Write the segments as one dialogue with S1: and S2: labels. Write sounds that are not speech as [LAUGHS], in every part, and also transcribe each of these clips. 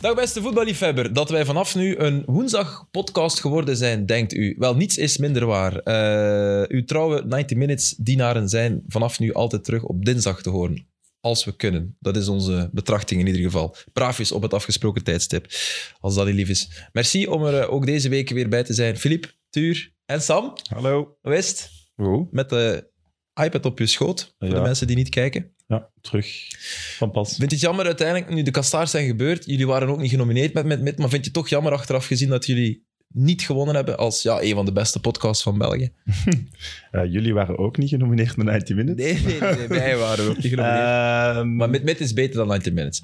S1: Dag beste voetballiefhebber, dat wij vanaf nu een woensdag podcast geworden zijn, denkt u. Wel, niets is minder waar. Eh, uw trouwe 90 Minutes dienaren zijn vanaf nu altijd terug op dinsdag te horen. Als we kunnen. Dat is onze betrachting in ieder geval. Braafjes op het afgesproken tijdstip. Als dat niet lief is. Merci om er eh, ook deze week weer bij te zijn. Filip, Tuur en Sam.
S2: Hallo.
S1: Hoe is het?
S2: Hoe?
S1: Met de iPad op je schoot. Voor de
S2: Ja.
S1: mensen die niet kijken.
S2: Ja, terug van pas.
S1: Vind je het jammer uiteindelijk, nu de Kastaars zijn gebeurd, jullie waren ook niet genomineerd met Met Met, maar vind je het toch jammer achteraf gezien dat jullie niet gewonnen hebben als ja, een van de beste podcasts van België?
S2: Eh, jullie waren ook niet genomineerd met 90 Minutes.
S1: Nee, nee, nee, wij waren ook niet genomineerd.
S2: Ehm,
S1: Eh, maar Met Met is beter dan 90 Minutes.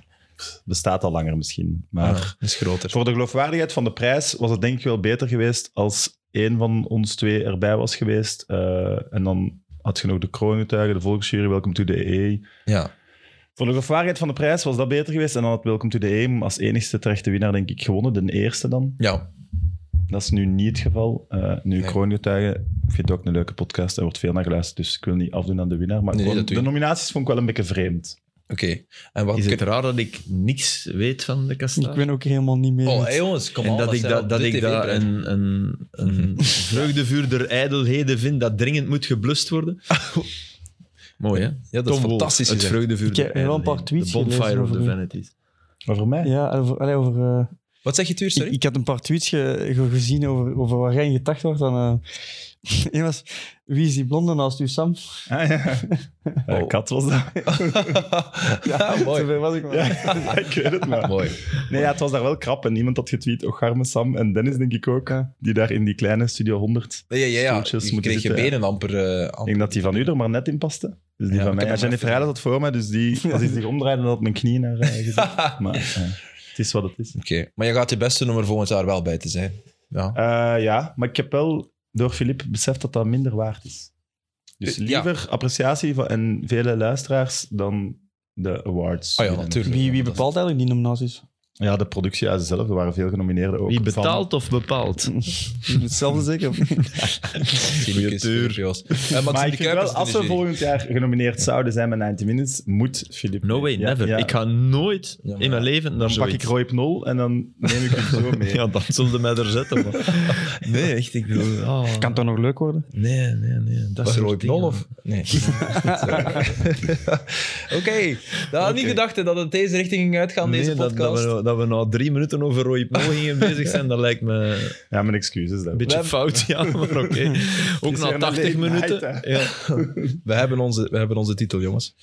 S2: bestaat al langer misschien. Maar
S1: Ah, is groter.
S2: voor de geloofwaardigheid van de prijs was het denk ik wel beter geweest als één van ons twee erbij was geweest. Eh, en dan had je nog de kroongetuigen, de volksjury, Welcome to the EE.
S1: Ja.
S2: Voor de geloofwaardigheid van de prijs was dat beter geweest. En dan had Welcome to the EE als enigste terechte winnaar denk ik gewonnen. De eerste dan.
S1: ja.
S2: Dat is nu niet het geval. Eh, nu
S1: Nee.
S2: kroongetuigen. Ik vind het ook een leuke podcast. Er wordt veel naar geluisterd, dus ik wil niet afdoen aan de winnaar. Maar
S1: Nee,
S2: gewoon-
S1: dat doe
S2: de
S1: je.
S2: nominaties vond ik wel een beetje vreemd.
S1: Oké. En wat
S3: Is het
S1: kun-
S3: raar dat ik niks weet van de
S4: Ik
S3: Kastaar?
S4: ben ook helemaal niet mee.
S1: Oh, hey, jongens, kom
S3: En dat ik dat, dat, ik dat
S1: En...
S3: een, een, een vreugdevuur der ijdelheden vind dat dringend moet geblust worden. Mooi, hè?
S1: Ja, dat
S3: Tom
S1: is
S3: Wolff,
S1: fantastisch
S3: Het
S1: gezegd.
S3: vreugdevuur
S4: Ik heb
S3: der
S4: wel een paar
S3: ijdelheden.
S4: tweets
S3: The bonfire
S4: gelezen
S3: of the
S4: over die.
S3: vanities.
S2: Maar voor mij?
S4: Ja, over, allee, over, eh,
S1: Wat zeg je, Tuur?
S4: ik,
S3: [LAUGHS]
S1: Sorry?
S4: ik had een paar tweets ge- ge- gezien over, over waar jij in gedacht wordt. En, eh, [LAUGHS] één was, wie is die blonde naast
S3: [LAUGHS]
S4: u, Sam?
S1: [LAUGHS]
S2: Ah, ja. Eh,
S1: Oh.
S2: Kat was dat.
S4: [LAUGHS]
S1: Ja, mooi.
S4: Zover was ik maar.
S1: Oh.
S2: Ja, [LAUGHS] ik weet het maar.
S1: mooi.
S2: Nee, ja, het was daar wel krap. En iemand had getweet, och arme Sam en Dennis denk ik ook,
S4: Ja.
S2: die daar in die kleine Studio 100...
S1: Ja, ja, ja.
S2: Stoeltjes
S1: Je
S2: moeten
S1: kreeg je
S2: zitten, ja.
S1: benen amper... eh, amper-
S2: Ik denk dat die van u er maar net in paste. Dus die
S1: Ja,
S2: van
S1: ik
S2: mij.
S1: heb hem
S2: En Jennifer
S1: even-
S2: Heijlen had voor mij, dus
S1: [LAUGHS]
S2: die, als hij zich omdraaide, dan had mijn knie naar eh, gezet. Maar eh, het is wat het is.
S1: Oké. Maar je gaat je beste nummer volgend jaar wel bij te zijn. Ja.
S2: Eh, ja, maar ik heb wel door Filip beseft dat dat minder waard is. Dus
S1: Eh, ja.
S2: liever appreciatie van, en vele luisteraars dan de awards.
S1: Ah ja, natuurlijk.
S4: Wie, wie bepaalt eigenlijk die nominaties?
S2: Ja, de productiehuizen zelf, er waren veel genomineerden ook.
S3: Wie
S2: van-
S3: betaalt of bepaalt?
S4: Hetzelfde zeker?
S1: Goeie
S3: tuur.
S1: Joos. Eh, Maxime
S2: Maar
S1: de
S2: ik vind
S1: Kuipers
S2: wel,
S1: in
S2: als
S1: de
S2: we
S1: jury.
S2: volgend jaar genomineerd zouden zijn met 90 Minutes, moet Filip...
S3: No way,
S2: Ja,
S3: never.
S2: ja.
S3: Ik ga nooit
S1: Ja, maar-
S3: in mijn leven naar
S2: Dan pak
S3: zoiets.
S2: ik Roy Pnol en dan neem ik hem
S3: [LAUGHS]
S2: zo [LAUGHS] mee.
S3: Ja, dan zullen ze mij er zetten. maar- [LAUGHS] Nee, echt. Ik bedoel, ah.
S4: [LAUGHS] Kan toch nog leuk worden?
S3: Nee, nee, nee. Dat
S1: Was
S3: is
S1: er ooit nul of?
S3: [LAUGHS]
S1: Nee. [LAUGHS] Oké, dat had niet
S3: Oké.
S1: gedacht hè, dat het deze richting ging uitgaan,
S3: Nee,
S1: deze
S3: dat,
S1: podcast.
S3: dat, we, nou- dat we na drie minuten over Roy Pnol gingen bezig zijn, dat lijkt me
S2: Ja, mijn excuses
S3: een
S2: daarvoor.
S3: beetje
S1: hebben-
S3: fout, ja, maar oké. Ook
S2: is weer
S3: na
S2: een
S3: 80
S2: late night,
S3: minuten. ja.
S1: We hebben onze, we hebben onze titel, jongens.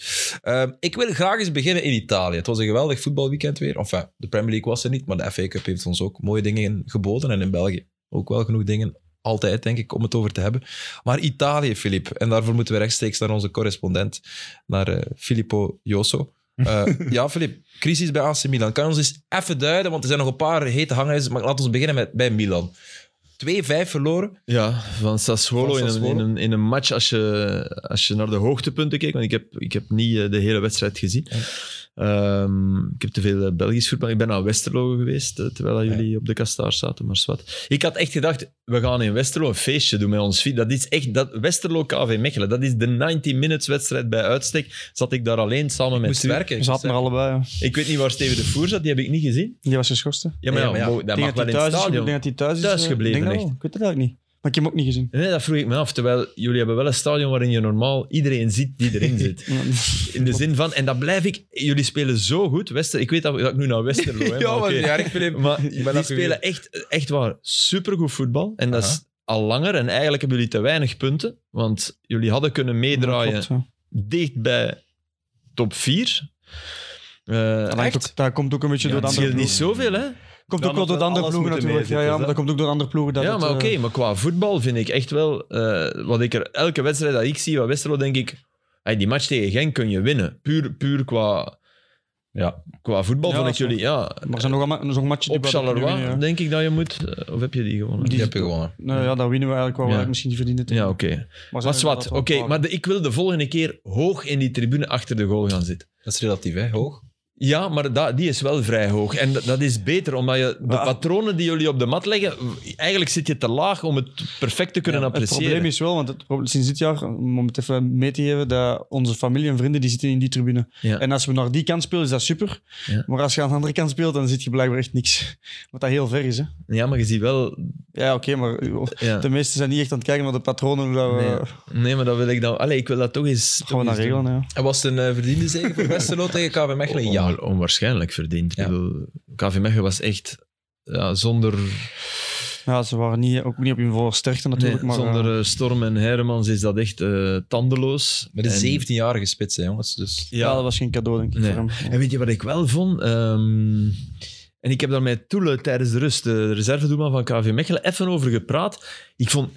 S1: Ehm, ik wil graag eens beginnen in Italië. Het was een geweldig voetbalweekend weer. Enfin, de Premier League was er niet, maar de FA Cup heeft ons ook mooie dingen geboden. En in België ook wel genoeg dingen, altijd denk ik, om het over te hebben. Maar Italië, Filip. En daarvoor moeten we rechtstreeks naar onze correspondent, naar eh, Filippo Josso. Eh, ja, Filip, crisis bij AC Milan. Kan je ons eens even duiden, want er zijn nog een paar hete hangijzers. Maar laten we beginnen met, bij Milan. 2-5 verloren.
S3: Ja, van Sassuolo,
S1: Van
S3: in een-
S1: Sassuolo.
S3: In, een, in, een, match, als je, als je naar de hoogtepunten keek, want ik heb, ik heb niet eh, de hele wedstrijd gezien. Ehm, ik heb te veel eh, Belgisch voetbal. Ik ben naar Westerlo geweest, eh, terwijl dat jullie op de kastaar zaten, maar zwart. Ik had echt gedacht, we gaan in Westerlo een feestje doen met ons fiets. Dat is echt, dat, Westerlo KV Mechelen, dat is de 90 minutes wedstrijd bij uitstek. Zat ik daar alleen samen met
S1: Moest
S3: Stuur.
S1: werken.
S4: Ze zaten maar allebei. ja.
S3: Ik weet niet waar Steven de Voer zat, die heb ik niet gezien.
S4: Die was geschorst. hè?
S3: Ja, maar,
S1: Nee,
S3: ja,
S1: maar ja,
S3: mo- dat
S4: Ik
S3: mag
S4: denk
S3: wel in het
S4: dat hij thuis is- Ik
S3: stadion.
S4: denk dat hij thuis is.
S3: Thuis
S4: eh, ik
S3: gebleven,
S4: denk dat wel.
S3: echt.
S4: Ik weet het eigenlijk niet. Maar ik heb hem ook niet gezien.
S3: Nee, dat vroeg ik me af. Terwijl jullie hebben wel een stadion waarin je normaal iedereen ziet die erin zit. In de zin van, en dat blijf ik, jullie spelen zo goed. Wester, ik weet dat, dat ik nu naar Westerlo hè, maar
S1: [LAUGHS] Ja, maar
S3: oké.
S1: ja, ik
S3: [LAUGHS]
S1: vind
S3: Maar
S1: ben
S3: die
S1: afgewezen.
S3: spelen echt, echt waar supergoed voetbal. En dat is al langer. En eigenlijk hebben jullie te weinig punten. Want jullie hadden kunnen meedraaien
S4: Klopt, ja.
S3: dicht bij top 4.
S4: Dat
S3: Uh,
S4: hangt ook- Dat komt ook een beetje door de
S3: dat
S4: andere
S3: scheelt niet
S4: ploegen.
S3: zoveel, hè?
S4: Komt
S2: Dan
S4: ook wel door de
S2: had
S4: andere
S2: alles
S4: ploegen
S2: moeten
S4: natuurlijk. Ja, ja,
S2: meezitten,
S4: maar dat komt ook door andere ploegen. Dat
S3: ja,
S4: het,
S3: maar
S4: eh,
S3: oké, maar qua voetbal vind ik echt wel. eh, wat ik er elke wedstrijd dat ik zie van Westerlo, denk ik. hey, die match tegen Genk kun je winnen. Puur, puur qua, ja, qua voetbal
S4: Ja,
S3: vond ik
S4: zo.
S3: jullie. Ja,
S4: Maar er zijn nog allemaal- er is nog een matchje
S3: op Charleroi denk ik dat je moet. eh, of heb je die gewonnen?
S4: Die-
S1: Je hebt je gewonnen.
S4: Nou ja, dat winnen we eigenlijk wel.
S3: Ja.
S4: we Misschien niet verdiend.
S3: Ja, oké. Maar zwart, oké. maar de- ik wil de volgende keer hoog in die tribune achter de goal gaan zitten.
S1: Dat is relatief, hè? Hoog.
S3: Ja, maar dat, die is wel vrij hoog. En dat, dat is beter, omdat je de
S4: Maar-
S3: patronen die jullie op de mat leggen, eigenlijk zit je te laag om het perfect te kunnen
S4: Het
S3: appreciëren.
S4: probleem is wel, want het probleem, sinds dit jaar, om het even mee te geven, dat onze familie en vrienden die zitten in die tribune.
S3: Ja.
S4: En als we naar die kant spelen, is dat super.
S3: Ja.
S4: Maar als je aan de andere kant speelt, dan zit je blijkbaar echt niks. [LAUGHS] Wat dat heel ver is, hè.
S3: ja, maar je ziet wel...
S4: Ja, oké, maar eh,
S3: Ja.
S4: de meesten zijn niet echt aan het kijken naar de patronen. Hoe dat we,
S3: Nee. Nee, maar dat wil ik dan... Allee, ik wil dat toch eens...
S4: gaan we naar regelen, ja.
S1: En was het een eh, verdiende zege voor Westerlo tegen KV Mechelen?
S4: Oh,
S1: Ja.
S3: Ja, onwaarschijnlijk verdiend.
S1: Ja.
S3: Ik bedoel, KV Mechelen was echt ja, zonder,
S4: Ja, ze waren niet, ook niet op hun voorsterkte natuurlijk,
S3: nee,
S4: maar...
S3: zonder
S4: eh,
S3: eh, Storm en Hermans is dat echt eh, tandeloos.
S1: Met een
S3: En-
S1: 17-jarige spits, hè, jongens. Dus
S4: ja, dat
S3: Ja.
S4: was geen cadeau, denk ik,
S3: Nee.
S4: voor hem.
S3: En weet je wat ik wel vond? Ehm, en ik heb daar met Toele tijdens de rust, de reservedoelman van KV Mechelen, even over gepraat. Ik vond...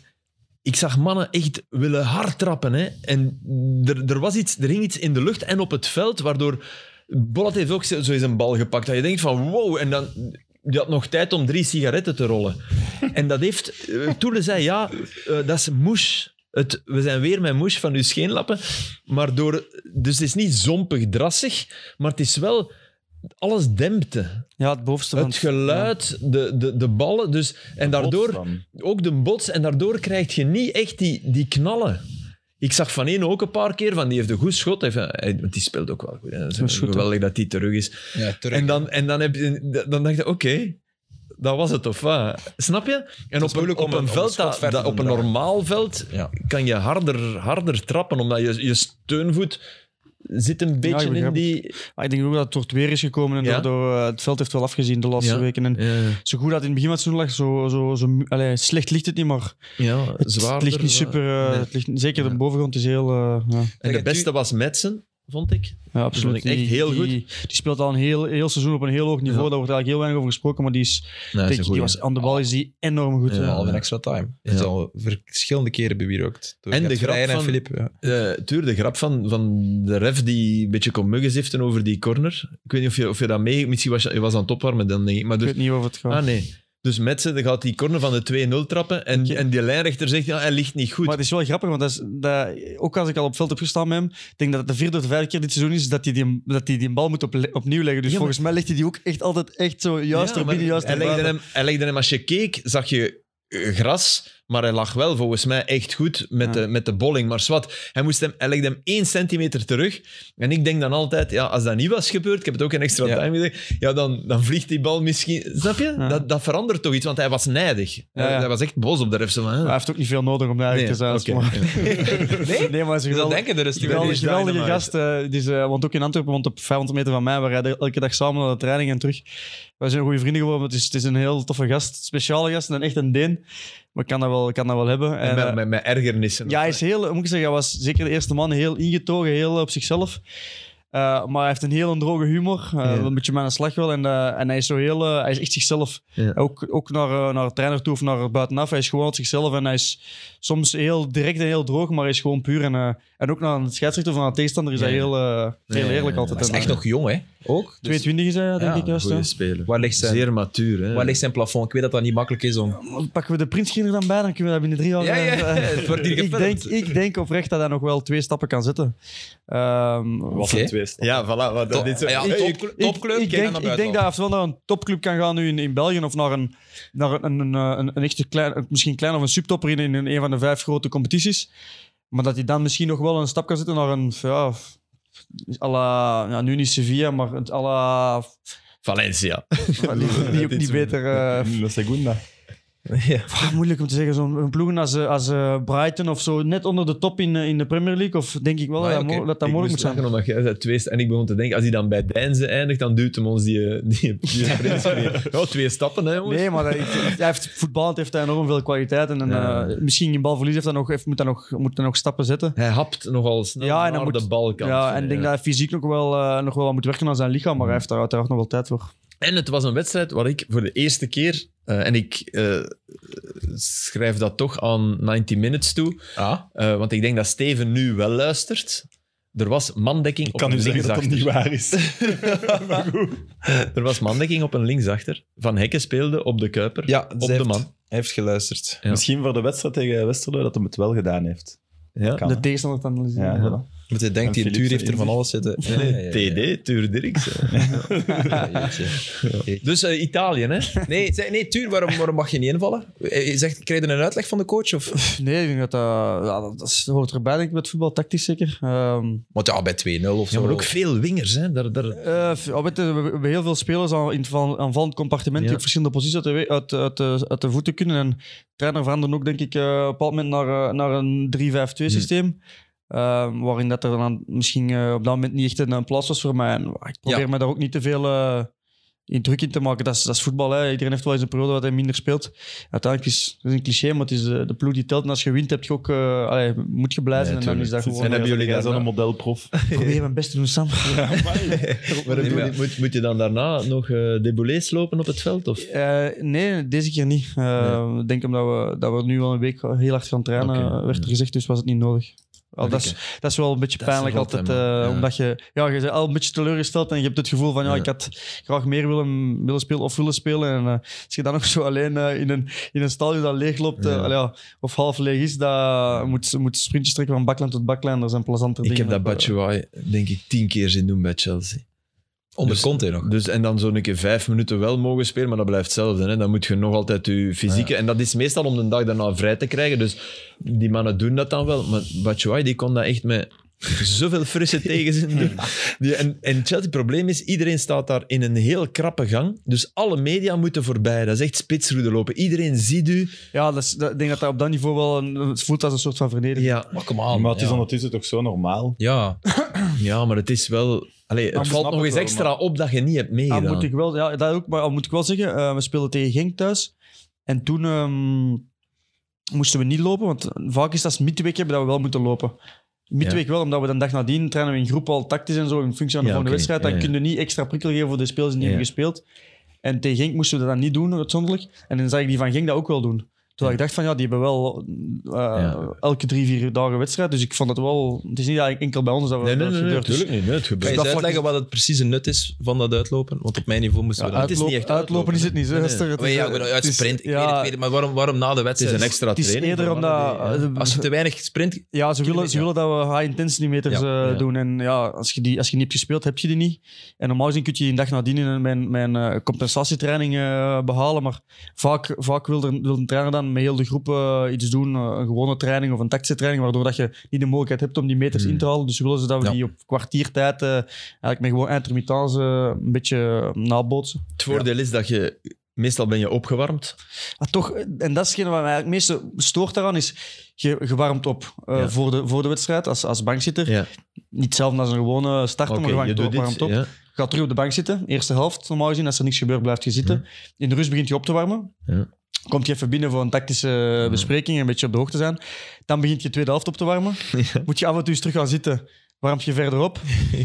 S3: Ik zag mannen echt willen hard trappen. Hè? En er, er, was iets, er hing iets in de lucht en op het veld, waardoor... Bollat heeft ook zo zo eens een bal gepakt. Dat je denkt van wow, en dan... Je had nog tijd om drie sigaretten te rollen. En dat heeft... eh, Toele zei, ja, eh, dat is moes. Het, we zijn weer met moes van uw scheenlappen. Maar door... Dus het is niet zompig, drassig. Maar het is wel... Alles dempte.
S4: Ja, het bovenste van
S3: Het geluid, de, de, de ballen. Dus, en daardoor
S2: Potsdam.
S3: ook de bots. En daardoor krijg je niet echt die, die knallen. Ik zag Van één ook een paar keer, van die heeft een goed schot. Hij heeft- hij- Want die speelt ook wel goed. hè. Dat
S4: Dat
S3: is
S4: is goed, hè.
S3: geweldig dat die terug is.
S1: ja, terug.
S3: En dan, en dan, heb je, dan dacht je, oké, dat was het of wat? Snap je? En op, een,
S1: moeilijk om
S3: op een,
S1: een- om een
S3: veld,
S1: schot
S3: dat,
S1: verder
S3: dat-
S1: te
S3: op een
S1: draaien.
S3: normaal veld,
S1: Ja.
S3: kan je harder, harder trappen, omdat je, je steunvoet zit een
S4: ik
S3: beetje in
S4: begrijp
S3: die...
S4: Maar Ah, ik denk ook dat het door het weer is gekomen en
S3: Ja.
S4: daardoor eh, het veld heeft wel afgezien de laatste
S3: Ja.
S4: weken. En
S3: Ja,
S4: zo goed dat het in het begin van het seizoen lag, zo, zo, zo mu- allee, slecht ligt het niet, maar
S3: ja
S4: het,
S3: zwaarder,
S4: het ligt niet
S3: eh,
S4: super. eh,
S3: nee.
S4: het ligt, zeker
S3: Ja.
S4: de bovengrond is heel. eh, ja.
S3: En de
S1: Tegen
S3: beste was Metsen, vond ik.
S4: ja,
S3: vond ik
S4: absoluut.
S3: echt heel
S4: die,
S3: goed.
S4: Die, die speelt al een heel, heel seizoen op een heel hoog niveau.
S3: Ja.
S4: Daar wordt eigenlijk heel weinig over gesproken, maar die is.
S3: Nee,
S4: denk, die was, aan de bal is die enorm goed.
S3: Ja.
S4: hè.
S1: Al een extra time. Dat is
S3: Ja.
S1: al verschillende keren bewierookt. Door
S3: En de
S1: Gert
S3: grap
S1: Vrijen
S3: van-
S1: en Filip. Ja.
S3: Eh, tuur, de grap van, van de ref die een beetje kon muggenziften over die corner. Ik weet niet of je, of je dat mee... Misschien was je, je was aan het opwarmen dan, denk ik. Maar
S4: Ik
S3: dus,
S4: weet niet over het gaat.
S3: Ah nee. Dus Metsen die gaat die corner van de 2-0 trappen. En,
S4: Oké.
S3: en die lijnrechter zegt, ja, hij ligt niet goed.
S4: Maar het is wel grappig, want dat is, dat, ook als ik al op veld heb gestaan met hem, ik denk dat het de vierde of de vijfde keer dit seizoen is dat hij die, dat die, die bal moet op, opnieuw leggen. Dus
S3: Ja, maar-
S4: volgens mij legt hij die ook echt altijd echt zo juist
S3: Ja,
S4: op
S3: maar
S4: binnen, juist
S3: hij,
S4: op
S3: legde
S4: buiten.
S3: hem, hij legde hem, als je keek, zag je eh, gras. Maar hij lag wel volgens mij echt goed met,
S4: Ja.
S3: de, met de bolling. Maar zwart, hij, moest hem, hij legde hem één centimeter terug. En ik denk dan altijd, ja, als dat niet was gebeurd, ik heb het ook in extra
S1: Ja.
S3: time gezegd, ja, dan, dan vliegt die bal misschien... Snap je?
S4: Ja.
S3: Dat, dat verandert toch iets, want hij was nijdig.
S4: Ja, ja.
S3: Hij was echt boos op de ref. Zo van, hè.
S4: Hij heeft ook niet veel nodig om daar
S3: Nee,
S4: te zijn.
S3: oké. [LAUGHS]
S4: maar-
S1: Nee?
S4: Nee, maar ze
S1: Je zou
S4: geweldig.
S1: denken, er is
S4: Geweldig,
S3: die
S4: geweldige
S3: dynamite.
S4: gast. eh, die ze, want ook in Antwerpen, want op 500 meter van mij, we rijden elke dag samen naar de training en terug. Wij zijn goede vrienden geworden, het is, het is een heel toffe gast. Speciale gast, en echt een Deen. Maar ik kan dat wel, ik kan dat wel hebben. En,
S3: En
S4: eh,
S3: met, met, met ergernissen.
S4: ja, hij is heel, moet ik zeggen, hij was zeker de eerste man heel ingetogen, heel op zichzelf. Eh, maar hij heeft een heel droge humor. eh,
S3: Ja.
S4: Een beetje mijn slag wel. En, eh, en hij is zo heel, eh, hij is echt zichzelf.
S3: Ja.
S4: Ook, ook naar, eh, naar de trainer toe of naar buitenaf. Hij is gewoon zichzelf en hij is soms heel direct en heel droog, maar hij is gewoon puur. En, eh, en ook naar een scheidsrechter of naar een tegenstander is
S3: Ja,
S4: hij
S3: ja.
S4: heel, eh, heel
S3: Ja, ja,
S4: eerlijk
S3: ja.
S4: altijd.
S1: Hij is
S4: En,
S1: echt
S4: eh,
S1: nog jong, hè? Ook. Dus
S4: 22 is hij, ja, denk
S1: Ja,
S4: ik juist.
S3: Goeie
S4: ja.
S3: speler.
S1: waar, ligt zijn,
S3: Zeer eh, matuur. Hè.
S1: waar ligt zijn plafond? Ik weet dat dat niet makkelijk is om...
S4: Maar Pakken we de prinsginder dan bij, dan kunnen we dat binnen drie jaar...
S1: Ja, ja,
S4: eh,
S1: [LAUGHS] het wordt hier
S4: ik, denk,
S1: gefilmd.
S4: ik denk oprecht dat hij nog wel twee stappen kan zetten. Ehm,
S2: Was
S1: Oké.
S2: het twee stappen.
S3: Ja, voilà. Wat,
S1: Top-
S3: dit zo-
S1: ja,
S3: Hey,
S1: top-
S3: ik-
S1: topclub,
S4: Ik, ik,
S1: ken aan
S4: denk, ik denk
S1: buitenland.
S4: dat hij ofwel naar een topclub kan gaan nu in, in België of naar een, naar een, een, eh, een, een echte klein, misschien klein of een subtopper in, in een van de vijf grote competities. Maar dat hij dan misschien nog wel een stap kan zetten naar een, ja, f- à la, ja nu niet Sevilla, maar het à la, [LAUGHS]
S3: Valencia.
S4: die, die ook niet beter, eh,
S2: Mm, De segunda.
S4: pff, moeilijk om te zeggen, zo'n een ploegen als, eh, als eh, Brighton of zo, net onder de top in, eh, in de Premier League, of denk ik wel
S1: Maar
S4: dat
S1: ja,
S4: dat, mo-
S1: oké.
S4: dat, dat mogelijk moet zijn.
S3: lachen omdat jij zei twee st- En ik begon te denken, als hij dan bij Deinze eindigt, dan duwt hem ons die, eh, die, die
S4: [LAUGHS]
S3: prins mee. Ja, twee stappen, hè, jongens.
S4: Nee, maar dat- ik- hij heeft, voetballend heeft hij enorm veel kwaliteit. En, en,
S3: Ja.
S4: eh, misschien in balverlies heeft hij nog, heeft, moet, hij nog, moet hij nog stappen zetten.
S3: Hij hapt nogal snel
S4: Ja, en
S3: naar
S4: dan moet-
S3: de balkant.
S4: ja, en ik denk dat hij fysiek nog wel, eh, nog wel wat moet werken aan zijn lichaam. Maar hij heeft daar uiteraard nog wel tijd voor.
S3: En het was een wedstrijd waar ik voor de eerste keer... eh, en ik eh, schrijf dat toch aan 90 Minutes toe.
S1: Ah,
S3: eh, want ik denk dat Steven nu wel luistert. Er was mandekking
S2: Ik
S3: op
S2: kan u
S3: een
S2: zeggen dat dat
S3: linksachter.
S2: niet waar is. maar goed.
S3: Er was mandekking op een linksachter. Van Hekken speelde op de Kuiper.
S1: ja,
S3: op
S1: zij
S3: de
S1: heeft-
S3: man.
S1: Hij heeft geluisterd.
S3: Ja.
S2: Misschien voor de wedstrijd tegen Westerlo dat hij het wel gedaan heeft.
S3: Ja.
S2: Kan,
S4: de
S2: hè?
S4: tegenstander te analyseren.
S2: Ja,
S4: Ja.
S2: voilà.
S1: Want je denkt, die
S2: Philips
S1: tuur heeft er
S2: in
S1: van
S2: zich.
S1: alles zitten. Ja, [LAUGHS] ja, ja, ja.
S2: TD, Tuur Dirks.
S1: Ja, jeetje. Dus eh, Italië, hè? Nee, zeg- nee Tuur, waarom, waarom mag je niet invallen? Eh, Je zegt, krijg je een uitleg van de coach? Of?
S4: Nee, ik denk dat dat, ja, dat, dat is- hoort erbij, denk ik, met voetbal, tactisch zeker. Ehm,
S1: Want ja, bij 2-0 of zo.
S3: Ja, maar ook veel wingers. Hè? Daar, daar...
S4: eh, v- ja, weet je, we we hebben heel veel spelers aan, in het van- aanvallend compartiment
S3: Ja.
S4: die op verschillende posities uit de, we- uit, uit, de- uit de voeten kunnen. En de trainer veranderde ook, denk ik, eh, op een bepaald moment naar, eh, naar een 3-5-2 systeem. Ehm, waarin dat er dan misschien eh, op dat moment niet echt een, eh, plaats was voor mij. En ik probeer
S1: Ja.
S4: me daar ook niet te veel eh, in druk in te maken. Dat is, dat is voetbal. Hè. Iedereen heeft wel eens een periode dat hij minder speelt. Uiteindelijk is het is een cliché, maar het is eh, de ploeg die telt. En als je wint, heb je ook, eh, allee, moet je blij zijn. en dan is dat gewoon... eh,
S2: En hebben jullie
S3: daar-
S2: daar zo'n modelprof?
S4: Ik probeer mijn best te doen, Sam. [LAUGHS]
S3: Maar
S1: Nee, maar-
S3: moet, moet, moet je dan daarna nog eh deboulés lopen op het veld? Of?
S4: Eh, nee, deze keer niet. Eh, Ik denk omdat we, dat we nu al een week heel hard gaan trainen,
S3: Oké, Mm.
S4: eh, werd er gezegd, dus was het niet nodig. Al, dat, is, dat is wel een beetje
S3: Dat
S4: pijnlijk
S3: vervalt
S4: altijd,
S3: hem,
S4: eh,
S3: ja.
S4: omdat je, ja, je bent al een beetje teleurgesteld en je hebt het gevoel van, ja,
S3: Ja.
S4: ik had graag meer willen, willen spelen of willen spelen. En eh, als je dan nog zo alleen eh, in, een, in een stadion dat leeg loopt, eh,
S3: Ja.
S4: allee, ja, of half leeg is, dat moet, moet sprintjes trekken van baklijn tot baklijn, dat zijn plezante
S3: Ik
S4: dingen.
S3: heb dat Batshuayi denk ik tien keer zien doen bij Chelsea.
S1: Onder
S3: Dus-
S1: Conte nog.
S3: Dus, en dan zo'n keer vijf minuten wel mogen spelen, maar dat blijft hetzelfde. Hè? Dan moet je nog altijd je fysieke... En dat is meestal om de dag daarna vrij te krijgen. Dus die mannen doen dat dan wel. Maar Batshuayi, die kon dat echt met zoveel frisse tegenzin doen.
S1: [LAUGHS]
S3: Die, en, en Chelsea, het probleem is, iedereen staat daar in een heel krappe gang. Dus alle media moeten voorbij. Dat is echt spitsroede lopen. Iedereen ziet u.
S4: Ja, dat is- dat- ik denk dat dat op dat niveau wel een, het voelt als een soort van vernedering.
S3: Ja,
S1: Maar kom aan.
S2: Maar het is
S1: Ah, ja.
S2: ondertussen toch zo normaal?
S1: Ja.
S3: Dus ja maar het is wel... Allee,
S4: Maar
S3: het
S4: we
S3: valt
S4: snappen
S3: nog eens
S4: het wel,
S3: extra op dat je niet hebt
S4: Al
S3: meegedaan.
S4: moet ik wel, ja, dat ook, maar al moet ik wel zeggen, eh, we speelden tegen Genk thuis. En toen ehm, moesten we niet lopen, want vaak is dat als midweek hebben dat we wel moeten lopen. Midweek wel, omdat we dan dag nadien trainen we in groep al tactisch en zo in functie van de
S3: Ja,
S4: volgende
S3: oké,
S4: wedstrijd. Dan
S3: ja, ja.
S4: kun je niet extra prikkel geven voor de spelers die niet
S3: Ja.
S4: hebben gespeeld. En tegen Genk moesten we dat dan niet doen, uitzonderlijk. En dan zag ik die van Genk dat ook wel doen. Toen ik dacht van, ja, die hebben wel eh,
S3: Ja.
S4: elke drie, vier dagen wedstrijd. Dus ik vond het wel... Het is niet dat enkel bij ons dat we
S3: Nee, nee,
S4: dat
S3: nee, nee,
S4: gebeurt. Dus-
S3: natuurlijk niet. Nee, het
S1: Kan
S3: gebeurt.
S1: je
S4: dat
S1: eens
S4: vlak
S1: uitleggen
S4: is-
S1: wat het precieze nut is van dat uitlopen? Want op mijn niveau moesten we
S4: Ja,
S1: dat...
S3: het is
S4: uitlo-
S3: niet echt
S4: uitlopen,
S3: uitlopen,
S4: is het niet. Zo,
S3: nee.
S4: Hester. Het
S1: Maar
S4: is,
S1: ja,
S4: eh,
S1: ik bedoel,
S4: het
S1: uit
S4: is-
S1: sprint, ik
S4: ja,
S1: weet het, ik weet het, maar waarom, waarom na de
S3: Het
S1: wedstrijd?
S3: is een extra
S4: Het is
S3: training.
S4: eerder
S3: voor mannen
S4: omdat...
S3: die- ja.
S4: eh,
S1: Als je te weinig sprint...
S4: Ja, ze willen,
S1: kilometer,
S4: ze willen dat we high intensity meters
S1: Ja,
S4: eh,
S3: ja.
S4: doen. En ja, als je, die, als je niet hebt gespeeld, heb je die niet. En normaal gezien kun je die een dag nadien in een- mijn, mijn eh, compensatietraining eh, behalen. Maar vaak, vaak wil, er, wil een trainer dan met heel de groep eh, iets doen. eh, een gewone training of een tactische training. Waardoor dat je niet de mogelijkheid hebt om die meters
S3: Hmm.
S4: in te halen. Dus willen ze dat we
S1: Ja.
S4: die op kwartiertijd eh, eigenlijk met gewoon intermittence eh, een beetje nabootsen.
S3: Het voordeel is dat je meestal ben je opgewarmd.
S4: Maar toch, eh, en dat is hetgene wat mij eigenlijk het meeste stoort daaraan, is je, je warmt op eh,
S3: Ja.
S4: voor, de, voor de wedstrijd als, als bankzitter.
S3: Ja.
S4: Niet hetzelfde als een gewone starter, maar je warmt op. warmt op.
S3: ja.
S4: Je gaat terug op de bank zitten, eerste helft normaal gezien. Als er niks gebeurt, blijft je zitten. In de rust begint je op te warmen.
S3: Ja.
S4: Komt je even binnen voor een tactische bespreking, een beetje op de hoogte zijn. Dan begint je tweede helft op te
S3: [LAUGHS]
S4: warmen. Moet je af en toe eens terug gaan zitten. Warmt je verder op.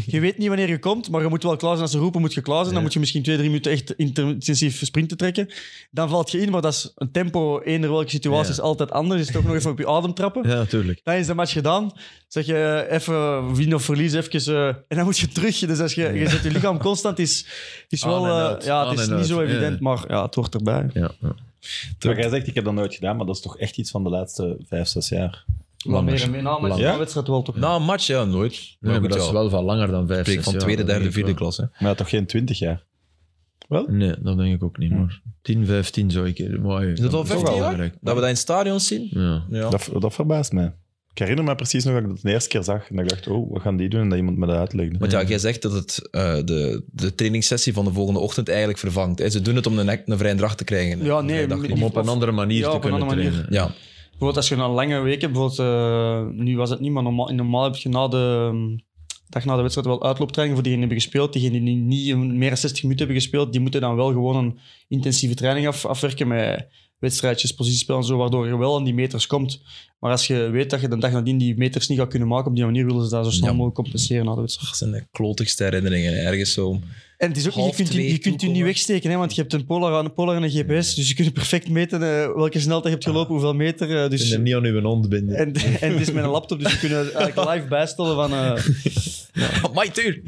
S4: Je weet niet wanneer je komt, maar je moet wel klaar zijn. Als ze roepen, moet je klaar zijn. Dan
S3: Ja.
S4: moet je misschien twee, drie minuten echt inter- intensief sprinten trekken. Dan valt je in, maar dat is een tempo. Eender welke situatie
S3: Ja.
S4: is altijd anders. Is toch nog even op je adem trappen.
S3: ja, natuurlijk.
S4: Dan is de match gedaan. Zeg je eh, even win of verlies, even, eh, en dan moet je terug. Dus als je, je zet je lichaam constant, is, is
S3: Aan
S4: wel,
S3: en
S4: eh,
S3: uit,
S4: ja,
S3: aan
S4: het is
S3: en
S4: niet
S3: uit,
S4: zo
S3: ja.
S4: evident, maar ja, het hoort erbij.
S3: Ja, ja.
S2: Maar jij zegt, ik heb dat nooit gedaan, maar dat is toch echt iets van de laatste vijf, zes jaar.
S4: Maar meer en meer na
S3: Langer.
S4: een wedstrijd wel toch.
S1: Na een match, ja, nooit.
S3: Nee, maar
S1: goed,
S3: dat
S1: ja.
S3: is wel van langer dan vijf,
S1: Ik spreek
S3: zes
S1: van
S3: jaar,
S1: tweede,
S3: dat
S1: derde,
S3: denk ik
S1: vierde
S3: wel.
S1: klasse.
S2: Maar ja, toch geen twintig jaar?
S3: Nee, dat denk ik ook niet, maar 10, 15 zou ik... Is
S1: al 15 jaar? Dat we dat in stadions zien?
S3: Ja.
S1: Ja.
S2: Dat, dat verbaast mij. Ik herinner me precies nog dat ik dat de eerste keer zag. En dat ik dacht, oh, wat gaan die doen? En dat iemand me dat uitlegde.
S1: Want ja, jij zegt dat het eh, de, de trainingssessie van de volgende ochtend eigenlijk vervangt. hè. Ze doen het om een, een vrije dag te krijgen.
S4: Ja,
S1: Een
S4: nee,
S1: vrije dag
S4: maar-
S1: niet.
S3: Om op een andere manier
S4: Ja,
S3: te
S4: op een
S3: kunnen
S4: andere manier.
S3: trainen.
S1: Ja,
S4: Bijvoorbeeld als je een lange week hebt, bijvoorbeeld, eh, nu was het niet, maar normaal, normaal heb je na de mm, dag na de wedstrijd wel uitlooptraining voor diegenen die hebben gespeeld. Diegenen die niet een- meer dan 60 minuten hebben gespeeld, die moeten dan wel gewoon een intensieve training af, afwerken met wedstrijdjes, positiespel en zo, waardoor je wel aan die meters komt. Maar als je weet dat je de dag nadien die meters niet gaat kunnen maken, op die manier willen ze dat zo snel
S1: Ja.
S4: mogelijk compenseren na de wedstrijd.
S1: dat zijn de klotigste herinneringen ergens [LAUGHS] zo.
S4: En het is ook, niet- je
S1: Half
S4: kunt, die-
S1: twee
S4: je kunt die niet
S1: toekomen.
S4: wegsteken, hè, want je hebt een polar, een polar en een GPS, dus je kunt perfect meten eh, welke snelheid je hebt gelopen, hoeveel meter. eh, dus,
S3: En er niet aan uw hond binden.
S4: [LAUGHS] en, en het is met een laptop, dus we kunnen eigenlijk live bijstellen van... eh,
S1: Amai, Oh, tuur!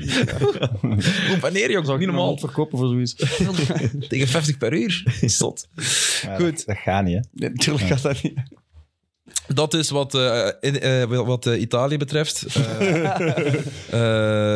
S1: [LAUGHS] Hoe Wanneer, jongens? Niet normaal.
S4: verkopen voor zoiets.
S1: [LAUGHS] Tegen 50 per uur. Stot.
S2: Maar dat- Dat, gaat niet, hè?
S4: Nee, natuurlijk gaat dat niet.
S1: Dat is wat, eh, in- eh, wat eh, Italië betreft.
S4: [LAUGHS]
S1: Eh,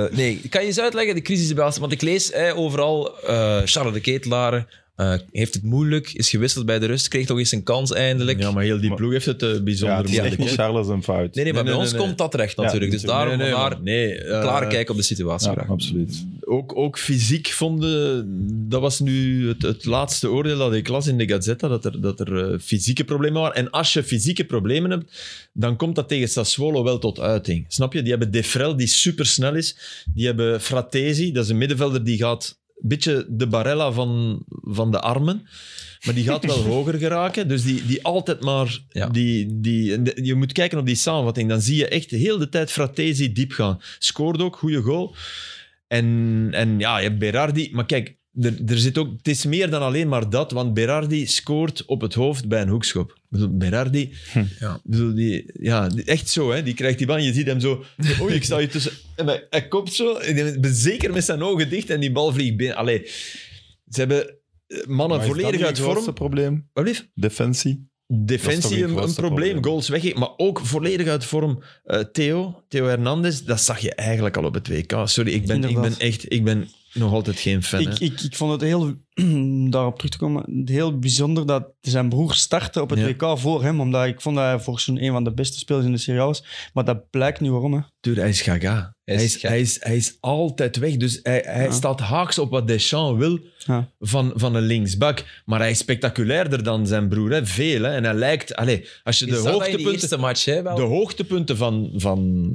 S1: eh, nee, kan je eens uitleggen, de crisis in België? Want ik lees eh, overal, eh, Charles de Ketelaren eh, heeft het moeilijk, is gewisseld bij de rust, kreeg toch eens een kans eindelijk.
S3: Ja, maar heel die ploeg heeft het eh,
S2: Ja,
S3: bijzonder
S2: het is echt
S3: moeilijk.
S2: niet
S3: hè.
S2: Charles een fout.
S1: Nee, nee, maar
S3: Nee,
S1: bij
S3: nee,
S1: ons
S3: nee,
S1: komt dat terecht natuurlijk.
S2: Ja,
S1: dus daarom
S3: nee, nee,
S1: daar
S3: maar- nee, eh,
S1: klaar kijken op de situatie.
S2: Ja,
S1: graag.
S2: absoluut.
S3: ook, ook fysiek vonden, dat was nu het, het laatste oordeel dat ik las in de Gazzetta, dat er, dat er eh, fysieke problemen waren. En als je fysieke problemen hebt, dan komt dat tegen Sassuolo wel tot uiting. Snap je? Die hebben Defrel, die supersnel is. Die hebben Fratesi, dat is een middenvelder die gaat een beetje de barella van, van de armen. Maar die gaat wel hoger geraken. Dus die, die altijd maar...
S1: Ja.
S3: Die, die, en de- je moet kijken op die samenvatting. Dan zie je echt heel de tijd Fratesi diep gaan. Scoort ook, goede goal. En, en ja, je hebt Berardi. Maar kijk, er, er zit ook, het is meer dan alleen maar dat. Want Berardi scoort op het hoofd bij een hoekschop. Ik bedoel, Berardi...
S2: Hm.
S1: Ja.
S3: Ik bedoel, die, ja, die- echt zo, hè. Die krijgt die bal en je ziet hem zo... Oei, ik sta hier tussen... [LAUGHS] En hij, hij kopt zo, en hij- zeker met zijn ogen dicht, en die bal vliegt binnen. Allee, ze hebben eh, mannen
S2: Maar is dat
S3: volledig
S2: niet
S3: uit
S2: het
S3: vorm.
S2: grootste probleem?
S3: Wat blieft?
S2: Defensie. Dat is
S3: Defensie
S2: toch
S3: een,
S2: het
S3: een
S2: grootste
S3: probleem,
S2: probleem.
S3: goals weg. Maar ook volledig uit vorm eh, Theo, Theo Hernandez. Dat zag je eigenlijk al op het WK. Sorry, ik ben, ik
S4: Inderdaad.
S3: ben echt... Ik ben nog altijd geen fan,
S4: Ik,
S3: hè.
S4: ik, ik vond het heel, [CLEARS THROAT] daarop terug te komen, heel bijzonder dat zijn broer startte op het
S3: Ja.
S4: WK voor hem. Omdat ik vond dat hij volgens mij een van de beste spelers in de Serie A was. Maar dat blijkt nu waarom. Hè.
S3: Dude, hij is gaga. Hij
S1: Hij
S3: is,
S1: is
S3: hij is,
S1: gek.
S3: hij is, altijd weg. Dus hij, hij
S4: Ja.
S3: staat haaks op wat Deschamps wil
S4: Ja.
S3: van, van een linksbak. Maar hij is spectaculairder dan zijn broer. Hè? Veel. Hè? En hij lijkt... Allee, als je
S1: Is
S3: de
S1: dat dan in die
S3: hoogtepunten,
S1: eerste match, hè, wel?
S3: de hoogtepunten van... van,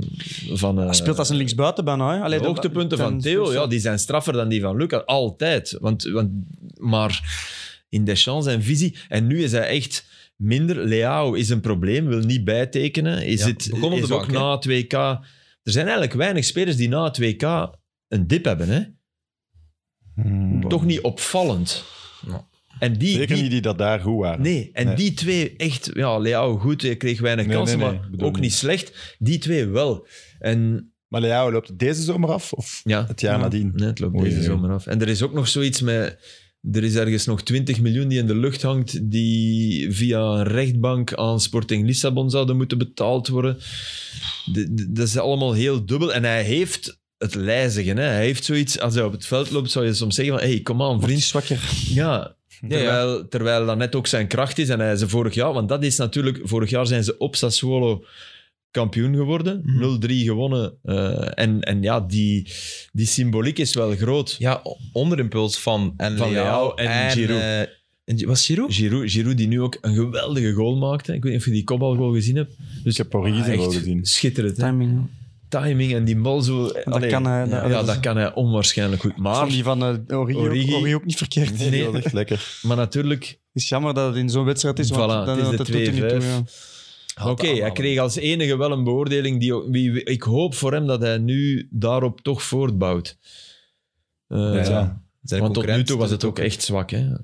S3: van eh,
S4: Hij speelt als een linksbuiten bijna. Hè.
S3: de
S4: Allee, dat-
S3: hoogtepunten
S4: dat-
S3: van
S4: dat-
S3: Theo, ja, die zijn straffer dan die van Lucas. Altijd. Want, want, maar in Deschamps zijn visie... En nu is hij echt minder. Leao is een probleem, wil niet bijtekenen. Is,
S1: Ja,
S3: het,
S1: begon op de
S3: is ook
S1: bank, hè?
S3: na het WK... Er zijn eigenlijk weinig spelers die na het WK een dip hebben. Hè? Toch niet opvallend.
S1: Ja.
S3: En die,
S2: Hmm. Zeker
S3: die-
S2: niet die dat daar goed waren.
S3: Nee, en
S2: Nee.
S3: die twee echt... Ja, Leao goed, hij kreeg weinig
S2: Nee,
S3: kansen,
S2: nee, nee, ik
S3: maar
S2: bedoel
S3: ook niet
S2: niet.
S3: slecht. Die twee wel. En
S2: Maar Leao loopt het deze zomer af of
S3: ja,
S2: het jaar
S4: Ja.
S2: nadien?
S3: Nee, het loopt
S2: Oei,
S3: deze
S2: oei.
S3: zomer af. En er is ook nog zoiets met... Er is ergens nog 20 miljoen die in de lucht hangt, die via een rechtbank aan Sporting Lissabon zouden moeten betaald worden. De- de- Dat is allemaal heel dubbel. En hij heeft het lijzigen. Hè? Hij heeft zoiets, als hij op het veld loopt, zou je soms zeggen van, hey, kom aan,
S4: Wordt
S3: vriend.
S4: zwakker.
S3: Ja,
S1: ja.
S3: terwijl, terwijl dat net ook zijn kracht is. En hij ze vorig jaar, want dat is natuurlijk, vorig jaar zijn ze op Sassuolo kampioen geworden.
S4: Mhm.
S3: 0-3 gewonnen. Eh, en, en ja, die, die symboliek is wel groot.
S1: Ja, o- onderimpuls van, en
S3: Van
S1: Leao
S3: Leao en Giroud.
S1: eh, en, was Giroud?
S3: Giroud, Giroud die nu ook een geweldige goal maakte. Ik weet niet of je die kopbalgoal gezien hebt.
S2: Dus ik heb Origi zijn
S3: Ah, Echt
S2: wel gezien.
S3: Schitterend. hè?
S4: Timing. hè.
S3: Timing en die bal zo... Allee,
S4: kan hij-
S3: ja,
S4: dat-
S3: ja, dat kan hij onwaarschijnlijk goed.
S4: Ik vond
S3: Maar,
S4: die van eh, Origi,
S3: Origi-
S4: Ook, Origi ook niet verkeerd.
S2: Nee, dat was echt lekker.
S3: maar natuurlijk...
S4: Het is jammer dat het in zo'n wedstrijd is, want
S3: Voilà,
S4: dan,
S3: het is de
S4: dat doet er niet toe.
S3: 2-5.
S4: Ja.
S3: Oké, hij
S1: aanhalen.
S3: kreeg als enige wel een beoordeling. Die, ook- wie, wie- ik hoop voor hem dat hij nu daarop toch voortbouwt. Eh,
S2: Ja,
S1: Zijn
S3: Want tot nu
S1: concurrent,
S3: toe was
S1: dus
S3: het ook echt zwak. Hè?
S4: Maar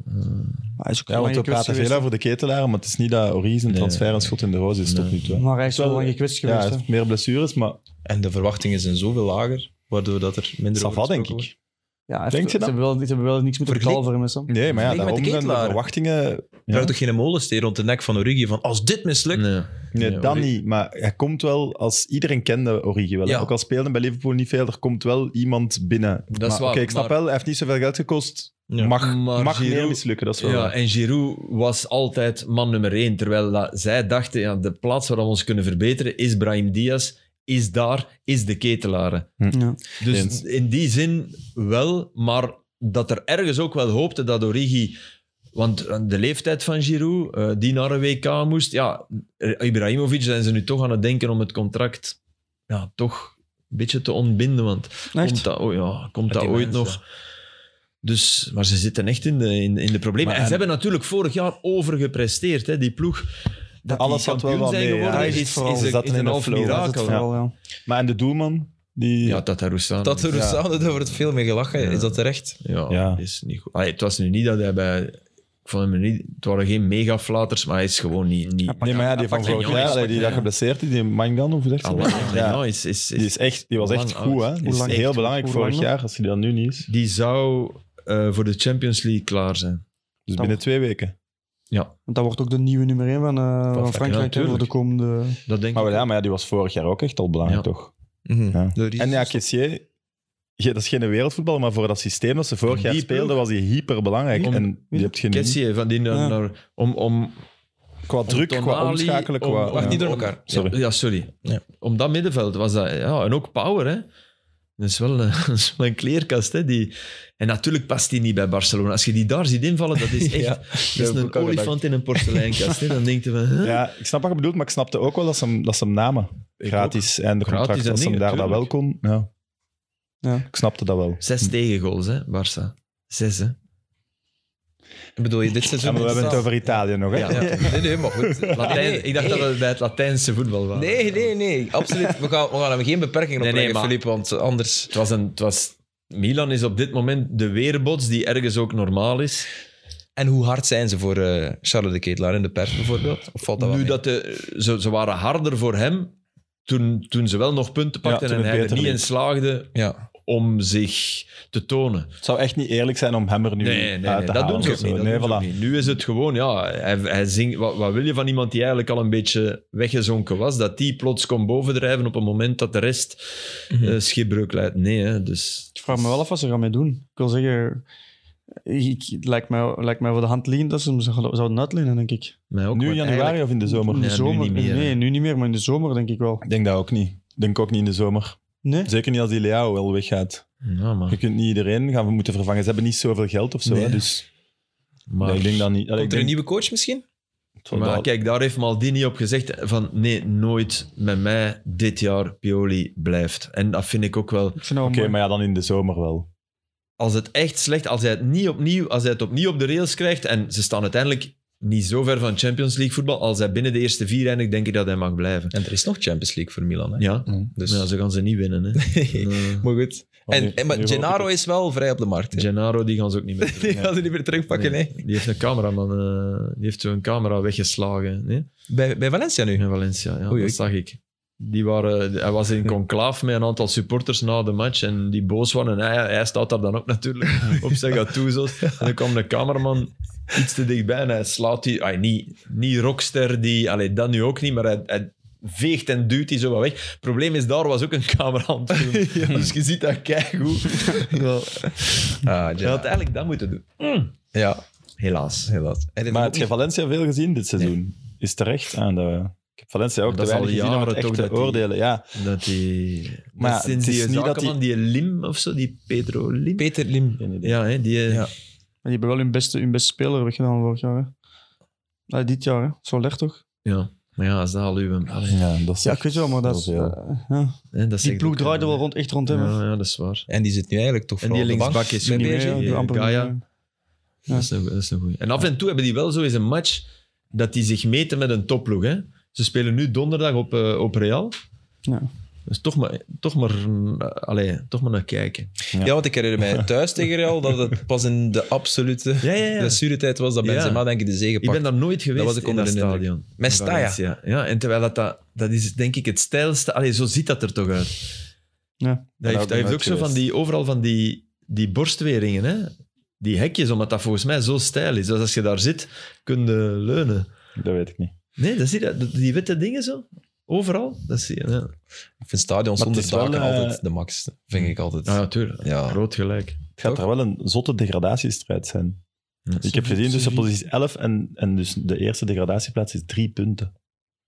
S4: hij is ook
S2: Ja,
S4: lang
S2: want we
S4: gekwetst
S2: praten veel
S4: geweest,
S2: over de ketelaren, maar het is niet dat Origi een
S3: Nee.
S2: transfer een schot in de roos is tot
S3: Nee.
S2: nu toe.
S4: hè.
S2: hè.
S4: Maar hij is wel
S2: Wel-
S4: lang gekwetst
S2: Ja, hij
S4: geweest. hè.
S2: heeft meer blessures, maar
S1: eh, En de verwachtingen zijn zoveel lager, waardoor dat er minder over
S2: Savat denk
S1: gesproken
S2: ik.
S4: Ja, hij
S2: Denk
S4: heeft-
S2: je dat?
S4: Ze hebben wel, ze hebben wel niks moeten
S1: Vergelijk-
S4: betalen voor hem. hè, Sam.
S2: Nee, maar ja,
S1: Ik denk met de
S2: daarom zijn de
S1: ketelaren.
S2: verwachtingen...
S1: Er
S2: Ja.
S1: waren toch geen molensteer rond de nek van Origi van als dit mislukt...
S3: Nee.
S2: Nee,
S3: Nee,
S2: dan
S3: Origi-
S2: niet. Maar hij komt wel, als iedereen kende Origi wel. hè.
S1: Ja.
S2: Ook al speelde bij Liverpool niet veel, er komt wel iemand binnen.
S3: is
S2: maar,
S3: waar,
S2: oké, ik snap
S3: maar-
S2: wel, hij heeft niet zoveel geld gekost.
S1: Ja.
S2: Mag,
S3: Maar
S2: mag
S3: Giroud-
S2: meer mislukken, dat is wel
S3: Ja,
S2: waar.
S3: en Giroud was altijd man nummer één. Terwijl dat- zij dachten, ja, de plaats waar we ons kunnen verbeteren is Brahim Diaz, is daar, is de ketelaren.
S4: Ja.
S3: Dus
S2: Eens.
S3: in die zin wel, maar dat er ergens ook wel hoopte dat Origi... Want eh, de leeftijd van Giroud, eh, die naar een WK moest... Ja, Ibrahimovic zijn ze nu toch aan het denken om het contract ja, toch een beetje te ontbinden. Want
S4: Echt?
S3: komt dat, oh ja, komt dat
S1: die
S3: ooit
S1: mensen.
S3: nog... Dus, maar ze zitten echt in de, in, in de problemen.
S2: Maar
S3: en ze
S2: en-
S3: hebben natuurlijk vorig jaar overgepresteerd, hè, die ploeg. Dat
S2: Alles
S3: die
S2: had wel
S3: kampioen
S2: wat
S3: zijn
S2: mee, ja.
S3: geworden,
S4: Hij
S3: is,
S4: is
S3: is,
S4: vooral-
S2: Ze
S3: een,
S2: zaten
S3: is
S2: in
S3: een
S2: een
S3: half
S2: flow, dat is
S4: Dat is het
S3: mirakel.
S4: vooral, ja.
S2: Maar en de doelman, die...
S3: Ja, dat Ruslan.
S1: Dat er
S2: Ja.
S1: samen over het veel meer gelachen, is dat terecht?
S3: Ja,
S2: Ja.
S3: is niet goed. Allee, het was nu niet dat hij bij... Ik vond hem niet... Het waren geen megaflaters, maar hij is gewoon niet... niet
S2: nee, maar ja, die van
S3: pakt
S2: vorig
S3: Lennon,
S2: jaar,
S3: pakt
S2: allee, die dat geblesseerd is, die Magdan, of hoe zeg je
S3: Allee,
S2: dat?
S3: ja.
S2: Ja,
S3: is, is, is-
S2: die, is echt, die was echt
S3: Lang
S2: goed, hè.
S3: oud.
S2: Die
S4: Hoe
S2: is
S4: lang
S2: heel
S4: echt?
S2: belangrijk
S4: Hoe
S2: vorig
S4: lang nog?
S2: jaar, als hij dat nu niet is.
S3: die zou eh, voor de Champions League klaar zijn.
S2: Dus
S4: Dan-
S2: binnen twee weken.
S3: Ja,
S4: Want dat wordt ook de nieuwe nummer 1 van, eh, van
S1: Frankrijk,
S4: Frankrijk hè, voor de
S3: natuurlijk.
S4: komende...
S3: dat denk
S2: Maar,
S3: ik.
S2: wel, ja, maar ja, die was vorig jaar ook echt al belangrijk,
S3: Ja.
S2: toch?
S1: Mhm.
S2: Ja.
S3: De Ries-
S2: En ja, Kessier, ja, dat is geen wereldvoetballer, maar voor dat systeem dat ze vorig
S3: Die
S2: jaar
S3: ploeg.
S2: speelden, was hij hyperbelangrijk.
S3: Om-
S2: En die hebt geen
S3: Kessie, van die naar,
S4: Ja.
S3: naar- om, om,
S2: qua druk, qua
S3: Tonali,
S2: omschakelen,
S3: om-
S2: qua...
S3: om-
S1: Wacht,
S2: ja.
S1: niet door elkaar.
S2: Sorry.
S3: Ja, ja, sorry.
S1: Ja.
S3: Om dat middenveld was dat. Ja, en ook power, hè. Dat is wel een, [LAUGHS] dat is wel een kleerkast, hè. Die... En natuurlijk past die niet bij Barcelona. Als je die daar ziet invallen, dat is echt...
S1: Ja,
S3: dat
S1: heb
S3: is
S1: ik
S3: een
S1: ook al
S3: olifant in een porseleinkast, hè. Dan denk je van... Huh?
S2: Ja, ik snap wat je bedoelt, maar ik snapte ook wel dat ze hem, dat ze hem namen.
S3: Ik
S2: Gratis. En de
S3: Gratis
S2: contract,
S3: en
S2: dat ze hem
S3: dingen,
S2: daar dat wel kon. Ja.
S4: Ja.
S2: Ik snapte dat wel.
S3: Zes tegengoals, hè, Barça. Zes, hè.
S1: Bedoel je dit
S2: Ja,
S1: seizoen?
S2: maar we hebben het
S1: Ja.
S2: over Italië nog, hè?
S3: Ja.
S1: Nee, nee, maar goed.
S3: [LAUGHS] Latijn,
S1: Nee,
S3: ik dacht
S1: nee.
S3: dat we bij het Latijnse voetbal waren.
S1: Nee, nee, nee. Absoluut. We gaan, we gaan hem geen beperkingen
S3: Nee, nee,
S1: opleggen,
S3: maar-
S1: Philippe, want anders...
S3: Het was een... Het was... Milan is op dit moment de weerbots die ergens ook normaal is.
S1: En hoe hard zijn ze voor eh, Charles de Ketelaar in de pers, bijvoorbeeld? Of valt dat wel
S3: nu
S1: mee?
S3: dat de, ze, ze waren harder voor hem toen, toen ze wel nog punten
S2: Ja,
S3: pakten
S2: toen
S3: en
S2: het
S3: hij er
S2: beter
S3: niet
S2: liep.
S3: in slaagde
S1: Ja.
S3: om zich te tonen.
S2: Het zou echt niet eerlijk zijn om hem er nu
S3: Nee, nee, nee,
S2: uit te
S3: dat
S2: halen.
S3: doen ze ook
S2: of
S3: niet.
S2: zo.
S3: dat
S2: Nee,
S3: doen ze ook
S2: voilà.
S3: niet. Nu is het gewoon, ja, hij, hij zingt, wat, wat wil je van iemand die eigenlijk al een beetje weggezonken was, dat die plots kon bovendrijven op een moment dat de rest
S1: Mhm.
S3: eh, schipbreuk leidt? Nee, hè, dus...
S4: Ik vraag me wel af wat ze gaan mee doen. Ik wil zeggen, ik, het lijkt, mij, lijkt mij voor de hand liggend dat ze hem zouden zouden uitlenen, denk ik.
S3: Mij ook,
S2: Nu in
S3: want
S2: januari of in de zomer?
S4: In de
S3: Ja, nu
S4: zomer,
S3: niet meer, hè.
S4: nee, nu niet meer, maar in de zomer denk ik wel.
S2: Ik denk dat ook niet. Ik denk ook niet in de zomer.
S4: Nee?
S2: Zeker niet als die Leao wel weggaat.
S3: eigenlijk- Ja,
S2: Je
S3: maar,
S2: kunt niet iedereen gaan moeten vervangen. Ze hebben niet zoveel geld of zo.
S1: Nee.
S2: hè, Dus
S3: maar,
S2: nee, ik denk dat niet.
S1: Komt
S2: Allee, ik
S1: er een
S2: denk-
S1: nieuwe coach misschien?
S2: het zal
S3: maar
S2: wel-
S3: kijk, daar heeft Maldini op gezegd van nee, nooit met mij dit jaar Pioli blijft. En dat vind ik ook wel...
S4: Ik vind dat wel
S2: Oké,
S4: mooi.
S2: maar ja, dan in de zomer wel.
S3: als het echt slecht, als hij het, niet opnieuw, als hij het opnieuw op de rails krijgt, en ze staan uiteindelijk niet zo ver van Champions League voetbal, als hij binnen de eerste vier eindigt, denk ik dat hij mag blijven.
S1: En er is nog Champions League voor Milan, hè?
S3: Ja,
S1: Dus...
S3: ja ze gaan ze niet winnen. Hè.
S1: [LAUGHS]
S3: Eh, Nee.
S1: maar goed.
S2: Want nu-
S1: En, en, maar
S2: nu hoop ik
S1: Gennaro
S2: het.
S1: is wel vrij op de markt. hè?
S3: Gennaro, die gaan ze ook niet meer terug.
S1: [LAUGHS] Die gaan ze niet meer terugpakken,
S3: Nee.
S1: nee.
S3: Die heeft een cameraman, eh, die heeft zo'n camera weggeslagen nee?
S1: Bij, bij Valencia nu?
S3: in Valencia. Ja,
S1: Oei,
S3: dat
S1: oei.
S3: zag ik. Die waren, hij was in conclaaf met een aantal supporters na de match en die boos waren. En hij, hij staat daar dan ook natuurlijk op zijn gatoezels. En dan kwam de cameraman iets te dichtbij en hij slaat die... Ay, niet, niet rockster, die, allee, dat nu ook niet, maar hij, hij veegt en duwt die zo wat weg. Het probleem is, daar was ook een camera aan het filmen. Dus je ziet dat keigoed. ja.
S1: Ah,
S3: Hij had eigenlijk dat moeten doen.
S1: Ja,
S3: Helaas.
S1: helaas. Hij heeft
S2: Maar
S1: ook
S2: heb je
S1: niet-
S2: Valencia veel gezien dit seizoen? Is terecht aan de... Ik heb Valencia ook
S3: Maar
S2: te
S3: dat is
S2: weinig
S3: al
S2: gezien om het
S3: jaren
S2: echt
S3: toch
S2: te
S3: dat die-
S2: oordelen. Ja,
S3: Dat die...
S2: Maar
S3: dat is
S2: ja,
S3: sinds
S2: het is
S3: die
S2: niet dat
S3: zakenman, die... Lim of zo, die Pedro Lim.
S1: Peter Lim.
S3: ja, hè, die... eh,
S1: Ja.
S4: Maar Die hebben wel hun beste, hun beste speler weggedaan vorig jaar. Hè. Nee, dit jaar, hè. zo leg toch?
S3: Ja, maar ja, als dat al uw... Allee,
S2: ja, dat is
S4: Ja,
S2: echt
S4: ik weet wel, maar dat is,
S2: heel veel.
S4: eh, ja.
S3: hè, dat
S4: Die
S3: zegt
S4: ploeg
S3: ook- eh,
S2: eh,
S4: draaide wel rond, echt rond hem. hè.
S3: Ja, ja, dat is waar.
S1: En die zit nu eigenlijk toch
S3: En
S1: vooral
S3: die
S1: op de
S3: linksbak
S1: bank.
S3: is
S1: Bij
S3: niet
S4: Niet meer,
S1: PSG.
S4: ja, die
S3: ja,
S4: amper
S3: Gaia.
S4: meer. Ja.
S3: Dat, is een, dat is een goeie. En af en toe hebben die wel zo eens een match dat die zich meten met een topploeg. Hè? Ze spelen nu donderdag op, eh, op Real.
S4: Ja.
S3: Dus toch maar, toch, maar, mm, eh, allee, toch maar naar kijken.
S1: Ja, want ik herinner mij thuis tegen Real dat het pas in de absolute
S3: Ja, ja, ja.
S1: blessuretijd was dat
S3: Ja.
S1: Benzema denk ik de zege
S3: Ik ben
S1: pakte.
S3: daar nooit geweest
S1: was ik
S3: in
S1: onder
S3: dat
S1: de indruk.
S3: stadion.
S1: Met
S3: In
S1: Staya.
S3: Valencia. Ah, Ja, en terwijl dat, dat, dat is denk ik het stijlste... Allee, zo ziet dat er toch uit.
S4: Ja.
S3: Dat
S2: ben
S3: heeft,
S2: ook
S3: dat heeft
S2: nooit
S3: ook zo van
S2: geweest.
S3: die, overal van die, die borstweringen, hè? Die hekjes, omdat dat volgens mij zo stijl is. Dus als je daar zit, kun je leunen.
S2: Dat weet ik niet.
S3: Nee, dat zie je, dat- die witte dingen zo. Overal, dat zie je. Ja,
S1: Ik vind stadions
S2: Maar
S1: zonder
S2: het is wel,
S1: daken
S2: eh,
S1: altijd de max. Vind ik altijd.
S3: natuurlijk.
S1: Ja.
S3: Rood gelijk.
S2: Het gaat er wel een zotte degradatiestrijd zijn. Ik heb gezien dus tussen positie 11 en, en dus de eerste degradatieplaats is drie punten.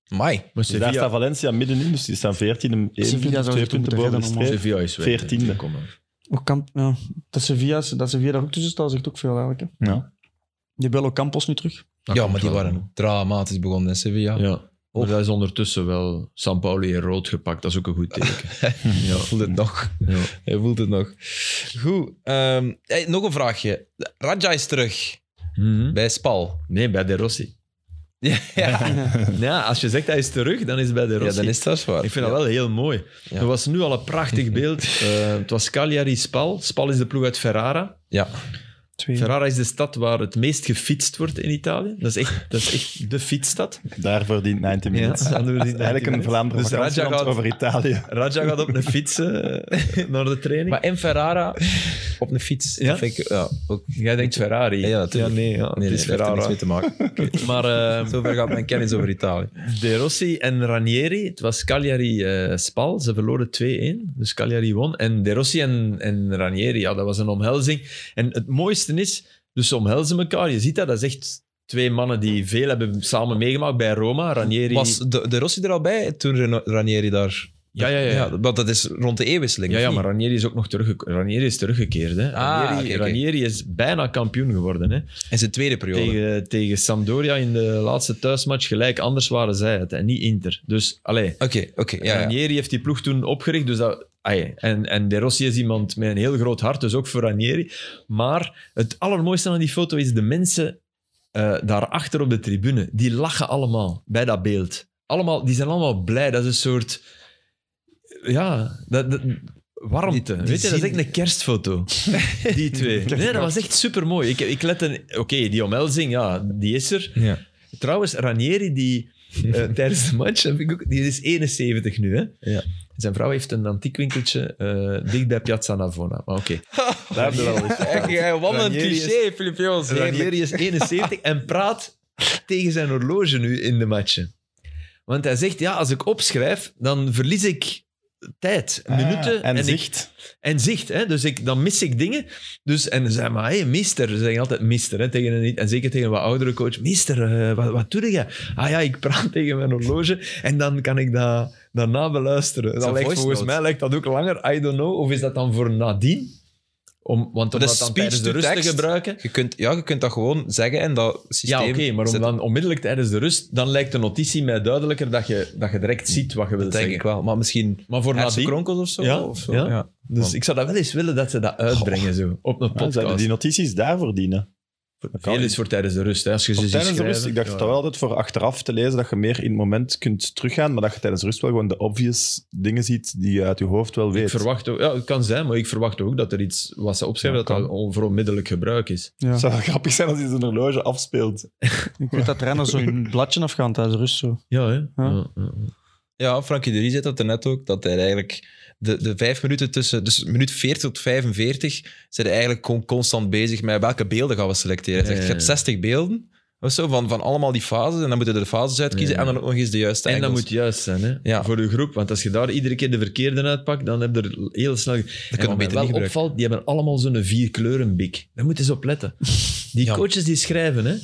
S1: Mai.
S3: Maar
S2: Dus daar staat
S3: Sevilla,
S2: Valencia middenin, dus die staan 14 en
S4: Sevilla
S2: 21,
S4: zou
S2: twee
S4: zich
S2: punten
S4: moeten
S2: boven de
S4: redden,
S2: streep.
S3: Sevilla is weg.
S2: Veertiende.
S3: Kom maar.
S4: Ook kamp, ja. Dat Sevilla dat Sevilla daar ook tussen staat, zegt ook veel eigenlijk. Hè.
S2: Ja.
S4: Die hebben wel Campos nu terug.
S1: Ja, maar die waren dramatisch begonnen in Sevilla.
S3: Ja. Maar dat is ondertussen wel San Pauli in rood gepakt. Dat is ook een goed teken. ja.
S1: Hij voelt het nog.
S3: Ja.
S1: Hij voelt het nog. Goed. ehm, hey, nog een vraagje. Raja is terug
S3: Mhm.
S1: bij Spal.
S3: Nee, bij De Rossi.
S1: Ja, [LAUGHS] ja.
S3: Ja, als je zegt hij is terug, dan is het bij De Rossi.
S1: dan is dat zwaar.
S3: Ik vind dat wel heel mooi.
S1: Ja.
S3: Er was nu
S1: [LAUGHS]
S3: al een prachtig beeld. Eh, het was Cagliari-Spal. Spal is de ploeg uit Ferrara.
S1: Ja.
S4: Twee.
S3: Ferrara is de stad waar het meest gefietst wordt in Italië. Dat is echt, dat is echt de fietsstad.
S2: Daarvoor dient 90 minutes. [LAUGHS]
S3: Ja, daarvoor dient
S2: Dat is
S3: 90
S2: eigenlijk een
S3: minutes.
S2: Vlaanderen
S3: Dus Raja
S2: vakantieland
S3: gaat-
S2: over Italië.
S3: Raja gaat op een fiets eh, [LAUGHS] naar de training.
S1: Maar en Ferrara op een fiets.
S3: Ja?
S1: Dat vind ik, ja, ook.
S3: Jij denkt Ferrari.
S1: Ja, natuurlijk.
S3: nee, ja,
S1: Nee, nee,
S3: het is
S1: dat heeft er niks
S3: Ferrari.
S1: mee te
S3: [LAUGHS]
S1: maken.
S3: Maar eh,
S1: Zover gaat mijn kennis over Italië.
S3: De Rossi en Ranieri, het was Cagliari-Spal. Ze verloren 2-1, dus Cagliari won. En De Rossi en, en Ranieri, ja, dat was een omhelzing. En het mooiste is, dus ze omhelzen elkaar. Je ziet dat, dat is echt twee mannen die veel hebben samen meegemaakt bij Roma. Ranieri...
S1: Was de, de Rossi er al bij toen Reno- Ranieri daar...
S3: Ja, ja, ja.
S1: Want dat is rond de eeuwwisseling.
S3: ja,
S1: of
S3: ja,
S1: niet?
S3: maar Ranieri is ook nog teruggekeerd. Ranieri is teruggekeerd,
S1: Ah,
S3: hè. Ranieri,
S1: oké, oké.
S3: Ranieri is bijna kampioen geworden, hè.
S1: In zijn tweede periode.
S3: Tegen, tegen Sampdoria in de laatste thuismatch gelijk. Anders waren zij het en niet Inter. Dus, allee...
S1: Oké, oké. ja, ja.
S3: Ranieri heeft die ploeg toen opgericht. Dus dat, ah ja, en, en De Rossi is iemand met een heel groot hart, dus ook voor Ranieri. Maar het allermooiste aan die foto is de mensen eh, daarachter op de tribune. Die lachen allemaal bij dat beeld. Allemaal, die zijn allemaal blij. Dat is een soort... Ja, dat, dat- warmte.
S1: Die- die
S3: Weet je, dat is
S1: zien-
S3: echt een
S1: [LAUGHS]
S3: kerstfoto. die twee. Nee, dat was echt supermooi. Ik, ik let een... Oké, die omhelzing, ja, die is er.
S1: Ja.
S3: Trouwens, Ranieri, die
S1: [LAUGHS]
S3: eh, tijdens de match, heb ik ook, die is 71 nu. Hè?
S1: Ja.
S3: Zijn vrouw heeft een antiek winkeltje eh, dicht bij Piazza Navona. Maar oké.
S2: Daar hebben we al eens
S1: Echt, ja, wat een
S3: Ranieri is-
S1: cliché, Filip Joos. Heerlijk.
S3: Ranieri is 71 en praat tegen zijn horloge nu in de matchen. Want hij zegt, ja, als ik opschrijf, dan verlies ik tijd, minuten
S2: Ah, en,
S3: ik-
S2: zicht.
S3: en zicht. Hè? Dus ik, dan mis ik dingen. Dus, en ze zeggen maar, hé, mister. Ze zeggen altijd mister. Hè, tegen een, en zeker tegen een wat oudere coach. Mister, eh, wat, wat doe je? Ah ja, ik praat tegen mijn horloge en dan kan ik dat daarna beluisteren.
S1: een
S3: Dat lijkt,
S1: voice
S3: volgens
S1: note.
S3: mij lijkt dat ook langer. I don't know. Of is dat dan voor nadien? Om, want om
S1: is
S3: dat dan
S1: speech
S3: tijdens de
S1: to
S3: rust te
S1: text.
S3: gebruiken.
S1: Je kunt, ja, je kunt dat gewoon zeggen en dat systeem...
S3: Ja, oké, maar om
S1: zetten.
S3: dan onmiddellijk tijdens de rust, dan lijkt de notitie mij duidelijker dat je, dat je direct ziet wat je
S1: Dat
S3: wilt
S1: denk
S3: zeggen.
S1: ik wel. Maar misschien
S3: Maar voor nadien...
S1: hersenkronkels of zo?
S3: Ja,
S1: Of zo.
S3: ja.
S1: ja.
S3: Dus ik zou dat wel eens willen dat ze dat uitbrengen zo, op een
S2: Ja, zouden
S3: podcast.
S2: die notities daarvoor dienen?
S3: Veel is voor tijdens de rust. Hè. Als je ze ziet
S2: tijdens de rust,
S3: schrijven.
S2: ik dacht
S3: Ja.
S2: dat wel altijd voor achteraf te lezen, dat je meer in het moment kunt teruggaan, maar dat je tijdens de rust wel gewoon de obvious dingen ziet die je uit je hoofd wel weet.
S3: Ik verwacht ook, ja, het kan zijn, maar ik verwacht ook dat er iets wat ze opschrijven, dat dat al voor onmiddellijk gebruik is.
S2: Het
S4: Ja.
S2: zou wel grappig zijn als hij zijn horloge afspeelt.
S4: Ik weet dat renners zo [LAUGHS] hun bladje afgaan tijdens de rust. Zo.
S3: Ja, hè?
S4: Ja.
S1: ja, Frankie de Ries zei dat er net ook, dat hij eigenlijk de, de vijf minuten tussen, dus minuut 40 tot 45, zijn hij eigenlijk gewoon constant bezig met welke beelden gaan we selecteren. Hij zegt,
S3: Ja,
S1: je
S3: ja,
S1: hebt
S3: ja.
S1: 60 beelden of zo, van, van allemaal die fases, en dan moeten we de fases uitkiezen
S3: Ja, ja.
S1: en dan ook nog eens de juiste
S3: En dat
S1: angles.
S3: moet juist zijn hè?
S1: Ja.
S3: voor de groep, want als je daar iedere keer de verkeerde uitpakt, dan heb je er heel snel.
S1: Dat
S3: En
S1: kunnen we beter
S3: wat mij
S1: niet
S3: wel
S1: gebruiken.
S3: opvalt, die hebben allemaal zo'n vierkleurenbik. Daar moet je eens op letten.
S1: [LAUGHS]
S3: Die
S1: Ja.
S3: coaches die schrijven, hè?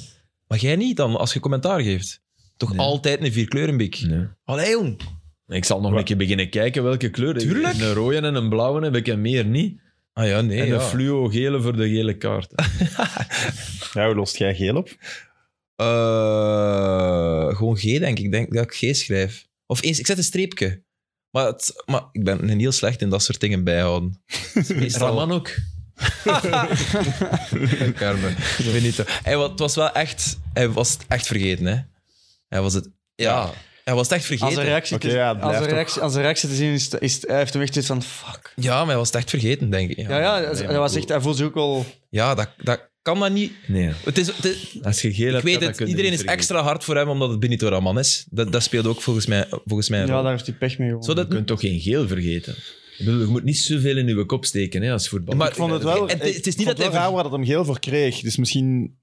S1: Maar jij niet dan, als je commentaar geeft. Toch
S3: Nee.
S1: altijd een vierkleurenbik. Allee, jong.
S3: Ik zal nog een keer beginnen kijken welke kleur.
S1: Tuurlijk.
S3: Een rode en een blauwe heb ik en meer niet.
S1: Ah ja, nee.
S3: en
S1: ja.
S3: een fluo-gele voor de gele
S1: [LAUGHS]
S3: kaart.
S2: Ja, hoe lost jij geel op?
S1: Eh, gewoon G, denk ik. Ik denk dat ik G schrijf. Of eens, ik zet een streepje. Maar, het, maar ik ben heel slecht in dat soort dingen bijhouden. Het is meestal-
S3: Raman ook.
S1: Carmen. Ik weet niet. Hij, wa- het was wel echt... Hij was het echt vergeten, hè. Hij was het... Ja. Hij was het echt
S4: Als een
S1: vergeten.
S4: reactie,
S2: Oké,
S4: te,
S2: ja, het
S4: als
S2: blijft
S4: een
S2: ook-
S4: reactie, als een reactie te zien is, het- is het- hij heeft hem echt iets van fuck.
S1: Ja, maar hij was het echt vergeten, denk ik. Ja,
S4: Ja, ja hij- hij, was echt, hij voelt zich ook wel...
S1: Ja, dat, dat kan dat niet...
S3: Nee.
S1: Het is, het is-
S3: Als je geel
S1: ik
S3: hebt,
S1: weet
S3: dan
S1: het,
S3: kun je
S1: iedereen
S3: niet
S1: is
S3: vergeten.
S1: extra hard voor hem omdat het Benito Raman is. Dat, dat speelde ook volgens mij, volgens mij een
S4: Ja,
S1: rol.
S4: daar heeft hij pech mee. gewoon.
S1: Zo dat-
S3: Je kunt toch geen geel vergeten? Ik bedoel, je moet niet zoveel in je kop steken hè, als voetbal.
S1: Maar-
S2: Ik vond het wel...
S1: Het- het is niet
S2: ik vond
S1: dat hij
S2: wel raar
S1: ver-
S2: waar dat hem geel voor kreeg. Dus misschien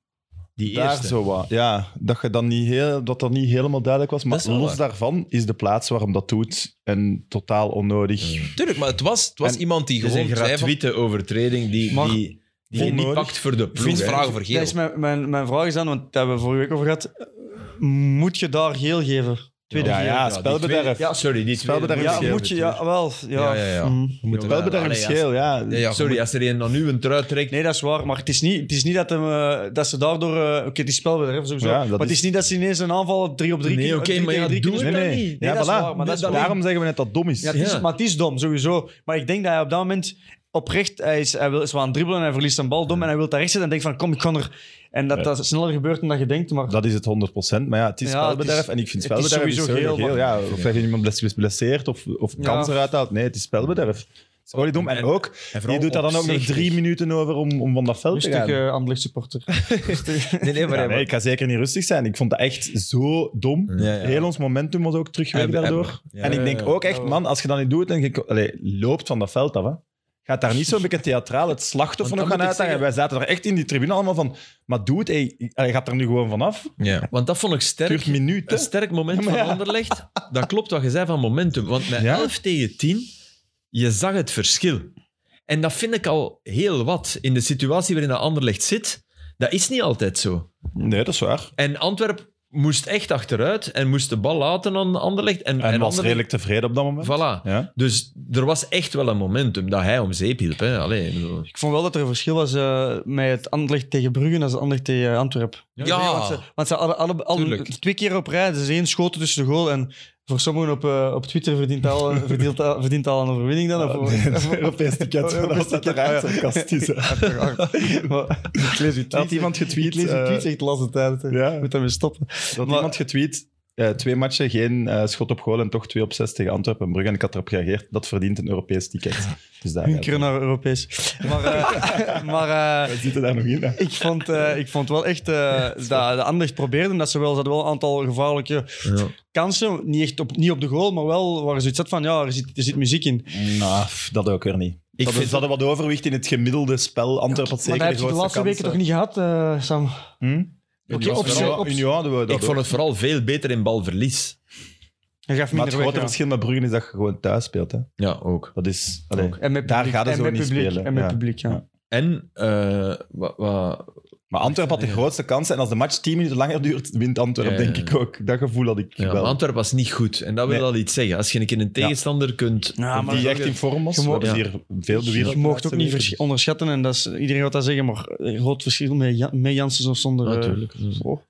S3: die
S2: daar
S3: eerste.
S2: zo wat. Ja, dat, je dan niet heel, dat dat niet helemaal duidelijk was. Maar
S1: Dat is wel
S2: los
S1: waar.
S2: daarvan is de plaats waar hem dat doet en totaal onnodig.
S1: Tuurlijk, maar het was, het was
S2: En
S1: iemand die
S3: Het is
S1: gewoon
S3: een
S1: zei van...
S3: gratuite overtreding die,
S4: Mag-
S3: die, die je niet
S2: Onnodig.
S3: pakt voor de ploeg.
S1: Vriend,
S3: hè.
S1: vragen voor geel.
S4: Dat is mijn, mijn, mijn vraag is dan, want daar hebben we vorige week over gehad. Moet je daar geel geven? Tweede
S2: Ja,
S4: geel.
S2: ja,
S3: die
S2: spelbederf.
S3: tweede- Ja, sorry, die tweede
S2: Spelbederf
S3: moet
S4: Ja,
S2: is geel
S4: moet je... Ja, wel.
S1: Ja,
S4: Ja.
S1: ja, ja.
S4: Mm.
S3: natuurlijk.
S2: Wel bedrijf
S3: Allee,
S2: is
S3: ja,
S2: geel, ja.
S1: Ja, ja,
S3: Sorry, als er een aan u een trui trekt...
S4: Nee, dat is waar. Maar het is niet, het is niet dat, hem, eh, dat ze daardoor... eh, Oké, die spelbedrijf sowieso.
S2: Ja, dat
S4: maar het
S2: is-
S4: is niet dat ze ineens een aanval 3 op 3
S3: Nee, oké, maar ja, doe het
S2: Nee,
S3: dan
S2: nee.
S3: niet.
S2: Ja,
S4: dat is
S2: voilà.
S4: waar, maar dat is
S2: Daarom zeggen we net dat het dom is.
S4: Ja, het is,
S3: Ja.
S4: maar het is dom, sowieso. Maar ik denk dat hij op dat moment oprecht... Hij is, hij wil, is wel aan het dribbelen en hij verliest een bal dom en hij wil daar rechts zitten en denkt van, kom, ik kan er... En dat
S2: Ja.
S4: dat sneller gebeurt dan dat je denkt, maar...
S2: Dat is het 100%. Maar ja, het is
S4: Ja,
S2: spelbederf.
S4: het is-
S2: en ik vind
S4: het is
S2: spelbederf
S4: sowieso
S2: sowieso
S4: geel,
S2: geel.
S4: maar-
S2: ja, of je iemand bless- blesseert of, of
S4: Ja.
S2: kans eruit haalt. Nee, het is spelbederf. Het Oliedom. En ook, je doet daar dan ook nog drie minuten over om, om van dat veld te
S4: Rustig,
S2: gaan.
S4: eh Anderlecht supporter.
S1: Nee, nee, maar,
S2: Ja,
S1: hij-
S2: nee, ik ga zeker niet rustig zijn. Ik vond dat echt zo dom.
S1: Ja, ja.
S2: Heel ons momentum was ook terug weg
S1: Hebben-
S2: daardoor.
S1: hebben. Ja.
S2: en ik denk ook echt,
S4: Ja.
S2: man, als je dat niet doet en je allee, loopt van dat veld af, hè. gaat daar niet zo'n beetje theatraal het slachtoffer nog gaan
S3: Want dan moet ik
S2: uithangen. Wij zaten er echt in die tribune allemaal van, maar doe het, hey, allee, gaat er nu gewoon vanaf.
S1: ja.
S3: Want dat vond ik sterk.
S2: Duurt minuten.
S3: Een sterk moment
S2: Ja, maar
S3: van
S2: ja.
S3: Anderlecht. Dat klopt wat je zei van momentum. Want met
S2: Ja.
S3: 11 tegen 10, je zag het verschil. En dat vind ik al heel wat. In de situatie waarin dat Anderlecht zit, dat is niet altijd zo.
S2: Nee, dat is waar.
S3: En Antwerp moest echt achteruit en moest de bal laten aan Anderlecht.
S2: En,
S3: En, en
S2: was
S3: Anderlecht-
S2: redelijk tevreden op dat moment.
S3: Voilà.
S2: Ja.
S3: Dus er was echt wel een momentum dat hij om zeep hielp. Hè. Allee, ik bedoel-
S4: Ik vond wel dat er een verschil was eh, met het Anderlecht tegen Brugge en het Anderlecht tegen Antwerpen.
S1: Ja.
S4: want ze, want ze hadden alle, alle-
S1: Tuurlijk.
S4: twee keer op rij, dus één schoten tussen de goal. En voor sommigen op, eh, op Twitter
S2: [LAUGHS]
S4: verdient al, verdient, al, verdient al een overwinning dan. of- [LAUGHS]
S2: Het Europees ticket,
S4: Europees
S2: dat was
S4: ticket,
S2: uiteraard
S4: ah, ja. [LAUGHS]
S2: sarcastisch. hè.
S4: Maar-
S2: Ik lees uw tweet.
S4: Had iemand
S2: getweet? eh,
S4: Ik lees een tweet echt de laatste tijd. hè.
S2: ja.
S4: Ik moet daarmee stoppen.
S2: Er had iemand getweet. eh, twee matchen, geen eh, schot op goal en toch twee op zes tegen Antwerpen en Brugge. En ik had erop gereageerd, dat verdient een Europees ticket. Dus daar
S4: Hunkeren naar Europees. Maar, eh, [LAUGHS] maar eh,
S2: [LAUGHS] We zitten daar nog in. hè.
S4: ik, vond, eh, ik vond wel echt eh, dat de Anderlecht probeerde. Dat ze wel, ze hadden wel een aantal gevaarlijke
S3: ja.
S4: kansen. Niet, echt op, niet op de goal, maar wel waar ze iets had van, ja, er zit, er zit muziek in.
S2: Nou, pff, dat ook weer niet. Ik
S3: vind-
S2: ze hadden wat overwicht in het gemiddelde spel. Antwerpen had
S4: maar
S2: zeker
S4: dat heb je de laatste
S2: grootste Hm?
S4: weken toch
S2: kansen.
S4: niet gehad, eh, Sam? Oké,
S2: Union-
S4: op zich-
S2: Union-
S4: op-
S2: Union hadden we dat
S3: Ik vond het vooral veel beter in balverlies.
S4: Hij gaf
S2: maar het
S4: minder
S2: grote
S4: weg. ja.
S2: verschil met Brugge is dat je gewoon thuis speelt. Hè.
S3: Ja, ook.
S2: Dat is, allee,
S3: Ook.
S4: En met
S2: Daar
S4: publiek,
S2: gaat het
S4: en
S2: zo
S4: met
S2: niet
S4: publiek,
S2: spelen,
S4: En met
S2: ja.
S4: publiek, ja.
S2: Ja.
S3: En eh, wat, wat,
S2: Maar Antwerpen had de grootste kansen. En als de match 10 minuten langer duurt, wint Antwerpen,
S3: Ja, ja, ja.
S2: denk ik ook. Dat gevoel had ik
S3: Ja,
S2: wel.
S3: maar Antwerpen was niet goed. En dat wil
S2: Nee.
S3: al iets zeggen. Als je een keer een tegenstander kunt...
S4: Ja, Ah, maar
S2: die
S4: dat-
S2: echt in vorm was.
S4: Je
S2: We
S4: mo-
S2: hebben
S3: Ja.
S2: hier veel bewierd.
S4: Je mocht ook niet versch- onderschatten, en dat is, iedereen gaat dat zeggen, maar eh, groot verschil met, Ja- met Janssens of zonder... eh,
S3: Natuurlijk.
S4: oh.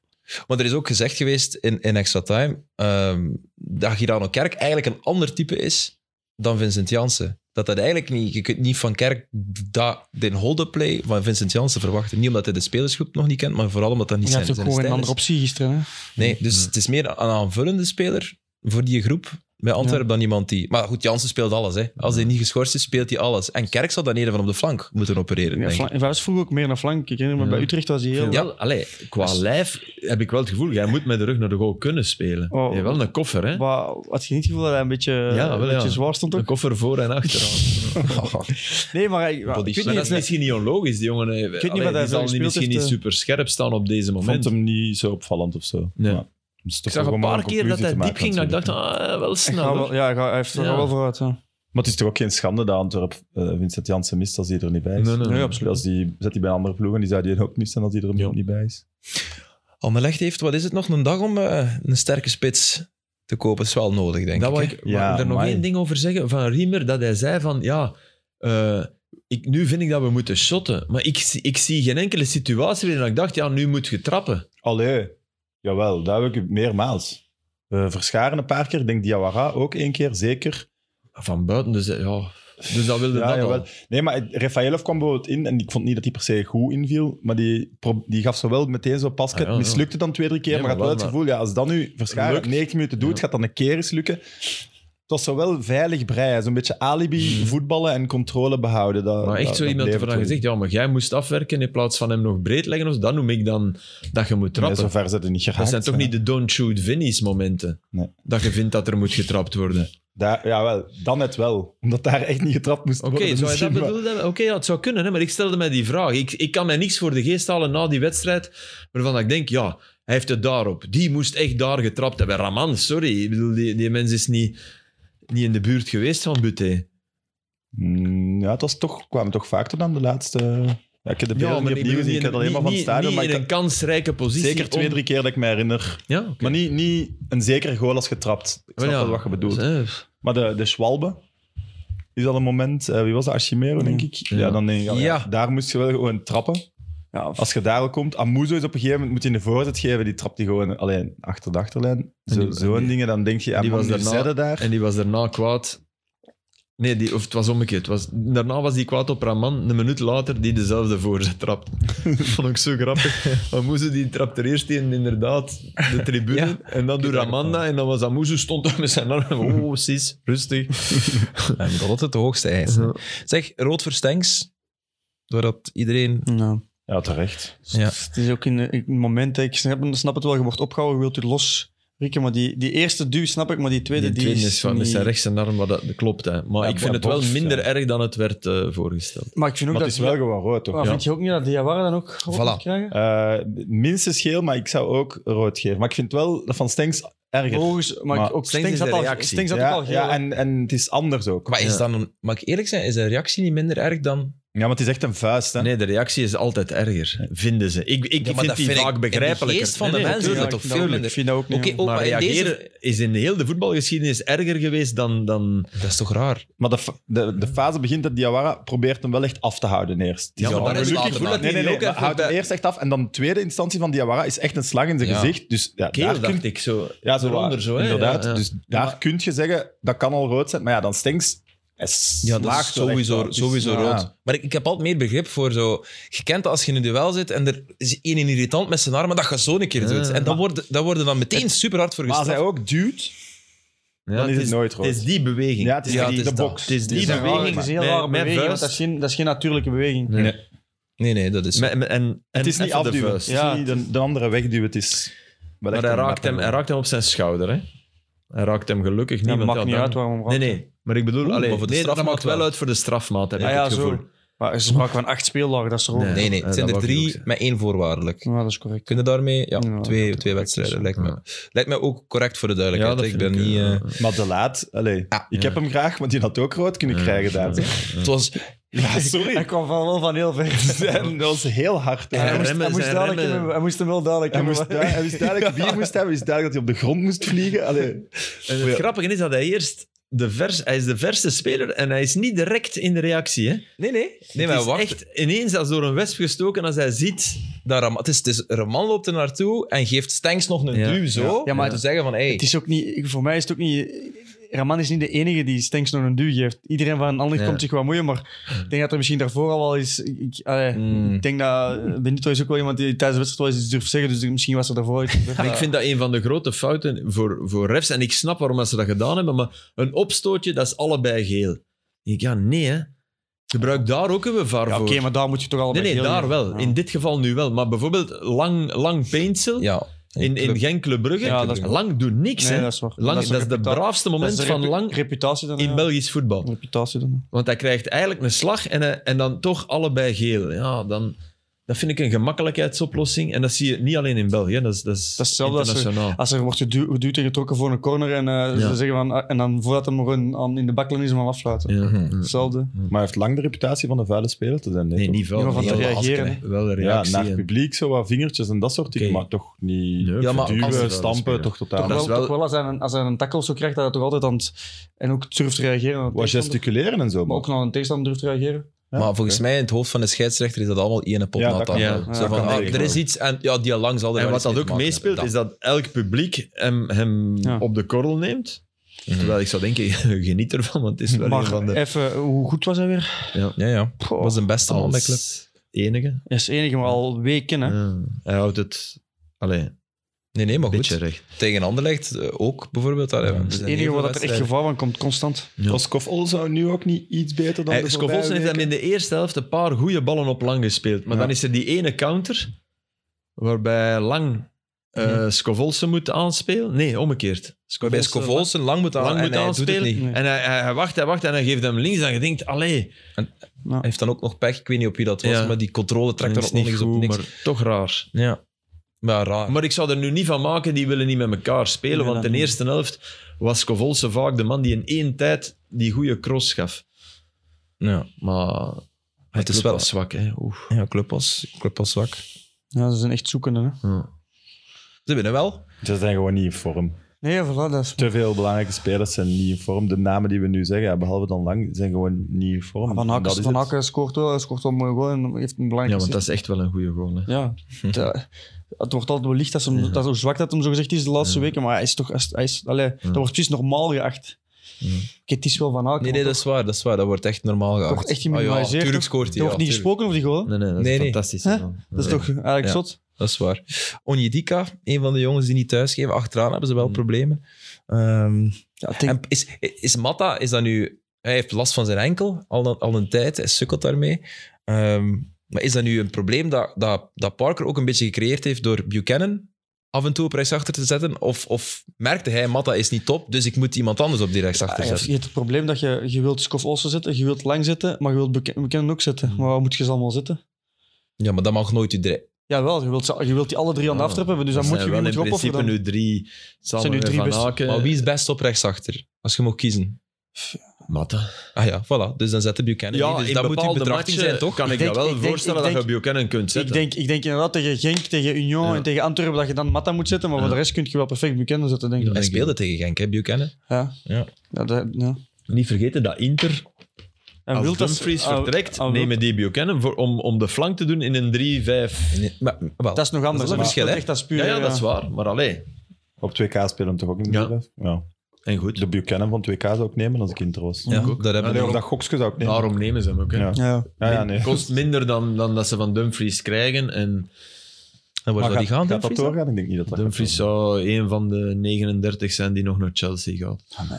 S1: Maar er is ook gezegd geweest in, in Extra Time ehm, dat Girano Kerk eigenlijk een ander type is dan Vincent Jansen. Dat dat eigenlijk niet... Je kunt niet van Kerk dat, den holde play van Vincent Jansen verwachten. Niet omdat hij de spelersgroep nog niet kent, maar vooral omdat dat niet
S4: Je
S1: zijn,
S4: had ook
S1: zijn
S4: gewoon een
S1: stijl
S4: andere
S1: is.
S4: optie gisteren, hè.
S1: Nee, dus het is meer een aanvullende speler voor die groep bij Antwerpen dan iemand die... Maar goed, Jansen speelt alles. Hè. Als hij niet geschorst is, speelt hij alles. En Kerk zal dan eerder van op de flank moeten opereren,
S4: Ja,
S1: denk ik.
S4: flank- hij was vroeger ook meer naar flank. Ik herinner me,
S3: Ja.
S4: bij Utrecht was hij heel...
S3: Ja, allee, qua lijf heb ik wel het gevoel, jij moet met de rug naar de goal kunnen spelen.
S4: Oh.
S3: Je hebt wel een koffer, hè?
S4: Maar had je niet het gevoel dat hij een beetje,
S3: wel,
S4: een beetje
S3: ja.
S4: zwaar stond
S3: Een
S4: ook?
S3: koffer voor en
S4: [LAUGHS]
S3: achter.
S4: Nee, maar hij, ja, ik weet
S3: maar
S4: niet,
S3: dat is misschien niet onlogisch, die jongen. Ik
S4: weet niet
S3: die
S4: wat hij veel
S3: zal
S4: gespeeld
S3: misschien
S4: heeft,
S3: niet
S4: eh.
S3: super scherp staan op deze
S2: Ik
S3: moment.
S2: vond hem niet zo opvallend of zo.
S3: Nee.
S2: Maar het is
S3: Ik
S2: toch
S3: zag
S2: ook
S3: een
S2: om
S3: paar
S2: een
S3: keer dat hij
S2: conclusie
S3: diep
S2: te maken
S3: ging, dat ik dacht,
S2: natuurlijk.
S3: ah, wel
S4: hij gaat wel-
S3: snel.
S4: ja, hij gaat- hij heeft er
S3: Ja.
S4: wel vooruit. Ja.
S2: Maar het is toch ook geen schande dat Antwerp eh, Vincent Janssen mist als hij er niet bij is?
S3: Nee, nee, nee.
S2: Ja, absoluut. Als die, zet hij bij een andere ploeg en die zou die ook missen als hij er
S3: Ja.
S2: niet bij is.
S1: Anderlecht heeft, wat is het nog, een dag om eh, een sterke spits te kopen. is wel nodig, denk
S3: Dat
S1: ik.
S3: wou
S1: hè.
S3: ik
S2: Ja,
S3: wou ik er nog
S2: amai.
S3: één ding over zeggen van Riemer, dat hij zei van ja, eh, ik, nu vind ik dat we moeten shotten. Maar ik, zie- ik zie geen enkele situatie waarin ik dacht, ja, nu moet je trappen.
S2: Allee, jawel, dat heb ik meermaals. Eh, Verscharen een paar keer, ik denk Diawara ook één keer, zeker.
S3: Van buiten, dus ja. Dus dat wilde
S2: Ja,
S3: dat
S2: jawel.
S3: al.
S2: Nee, maar Rafaelov kwam bijvoorbeeld in en ik vond niet dat hij per se goed inviel, maar die, pro- die gaf zowel meteen zo'n pasket,
S3: Ah, ja, ja.
S2: mislukte dan twee, drie keer,
S3: Nee,
S2: maar, had
S3: maar
S2: wel het
S3: wel,
S2: gevoel, ja, als dat nu Verscharen
S3: Lukt.
S2: 90 minuten doet,
S3: Ja.
S2: gaat dat een keer eens lukken. Het was zowel veilig breien, zo'n beetje alibi voetballen en controle behouden. Dat,
S3: Hmm. Maar echt
S2: dat-
S3: zo
S2: dat
S3: iemand
S2: bleef
S3: ervan
S2: het
S3: gezegd, ja, maar jij moest afwerken in plaats van hem nog breed leggen. Of, zo, dat noem ik dan dat je moet
S2: wel. Nee,
S3: trappen.
S2: zover zijn die niet geraakt.
S3: dat zijn toch
S2: hè.
S3: niet de don't shoot Vinnie's momenten.
S2: Nee.
S3: Dat je vindt dat er moet getrapt worden.
S2: Daar, jawel, dan net wel. Omdat daar echt niet getrapt moest
S3: Oké,
S2: worden. Dus
S3: zou je dat
S2: misschien, maar-
S3: bedoeld hebben? Oké, ja, het zou kunnen, hè, maar ik stelde mij die vraag. Ik, ik kan mij niks voor de geest halen na die wedstrijd, waarvan ik denk, ja, hij heeft het daarop. Die moest echt daar getrapt hebben. Raman, sorry, ik bedoel, die, die mens is niet, niet in de buurt geweest van Buté.
S2: Mm, ja, het was toch, kwam toch vaak tot aan de laatste... Ja, ik heb de beelden niet opnieuw gezien, ik heb alleen maar van het stadion. Maar
S3: in
S2: ik
S3: een kansrijke positie.
S2: zeker twee,
S3: om-
S2: drie keer dat ik me herinner.
S3: Ja, oké.
S2: Maar niet, niet een zekere goal als getrapt. Ik
S3: Wel,
S2: snap
S3: ja,
S2: wel wat je bedoelt.
S3: dus,
S2: Maar de, de Schwalbe is al een moment... eh, wie was dat? Achimero,
S3: Mm.
S2: denk ik? Ja, dan denk ik al, ja,
S1: Ja.
S2: Daar moest je wel gewoon trappen.
S4: Ja, of-
S2: Als je daar al komt... Amuzo is op een gegeven moment... Moet je een voorzet geven. Die trapt die gewoon alleen achter de achterlijn. Zo-
S3: die-
S2: Zo'n
S3: die-
S2: dingen. Dan denk je... Ja,
S3: die
S2: man,
S3: was
S2: nu
S3: daarna-
S2: zetten daar.
S3: hè. En die was daarna kwaad. Nee, die, of het was omgekeerd. Het Was, daarna was die kwaad op Raman, een minuut later, die dezelfde voorzet trapt.
S1: [LAUGHS]
S3: Dat vond ik zo grappig. Amuzu die trapte er eerst in, inderdaad, de tribune.
S1: Ja.
S3: en dan doet Raman dat. En dan was Amuzu, stond daar met zijn armen.
S1: [LAUGHS]
S3: Oh, sis, rustig.
S1: Hij moet altijd de hoogste eis.
S3: Ja.
S1: Zeg, rood voor Stenks. Doordat iedereen...
S4: Nou,
S2: Ja, terecht.
S1: Ja.
S4: Het is ook in een moment, ik snap, snap het wel, je wordt opgehouden, je wilt u los. Rikken, maar die, die eerste duw snap ik, maar die tweede,
S3: Die
S4: die,
S3: tweede
S4: is
S3: is van met
S4: niet-
S3: zijn rechts en arm, maar dat, dat klopt. Hè. Maar
S2: Ja,
S3: ik vind
S2: ja,
S3: het wel
S2: bof,
S3: minder
S2: ja.
S3: erg dan het werd eh, voorgesteld.
S4: Maar ik vind ook
S2: Maar het
S4: dat...
S2: is wel gewoon rood,
S4: maar
S2: toch?
S4: Vind je ook niet dat Diawara dan ook rood
S1: Voilà.
S4: moet krijgen?
S2: Eh, minstens geel, maar ik zou ook rood geven. Maar ik vind wel dat van Stenks erger.
S4: Volgens, maar, ik-
S2: Maar
S4: ook
S1: Stengs
S4: Stengs
S1: is
S4: had
S1: de
S4: al,
S1: reactie.
S4: Stengs had ook al
S2: ja,
S4: geel.
S2: ja en, en het is anders ook.
S1: Maar is
S3: Ja.
S1: dan een- mag ik eerlijk zijn, is zijn reactie niet minder erg dan...
S2: Ja, maar het is echt een vuist. Hè?
S3: Nee, de reactie is altijd erger, vinden ze. Ik, ik
S1: maar
S3: vind
S1: dat
S3: die
S1: vind ik-
S3: vaak
S1: in de
S3: begrijpelijker.
S1: geest van
S3: Nee,
S1: de
S3: nee,
S1: mensen
S4: Ja,
S1: is dat
S4: ik
S1: toch
S4: vind
S1: veel
S4: ook-
S1: minder?
S4: Ik vind dat ook niet.
S1: Oké,
S4: ja.
S1: ook
S3: maar
S1: maar in
S3: reageren
S1: deze...
S3: is in heel de voetbalgeschiedenis erger geweest dan... dan
S1: Dat is toch raar?
S2: Maar de, fa- de, de fase begint dat Diawara probeert hem wel echt af te houden eerst. Het is
S1: Ja, maar
S2: wel
S1: daar is
S2: gelukkig-
S1: later
S2: Nee,
S1: aan.
S2: nee, nee.
S1: Die ook
S2: maar
S1: even
S2: houdt hem
S1: bij-
S2: eerst echt af. En dan de tweede instantie van Diawara is echt een slag in zijn
S1: Ja.
S2: gezicht. Dus ja,
S3: keel,
S2: daar kun
S3: dacht ik zo.
S2: Ja, zo
S3: Eronder
S2: waar.
S3: zo, hè?
S2: Inderdaad.
S3: Ja, ja.
S2: Dus daar kun je zeggen, dat kan al rood zijn. Maar ja, dan Stenks hij
S1: Ja, dat is
S2: slaagt wel echt wel.
S1: sowieso,
S2: Dus,
S1: sowieso
S2: ja.
S1: rood. Maar ik, ik heb altijd meer begrip voor zo... Je kent dat als je in een duel zit en er is één irritant met zijn armen, dat je zo een keer doet. En dan worden dan worden dan meteen super hard voor
S2: Maar als
S1: gestraft.
S2: hij ook duwt,
S3: Ja,
S2: dan is het nooit rood.
S3: Het is die beweging.
S2: ja, het is
S1: Ja,
S2: die,
S1: het is
S2: de
S1: dat.
S2: box.
S3: Het is die
S4: Dat is een rare-
S3: beweging.
S4: dat is een heel
S3: Mijn-
S4: rare
S3: mijn
S4: beweging, want
S3: vuist-
S4: dat is geen, dat is geen natuurlijke beweging.
S3: Nee.
S1: Nee, nee, dat is...
S3: Met- met- en, en
S2: Het is niet
S3: even de
S2: afduwen.
S3: vuist.
S2: Het is
S4: Ja.
S2: niet de, de andere wegduwen. Het is wel
S3: Maar
S2: echt
S3: hij
S2: een
S3: raakt, hem,
S2: matter.
S3: hij raakt hem op zijn schouder. Hè? Hij raakt hem gelukkig niet.
S4: Dat
S3: want
S4: maakt niet
S3: dan-
S4: uit waarom.
S3: Nee, nee. Maar ik bedoel,
S1: Oeh,
S3: allee,
S1: maar voor de
S3: nee, dat
S1: strafmaat
S3: maakt wel
S1: wel.
S3: uit voor de strafmaat, heb
S4: Ja,
S3: ik
S4: Ah ja,
S3: het gevoel.
S4: zo. Maar er sprake van acht speeldagen, dat is er ook.
S3: Nee.
S1: Nee, nee,
S3: Ja,
S1: het zijn
S3: dat
S1: er
S3: wou ik ook
S1: drie
S3: zeggen.
S1: met één voorwaardelijk.
S4: Ja, dat is correct.
S1: Kunnen daarmee? Ja,
S4: Ja,
S1: twee,
S4: dat
S1: twee wedstrijden, lijkt me.
S3: Ja.
S1: Lijkt mij ook correct voor de
S3: Ja,
S1: duidelijkheid.
S3: dat
S1: ik
S3: vind
S1: ben
S3: ik,
S1: niet...
S3: ja.
S1: eh,
S2: Maar de laat, allee,
S1: Ja.
S2: ik heb hem graag, want die had ook rood kunnen
S3: Ja,
S2: krijgen
S3: [LAUGHS]
S2: daar.
S3: ja.
S1: het was
S2: Ja,
S4: Hij
S2: sorry.
S4: kwam van wel van heel
S2: [LAUGHS]
S4: ver.
S2: En dat was heel hard.
S4: Hij moest,
S3: remmen,
S4: hij, moest
S3: zijn
S4: duidelijk
S3: remmen.
S4: hebben- hij moest hem wel duidelijk
S2: Hij
S4: hebben.
S2: moest, duidelijk- hij wist duidelijk wie hij moest hebben. Hij wist duidelijk dat hij op de grond moest vliegen. Allee.
S3: En het
S2: Ja.
S3: grappige is dat hij eerst... De vers, hij is de verste speler en hij is niet direct in de reactie. Hè?
S1: Nee, nee. Nee,
S3: het
S1: maar
S3: is
S1: wacht.
S3: echt ineens als door een wesp gestoken als hij ziet...
S1: Daar, Ram- het is, het is, Raman loopt er naartoe en geeft Stengs nog een
S3: Ja.
S1: duw zo.
S4: Ja, maar
S1: om te zeggen van, hey,
S4: [LAUGHS] Het is ook niet, voor mij is het ook niet. Raman is niet de enige die Stenks nog een duw geeft. Iedereen van een ander
S3: Ja.
S4: komt zich wel moeien, maar ik denk dat er misschien daarvoor al wel is. Ik, allee,
S3: Hmm.
S1: Mm.
S4: ik denk dat Benito is ook wel iemand die tijdens de wedstrijd wel eens iets durft zeggen, dus misschien was er daarvoor. iets
S3: [LAUGHS]
S4: gebeurd.
S3: Maar ik vind dat een van de grote fouten voor, voor refs. En ik snap waarom dat ze dat gedaan hebben. Maar een opstootje, dat is allebei geel. Ik denk, ja, nee, hè. Gebruik daar ook een VAR
S4: Ja,
S3: voor.
S4: Oké, maar daar moet je toch al
S3: nee, nee, daar wel. In dit geval nu wel. Maar bijvoorbeeld lang, lang pencil
S1: ja.
S3: in, in Genk Brugge.
S4: Ja, dat is-
S3: lang doet niks,
S4: Nee,
S3: hè.
S4: dat is waar.
S3: Lang, dat is,
S4: een
S3: de
S4: reputa-
S3: braafste
S4: dat is
S3: moment
S4: de
S3: van
S4: repu-
S3: lang
S4: reputatie dan. ja.
S3: in Belgisch voetbal.
S4: Reputatie dan.
S3: Want hij krijgt eigenlijk een slag en, hij- en dan toch allebei geel. Ja, dan, dat vind ik een gemakkelijkheidsoplossing. En dat zie je niet alleen in België. hè. Dat is, dat is,
S4: Dat is hetzelfde als er-
S3: internationaal.
S4: Als er wordt gedu- geduwd en getrokken voor een corner en, eh,
S3: Ja.
S4: ze zeggen van, ah, en dan voordat hem gewoon aan, in de baklijn is, hem al afsluiten.
S3: Ja. hm.
S4: Hetzelfde.
S2: Maar hij heeft lang de reputatie van een vuile speler te zijn.
S3: Nee,
S2: toch?
S3: niet vuil.
S4: Iemand van
S3: nee,
S4: te
S3: wel
S4: reageren,
S3: asken, hè. Wel een
S2: Ja,
S3: reactie.
S2: naar
S3: en-
S2: het publiek, zo wat vingertjes en dat soort dingen.
S3: Oké.
S2: Maar toch niet
S3: Nee,
S1: Ja, maar
S2: duwen,
S1: als-
S2: stampen, toch totaal.
S4: Toch
S3: dat
S4: wel,
S3: is wel-
S4: toch wel als, hij een, als hij een tackle zo krijgt, dat hij toch altijd aan het... En ook durft te reageren. aan een
S2: Wat
S4: tegenstander.
S2: gesticuleren en zo.
S4: Maar ook naar een tegenstander durft te reageren.
S1: Maar volgens mij in het hoofd van de scheidsrechter is dat allemaal één pot
S2: Ja,
S1: nat
S2: dat
S1: aan.
S2: kan
S3: Ja.
S2: wel.
S1: Zo
S4: dat
S1: van,
S4: kan
S1: ah,
S2: eigenlijk
S1: er is
S2: wel.
S1: iets en ja, die lang zal er
S3: En
S1: wel
S3: wat
S1: iets
S3: dat
S1: mee
S3: ook
S1: te maken
S3: meespeelt, is
S1: hebben.
S3: dat elk publiek hem, hem
S4: Ja.
S3: op de korrel neemt.
S1: Mhm.
S3: Terwijl ik zou denken, [LAUGHS] geniet ervan, want het is wel een van
S4: Maar
S3: de...
S4: even, hoe goed was hij weer?
S1: Ja, ja.
S4: Pooh.
S1: Was de beste man bij club.
S3: Oh. Als enige.
S4: Hij is enige, maar al weken. Hè.
S3: Ja. Hij houdt het... Allee, een
S1: Nee, nee, maar
S3: beetje
S1: goed.
S3: recht.
S1: Tegen Anderlecht eh, ook bijvoorbeeld. Daar,
S3: Ja.
S1: ja.
S3: Het
S4: Het enige waar dat er echt gevaar van komt, constant.
S3: Ja.
S2: Koskov Ol zou nu ook niet iets beter dan
S3: Hij-
S2: de
S3: Scovolsen Eh, heeft hem in de eerste helft een paar goede ballen op lang gespeeld. Maar
S2: Ja.
S3: dan is er die ene counter waarbij lang eh
S1: Mhm.
S3: Scovolsen moet aanspelen. Nee, omgekeerd.
S1: Bij
S3: Scovolsen-
S1: Scovolsen lang moet aan,
S3: Lang
S1: Ah, en
S3: moet
S1: hij doet het
S3: aanspelen.
S1: niet.
S4: Nee.
S3: En hij, hij, hij wacht, hij wacht en hij geeft hem links. En je denkt, allee,
S1: Hij heeft dan ook nog pech. Ik weet niet op wie dat was,
S3: Ja.
S1: maar die controle trekt
S3: dat
S1: dan
S3: is
S1: ook nog
S3: niet
S1: eens
S3: goed,
S1: op niks.
S3: maar toch raar.
S1: Ja. Maar raar.
S3: Maar ik zou er nu niet van maken, die willen niet met elkaar spelen.
S4: Nee,
S3: want
S4: dat
S3: in de
S4: niet.
S3: eerste helft was Scovolsen vaak de man die in één tijd die goede cross gaf.
S1: Ja,
S3: Maar hij
S1: het is
S3: klopt
S1: wel-
S3: zwak, hè. Oef.
S1: ja club, was, club was zwak.
S4: Ja, ze zijn echt zoekende. Hè.
S3: Ja.
S1: Ze winnen wel.
S2: Ze zijn gewoon niet in vorm.
S4: Nee, voilà, dat is...
S2: Te veel belangrijke spelers zijn niet in vorm. De namen die we nu zeggen, ja, behalve dan lang, zijn gewoon niet in vorm.
S4: Van
S2: En dat
S4: Hakken,
S2: is
S4: van
S2: het.
S4: Hakken scoort wel, hij scoort wel mooi goal en heeft een
S3: ja,
S4: belangrijke
S3: want dat is echt wel een goede goal. Hè.
S4: Ja, het, eh, het wordt altijd belicht dat, ze hem, dat hoe zwak dat hem zo gezegd is de laatste weken, maar hij is toch, hij is, allee, dat wordt precies normaal geacht. Oké, het is wel van Aken.
S1: Nee, nee, dat is waar. Dat is waar. Dat wordt echt normaal gehouden.
S4: Toch echt
S1: Ah,
S4: geminimaliseerd,
S1: ja, tuurlijk
S4: toch?
S1: scoort hij.
S4: Er wordt
S1: ja,
S4: niet
S1: tuurlijk.
S4: gesproken over die
S5: Nee, nee,
S4: goal. hè?
S5: dat is
S1: Nee, nee.
S5: fantastisch.
S4: Hè?
S5: man.
S4: Dat is
S5: Nee.
S4: toch eh, eigenlijk
S1: Ja.
S4: zot?
S1: Dat is waar. Onjedika, een van de jongens die niet thuisgeven. Achteraan hebben ze wel
S5: Mm.
S1: problemen. Ehm,
S4: Ja, Hmm. ik denk-
S1: en is, is Matta, is dat nu... Hij heeft last van zijn enkel al een, al een tijd. Hij sukkelt daarmee. Ehm, maar is dat nu een probleem dat, dat, dat Parker ook een beetje gecreëerd heeft door Buchanan af en toe op rechtsachter te zetten? Of, of merkte hij, Matta is niet top, dus ik moet iemand anders op die rechtsachter
S4: Ja, ah, je
S1: zetten?
S4: hebt het probleem dat je, je wilt Skof Olsen zetten, je wilt Lang zetten, maar je wilt Buchanan Buchanan ook zetten. Maar waar moet je ze allemaal zetten?
S1: Ja, maar dat mag nooit je drie.
S4: Jawel, je wilt, ze- je wilt die alle drie aan de
S5: Ja.
S4: aftrap hebben, dus
S5: Dat
S4: dan moet je
S5: zijn wel
S4: weer iemand
S5: in
S4: opofferen.
S5: principe
S4: dan.
S5: nu drie samen
S4: nu
S5: met
S4: drie
S5: Van
S4: beste-
S5: Aken.
S1: Maar wie is best op rechtsachter? Als je mag kiezen.
S5: Matta.
S1: Ah ja, voilà. Dus dan zetten Buchanan
S3: Ja,
S1: in. Dus
S3: in
S1: dat moet in
S3: bepaalde
S1: betrachting
S3: matchen
S1: zijn, toch?
S3: Kan ik,
S4: Ik denk-
S3: dat wel
S4: ik denk-
S3: voorstellen
S4: ik
S3: dat je Buchanan kunt
S4: Ik
S3: zetten.
S4: denk, ik denk inderdaad tegen Genk, tegen Union
S3: Ja.
S4: en tegen Antwerpen dat je dan Matta moet zetten, maar voor
S3: Ja.
S4: de rest kun je wel perfect Buchanan zetten, denk ik.
S1: Hij speelde tegen Genk, hè, Buchanan.
S4: Ja.
S1: Ja.
S4: Ja, dat- ja.
S5: Niet vergeten dat Inter
S4: En
S3: als
S4: Wiltas-
S3: Dumfries
S4: ah,
S3: vertrekt,
S4: ah, Wil-
S3: nemen die Buchanan voor, om, om de flank te doen in een 3-5.
S1: Nee, maar, wel,
S4: Dat is nog anders.
S1: een
S4: maar
S1: verschil, hè?
S4: echt als puur,
S3: Ja, ja, dat is waar. Maar allee.
S2: Op 2K spelen hem toch ook niet?
S3: Ja.
S2: meer? ja.
S3: En goed.
S2: De Buchanan van 2K zou ik nemen als ik inter was.
S1: ja, dat hebben
S2: Allee,
S1: we
S2: of
S1: nog.
S2: dat gokske zou ik nemen.
S3: Daarom nemen ze hem ook. Hè.
S2: Ja.
S4: Ja.
S2: Ja, ja, nee.
S3: Kost minder dan, dan dat ze van Dumfries krijgen. En
S1: En waar
S2: Maar
S1: zou die
S2: gaat-
S1: gaan,
S2: gaat dat
S1: Dumfries?
S2: doorgaan? Ik denk niet dat dat
S3: Dumfries
S2: gaat
S3: zou een van de 39 zijn die nog naar Chelsea gaat.
S1: Ah,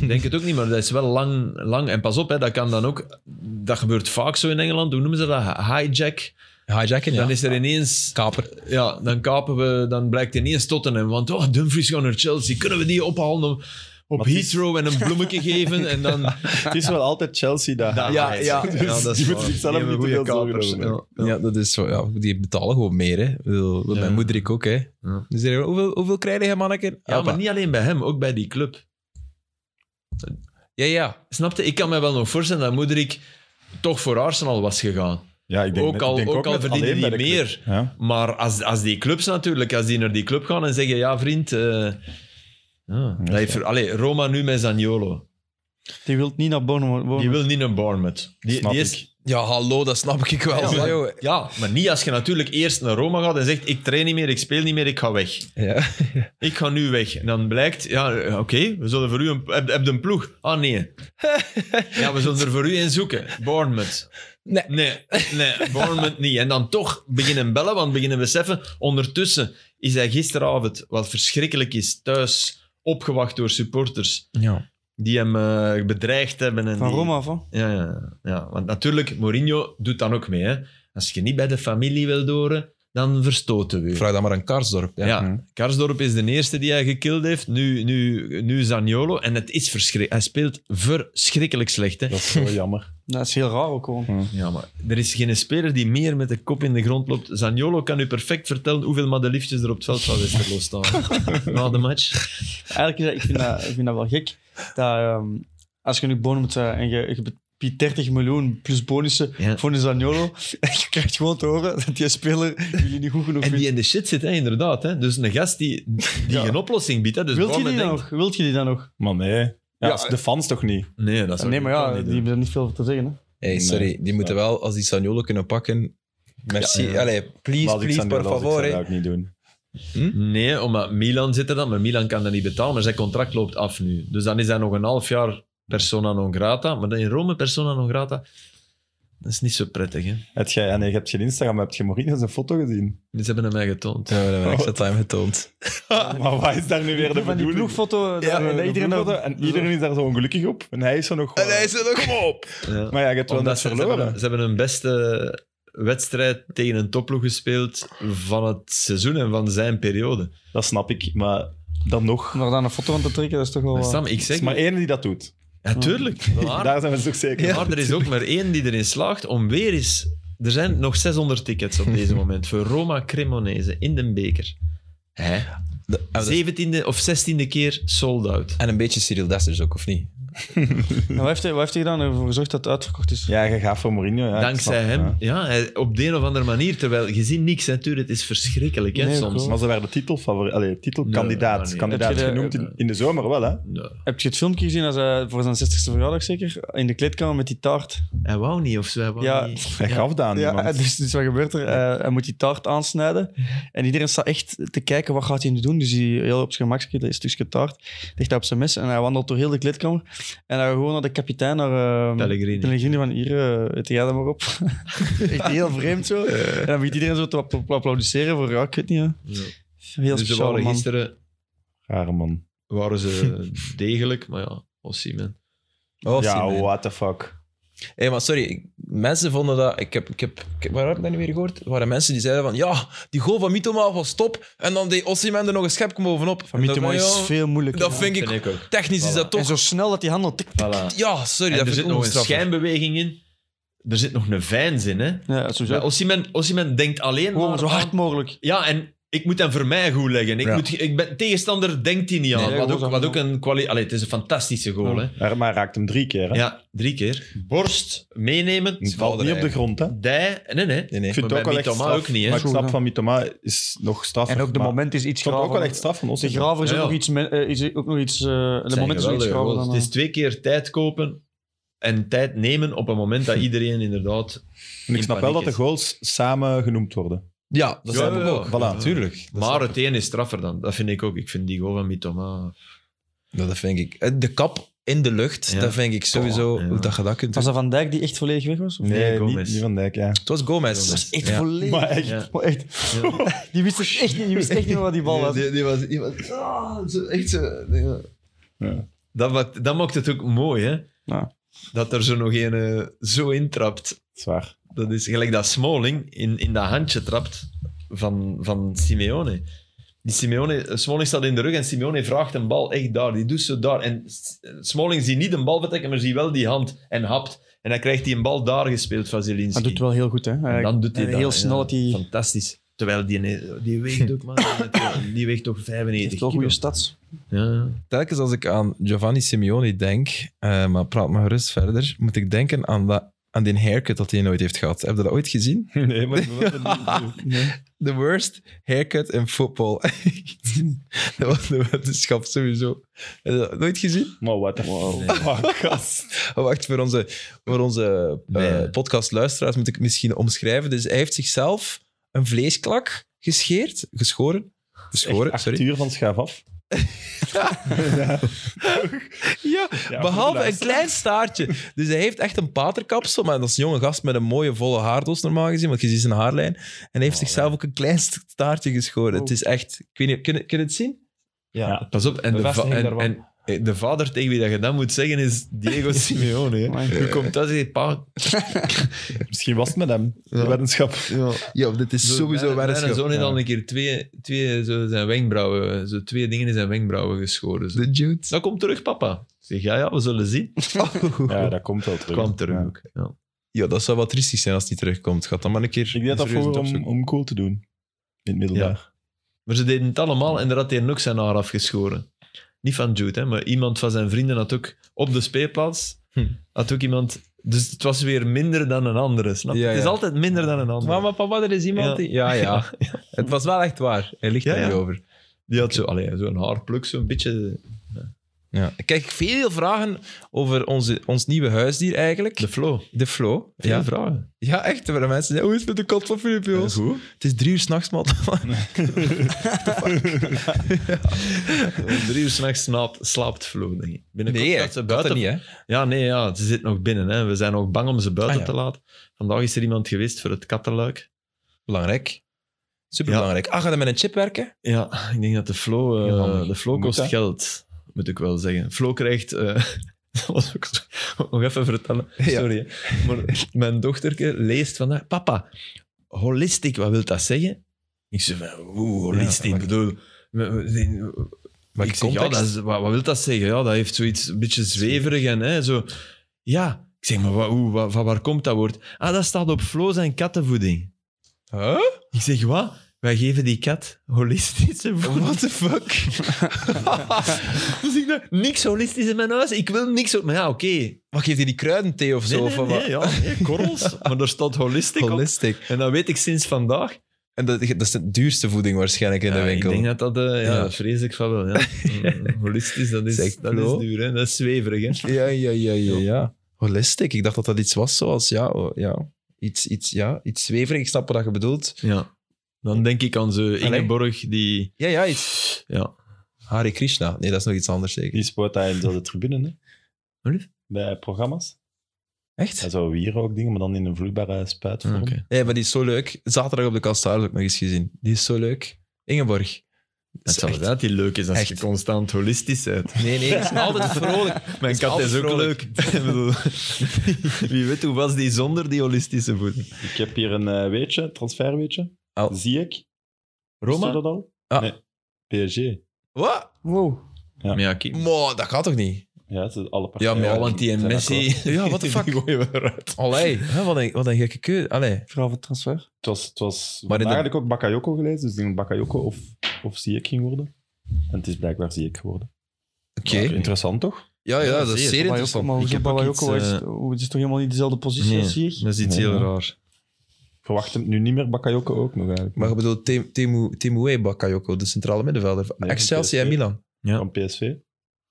S3: Ik denk het ook niet, maar dat is wel lang. lang. En pas op, hè, dat kan dan ook. Dat gebeurt vaak zo in Engeland. Hoe noemen ze dat? Hijack.
S1: Hijacken, ja.
S3: Dan is er ineens.
S1: Kaper.
S3: Ja, dan kapen we. Dan blijkt ineens Tottenham. Want oh, Dumfries gaat naar Chelsea. Kunnen we die ophalen op, op
S2: Maar het is-
S3: Heathrow en een
S1: [LAUGHS]
S3: bloemetje geven? En dan.
S2: gebeuren. Het is wel altijd Chelsea dat Dus
S3: Ja, ja, ja, dat
S2: die
S3: is
S2: moeten zichzelf
S3: zelf
S2: niet te veel zorgen over maken.
S1: Ja. dat is zo. Ja, die betalen gewoon meer, hè. Ik bedoel, dat
S3: Ja.
S1: Mijn moeder ik ook, hè.
S3: Ja.
S1: Dus zeggen, hoeveel, hoeveel krijg je, manneke? Ah,
S3: Ja, maar niet alleen bij hem, ook bij die club.
S1: Ja, ja.
S3: Snapte? Ik kan me wel nog voorstellen dat Moederik toch voor Arsenal was gegaan.
S2: Ja, ik denk,
S3: Ook
S2: net-
S3: al-
S2: ik denk
S3: ook
S2: ook
S3: al
S2: net
S3: verdienen
S2: alleen
S3: die
S2: bij de club.
S3: meer.
S2: Ja.
S3: Maar als, als die clubs natuurlijk, als die naar die club gaan en zeggen, ja vriend, eh, ja, dat heeft, er- allee, Roma nu met Zaniolo.
S4: Die wilt niet naar Bournemouth.
S3: Die
S4: Bournemouth.
S3: wil niet naar Bournemouth. Die,
S2: Snap
S3: die
S2: ik.
S3: is,
S1: Ja, hallo, dat snap ik wel.
S3: Ja,
S1: Ja,
S3: maar-
S1: joh.
S3: ja, maar niet als je natuurlijk eerst naar Roma gaat en zegt, ik train niet meer, ik speel niet meer, ik ga weg.
S1: Ja.
S3: Ik ga nu weg. En dan blijkt, ja, eh, oké, we zullen voor u een, heb, heb je een ploeg. Ah,
S2: [LAUGHS]
S3: nee. ja, we zullen er voor u een zoeken. Bournemouth.
S1: Nee.
S3: Nee, nee, Bournemouth niet. En dan toch beginnen bellen, want beginnen beseffen, ondertussen is hij gisteravond, wat verschrikkelijk is, thuis opgewacht door supporters
S1: ja.
S3: die hem eh, bedreigd hebben. En
S4: Van
S3: die-
S4: Roma af, hè?
S3: Ja, ja, ja, want natuurlijk, Mourinho doet dan ook mee. Hè. Als je niet bij de familie wil doren, dan verstoten we u.
S1: Vraag dan maar aan Karsdorp. Ja. Hm.
S3: Ja,
S2: Mhm.
S3: Karsdorp is de eerste die hij gekild heeft. Nu, nu, nu Zaniolo. En het is verschrikkelijk. Hij speelt verschrikkelijk slecht. Hè?
S2: Dat is zo jammer.
S4: Dat is heel raar ook gewoon.
S3: Ja, maar er is geen speler die meer met de kop in de grond loopt. Zaniolo kan u perfect vertellen hoeveel madeliefjes er op het veld van Westerlo staan.
S4: [LAUGHS]
S3: Na de match.
S4: Eigenlijk is dat, ik vind dat, ik vind dat wel gek. Dat, ehm, als je nu Bournemouth eh, en je, je biedt 30 miljoen plus bonussen
S3: Ja.
S4: voor een Zaniolo, [LAUGHS] je krijgt gewoon te horen dat die speler jullie niet goed genoeg
S3: En die
S4: vindt.
S3: in de shit zit, hè, inderdaad. Hè? Dus een gast die, die
S4: Ja.
S3: geen oplossing biedt. Hè? Dus
S4: Wilt je die
S3: Bournemouth
S4: dan
S3: denkt,
S4: nog? Wilt je die dan nog?
S2: Maar nee. Ja,
S4: Ja,
S2: als de fans toch niet?
S3: Nee, dat is
S4: nou? Ah, nee, maar ja, die hebben er niet veel voor te zeggen. Hè.
S1: Hey, sorry, die moeten wel, als die Sagnolo kunnen pakken... Merci. Allee, please,
S2: Maar als ik
S1: please,
S2: zou doen,
S1: per
S2: als ik zou
S1: favor.
S2: dat
S1: hè.
S2: ook niet doen.
S3: Nee, omdat Milan zit er dan, maar Milan kan dat niet betalen, maar zijn contract loopt af nu. Dus dan is hij nog een half jaar persona non grata. Maar dan in Rome persona non grata, dat is niet zo prettig. Hè?
S2: Heb jij, ja, Ah, nee, je hebt geen Instagram, maar heb je Mourinho zijn foto gezien?
S3: Dus Ze hebben hem mij getoond.
S1: Ja, we hebben extra time getoond.
S2: [LAUGHS] maar wat is daar nu weer de
S4: Van die
S2: bedoeling?
S3: eh,
S4: ploegfoto.
S2: Ja,
S4: daar-
S2: en, iedereen
S4: ploegfoto,
S2: en iedereen is daar zo ongelukkig op. En hij is er nog...
S1: zit ook kom op.
S3: Ja.
S2: Maar ja, je hebt wel
S3: Omdat
S2: net
S3: ze, ze, hebben,
S2: verloren.
S3: ze hebben hun beste wedstrijd tegen een topploeg gespeeld van het seizoen en van zijn periode.
S2: Dat snap ik, maar dan nog.
S4: Om daar dan een foto van te trekken, dat is toch wel...
S3: Maar
S4: eh,
S3: Sam, ik
S2: Er is
S3: zeg
S2: maar één die dat doet.
S3: ja, tuurlijk.
S2: [LAUGHS]
S3: Maar,
S2: Daar zijn we toch zeker van.
S3: maar er is ook maar één die erin slaagt om weer eens... Er zijn nog 600 tickets op deze moment voor Roma Cremonese in den beker. Hè?
S1: De- ah, dat is-
S3: 17e of 16e keer sold out.
S1: En een beetje Cyril Dessers ook, of niet?
S4: En wat, heeft hij, wat heeft hij gedaan? Hij heeft ervoor gezorgd dat het uitverkocht is.
S2: Ja, je gaat voor Mourinho. Ja, ik
S3: Dankzij
S2: snap,
S3: hem.
S2: ja.
S3: Ja. hij- op de een of andere manier. Terwijl je ziet niks, hè, Tuur. Het is verschrikkelijk, hè,
S4: Nee,
S3: soms.
S4: klopt.
S2: Maar ze werden titelfavori- allee, titelkandidaat
S3: Nee, nee, nee.
S2: kandidaat
S4: Heb je de-
S2: genoemd in, in de zomer wel, hè?
S3: Nee,
S4: Heb je het filmpje gezien als hij voor zijn 60ste verjaardag zeker? In de kleedkamer met die taart.
S3: hij wou niet, of zo. Hij wou
S4: Ja.
S3: niet.
S2: Hij gaf dat aan
S4: Ja,
S2: iemand.
S4: dus, dus wat gebeurt er? Eh, hij moet die taart aansnijden. En iedereen staat echt te kijken, wat gaat hij nu doen? Dus hij heel op zijn gemak, dat is stukje taart, ligt hij op zijn mes en hij wandelt door heel de kleedkamer. En hij gaat gewoon naar de kapitein, naar eh,
S3: Pellegrini.
S4: Pellegrini van hier, eh, eet jij dat maar op. [LAUGHS] echt heel vreemd zo. En dan begint iedereen zo te app- applaudisseren voor, ja, ik weet niet. hè.
S3: Ja.
S4: Heel
S3: Dus ze
S4: speciaal,
S3: waren
S4: man.
S3: gisteren
S2: Rare man.
S3: waren
S2: [LAUGHS]
S3: ze degelijk, maar ja, Osimhen.
S1: Oh,
S2: ja,
S1: Simon.
S2: what the fuck.
S1: Hé, maar sorry, ik- mensen vonden dat... Ik heb, ik heb, ik heb- waar heb ik dat niet meer gehoord? Er waren mensen die zeiden van, ja, die goal van Mitoma was top, en dan deed Osimhen er nog een schepje bovenop.
S4: Van Mitoma
S1: Dat-
S4: is
S1: ja,
S4: veel moeilijker.
S1: Dat vind ik...
S3: ook.
S1: Technisch is
S3: Voilà.
S1: dat
S4: En
S1: toch...
S4: zo snel dat hij handelt. tik, tik.
S3: Voilà.
S1: Ja, sorry,
S3: En
S1: dat
S3: er
S1: vind
S3: zit
S1: ik
S3: nog een
S1: ongestraffelijk.
S3: schijnbeweging in. Er zit nog een fijns in, hè.
S4: Ja, sowieso.
S3: Ja, Osimhen, Osimhen denkt alleen
S4: Gewoon
S3: maar
S4: zo hard
S3: aan-
S4: mogelijk.
S3: Ja, en ik moet hem voor mij goed leggen. Ik
S1: Ja.
S3: moet, ik ben, tegenstander denkt hij niet aan.
S4: Nee,
S3: wat,
S4: gewoon
S3: ook,
S4: zo.
S3: wat ook een kwaliteit... Allee, het is een fantastische goal, hè.
S2: Maar hij raakt hem drie keer, hè?
S3: Ja, drie keer. Borst, meenemen.
S2: Het valt niet op de grond, hè?
S3: Dij, nee, nee.
S1: Nee, nee.
S2: Ik vind
S3: Maar
S2: het ook
S3: bij
S2: wel echt
S3: Mitoma
S2: straf.
S3: ook niet, hè?
S2: Maar ik snap
S4: Goed,
S2: van Mitoma is nog straffer.
S4: En ook de
S2: maar
S4: moment is iets
S2: Ik vond het ook wel
S4: graver.
S2: echt straf van ons.
S4: De graver is
S3: Ja,
S4: ook
S3: ja.
S4: nog iets... men- eh, is ook nog iets eh, de moment is ook iets graver dan... eh.
S3: Het is twee keer tijd kopen en tijd nemen op een moment
S4: [LAUGHS]
S3: dat iedereen inderdaad...
S2: En ik
S3: in
S2: snap wel dat
S3: paniek
S2: de
S3: is.
S2: goals samen genoemd worden.
S1: Ja, dat
S3: Ja,
S1: zijn
S3: ja,
S1: we
S3: ja.
S1: ook.
S2: Voilà.
S1: Tuurlijk. Dat
S3: Maar het een is straffer dan. Dat vind ik ook. Ik vind die goal van Mitoma...
S1: Ja, dat vind ik. eh, De kap in de lucht,
S3: Ja.
S1: dat vind ik sowieso
S3: Oh, ja.
S1: hoe dat je dat kunt doen.
S4: Was dat Van Dijk die echt volledig weg was?
S3: Nee,
S2: niet,
S3: Gomez.
S2: niet van Dijk, ja.
S1: Het was Gomez.
S3: Dat is
S1: Ja.
S4: Echt volledig.
S2: Maar echt,
S3: Ja.
S4: Maar echt. [LAUGHS] Die wist, het echt niet, die wist echt niet meer wat die bal was.
S3: was, die was Ah, echt zo...
S2: Ja.
S3: Dat, maakt, dat maakt het ook mooi, hè?
S4: Ja.
S3: Dat er zo nog een eh, zo intrapt.
S2: zwaar.
S3: Dat is gelijk dat Smalling in, in dat handje trapt van, van Simeone. Die Simeone, eh, Smalling staat in de rug en Simeone vraagt een bal echt daar. Die doet zo daar. En S- Smalling ziet niet een bal vertrekken, maar ziet wel die hand en hapt. En dan krijgt hij een bal daar gespeeld van Zielinski.
S4: Hij doet wel heel goed, hè.
S3: En dan doet hij
S4: En
S3: dat,
S4: heel
S3: ja.
S4: snel dat hij-
S3: Fantastisch. Terwijl die, die weegt
S4: [LAUGHS]
S3: ook maar... die weegt toch 95
S4: heeft wel
S3: kilo.
S4: goede stads.
S3: Ja.
S1: Telkens als ik aan Giovanni Simeoni denk, eh, maar praat maar gerust verder, moet ik denken aan, dat, aan die haircut dat hij nooit heeft gehad. Heb je dat ooit gezien?
S2: [LAUGHS] Nee, maar
S3: [LAUGHS]
S1: The worst haircut in football. [LAUGHS] dat was de wetenschap sowieso. Heb je dat nooit gezien?
S2: Maar what the fuck, gast.
S1: Oh, wacht, voor onze, voor onze eh,
S3: Nee.
S1: podcastluisteraars moet ik het misschien omschrijven. Dus hij heeft zichzelf een vleesklak gescheerd, geschoren. Geschoren,
S2: Echt
S1: sorry.
S2: Arthur van Schaaf af.
S1: Ja,
S2: Ja,
S1: Behalve een
S2: inderdaad.
S1: klein staartje. Dus hij heeft echt een paterkapsel, maar dat is een jonge gast met een mooie volle haardos normaal gezien, want je ziet zijn haarlijn. En hij heeft zichzelf ook een klein st- staartje geschoren.
S4: Oh.
S1: Het is echt... Ik weet niet, kun, je- kun je het zien?
S2: Ja.
S3: Pas op, en de, va-
S1: Bevestiging
S3: en,
S1: daarvan.
S3: en eh, de vader tegen wie dat je dat moet zeggen is
S2: [LAUGHS]
S3: Diego Simeone. hè.
S4: Amai.
S3: Hoe komt dat? Zeg, pa,
S2: Misschien was het met hem, de weddenschap.
S1: Ja, dit is sowieso
S3: Mijn, mijn
S1: weddenschap.
S3: zoon heeft al een keer twee, twee zo zijn wenkbrauwen, zo twee dingen in zijn wenkbrauwen geschoren. Zo.
S1: De Jude.
S3: Dat komt terug, papa. Ik Zeg, ja, ja, we zullen zien.
S2: Ja, dat komt wel terug.
S3: Kwam terug
S2: Ja.
S3: ook. Ja.
S1: Ja, dat zou wel triestig zijn als het niet terugkomt. Gaat dan maar een keer...
S2: Ik deed dat
S1: serieus
S2: vroeger om,
S1: opzoeken.
S2: om cool te doen. In het middelbaar.
S3: Maar ze deden het allemaal en er had hij ook zijn haar afgeschoren. Niet van Jude, hè, maar iemand van zijn vrienden had ook op de speelplaats
S1: Hm.
S3: had ook iemand... Dus het was weer minder dan een andere, snap je?
S1: Ja,
S3: Het is
S1: ja.
S3: altijd minder dan een andere.
S1: Mama, papa, er is iemand
S3: Ja.
S1: die... Ja,
S3: [LAUGHS]
S1: ja. Het was wel echt waar. Hij ligt
S3: Ja,
S1: er niet
S3: ja.
S1: over.
S3: Die had zo, allee, zo'n haarpluk, zo'n beetje
S1: Ja. Ik krijg veel vragen over onze, ons nieuwe huisdier eigenlijk.
S3: de flow.
S1: De Flo.
S3: Veel vragen.
S1: Ja, echt. Waar de mensen zeggen, hoe is het met de kat van Filip, Joos?
S3: goed.
S1: Het is drie uur s'nachts, man.
S3: Drie uur s'nachts slaapt, slaapt Flo, denk ik. Binnenkort
S1: Nee,
S3: gaat ze
S1: dat
S3: buiten.
S1: niet, hè.
S3: Ja, nee, ja, ze zit nog binnen. Hè. We zijn nog bang om ze buiten
S1: Ah, ja.
S3: te laten. Vandaag is er iemand geweest voor het kattenluik.
S1: Belangrijk. Superbelangrijk. Ah, ga je met een chip werken?
S3: Ja, ik denk dat de Flo, eh,
S2: Heel handig.
S3: de Flo
S2: Moet
S3: kost
S2: dat?
S3: geld, moet ik wel zeggen. Flo krijgt... eh, [LAUGHS] dat was ook zo- nog even vertellen,
S1: Ja.
S3: sorry. hè. Maar mijn dochterke leest vandaag... Papa, holistic, wat wil dat zeggen? Ik zeg, van, oeh, holistisch,
S1: Ja,
S3: ik
S1: maar-
S3: bedoel... we- we-
S1: Maar
S3: ik zeg, ja, dat is- wat, wat wil dat zeggen? Ja, dat heeft zoiets een beetje zweverig en hè, zo. Ja, ik zeg, maar wa- hoe, wa- van waar komt dat woord? Ah, dat staat op Flo zijn kattenvoeding.
S1: Huh?
S3: Ik zeg, wat? Wij geven die kat holistische voeding. What the fuck? [LAUGHS] dus ik dacht, niks holistisch in mijn huis. Ik wil niks... ho- Maar ja, oké.
S1: Maar geeft hij die kruidenthee of zo?
S3: Nee,
S1: of
S3: nee,
S1: wat?
S3: nee, ja, nee, korrels. maar daar staat holistic op.
S1: Holistic.
S3: En dat weet ik sinds vandaag.
S1: En dat, dat is de duurste voeding waarschijnlijk in de
S3: Ja,
S1: winkel.
S3: Ik denk dat dat... eh, ja,
S1: Ja.
S3: vrees ik van wel.
S1: [LAUGHS]
S3: Ja. Mm, Holistisch, dat is,
S1: Zeg,
S3: dat is
S1: Flo.
S3: duur. Hè. Dat is zweverig. Hè.
S1: Ja, ja, ja, ja, ja. Holistic. Ik dacht dat dat iets was zoals, ja, oh, ja. Iets, iets, ja, iets zweverig. Ik snap wat je bedoelt.
S3: Ja. Dan denk ik aan zo'n
S1: Allee.
S3: Ingeborg die...
S1: Ja, ja, iets.
S3: Ja.
S1: Hare Krishna. Nee, dat is nog iets anders zeker.
S2: Die spoort daar in de tribune, hè?
S3: Wat?
S2: Bij programma's.
S1: Echt?
S2: Dat zou hier ook dingen, maar dan in een vloeibare spuitvorm.
S3: Oké.
S1: Nee, maar die is zo leuk. Zaterdag op de Kastaar heb ik nog eens gezien. Die is zo leuk. Ingeborg.
S3: Dat
S1: is
S3: zou
S1: echt-
S3: inderdaad die leuk is als je
S1: echt.
S3: constant holistisch bent.
S1: Nee, nee, [LAUGHS] het is altijd vrolijk.
S3: [LAUGHS] Mijn
S1: is
S3: kat is,
S1: altijd
S3: ook
S1: vrolijk.
S3: leuk. [LAUGHS] Ik bedoel, Wie weet hoe was die zonder die holistische voeding?
S2: Ik heb hier een eh, weetje, transferweetje.
S1: Oh.
S2: Zie ik. Is
S3: Roma?
S2: dat al?
S1: Ah.
S2: Nee. PSG.
S1: Wat?
S4: Wow.
S2: Ja.
S3: Ja, kijk.
S1: Mo, dat gaat toch niet?
S2: Ja, het is alle
S1: Ja,
S2: partijen.
S1: maar ja,
S3: want die en
S2: zijn
S3: Messi...
S2: akkoord.
S1: Ja, what the
S3: die
S1: fuck?
S3: gooien we eruit.
S1: Allee, hè, wat, een, wat een gekke keuze. Allee.
S4: Verhaal van transfer.
S2: Het was, het was
S1: Maar in de-
S2: eigenlijk ook Bakayoko gelezen, dus ik denk dat Bakayoko of, of Ziyech ging worden. En het is blijkbaar Ziyech geworden.
S1: Oké.
S2: Maar Interessant toch?
S1: Ja, ja, dat is zeer interessant.
S4: Maar
S3: Ik
S4: hoezo
S3: heb ook
S4: Bakayoko?
S3: iets,
S4: Hij is-
S3: eh,
S4: oh, Het is toch helemaal niet dezelfde positie als
S3: Nee,
S4: hier?
S3: dat is iets
S2: Nee,
S3: heel
S2: ja.
S3: raar.
S2: Ik verwacht hem nu niet meer, Bakayoko ook nog eigenlijk.
S1: Maar je bedoelt Tim- Timu- Timué Bakayoko, de centrale middenvelder. van
S2: Nee, van
S1: Excelsior en
S2: PSV.
S1: Milan.
S3: Ja.
S2: Van PSV,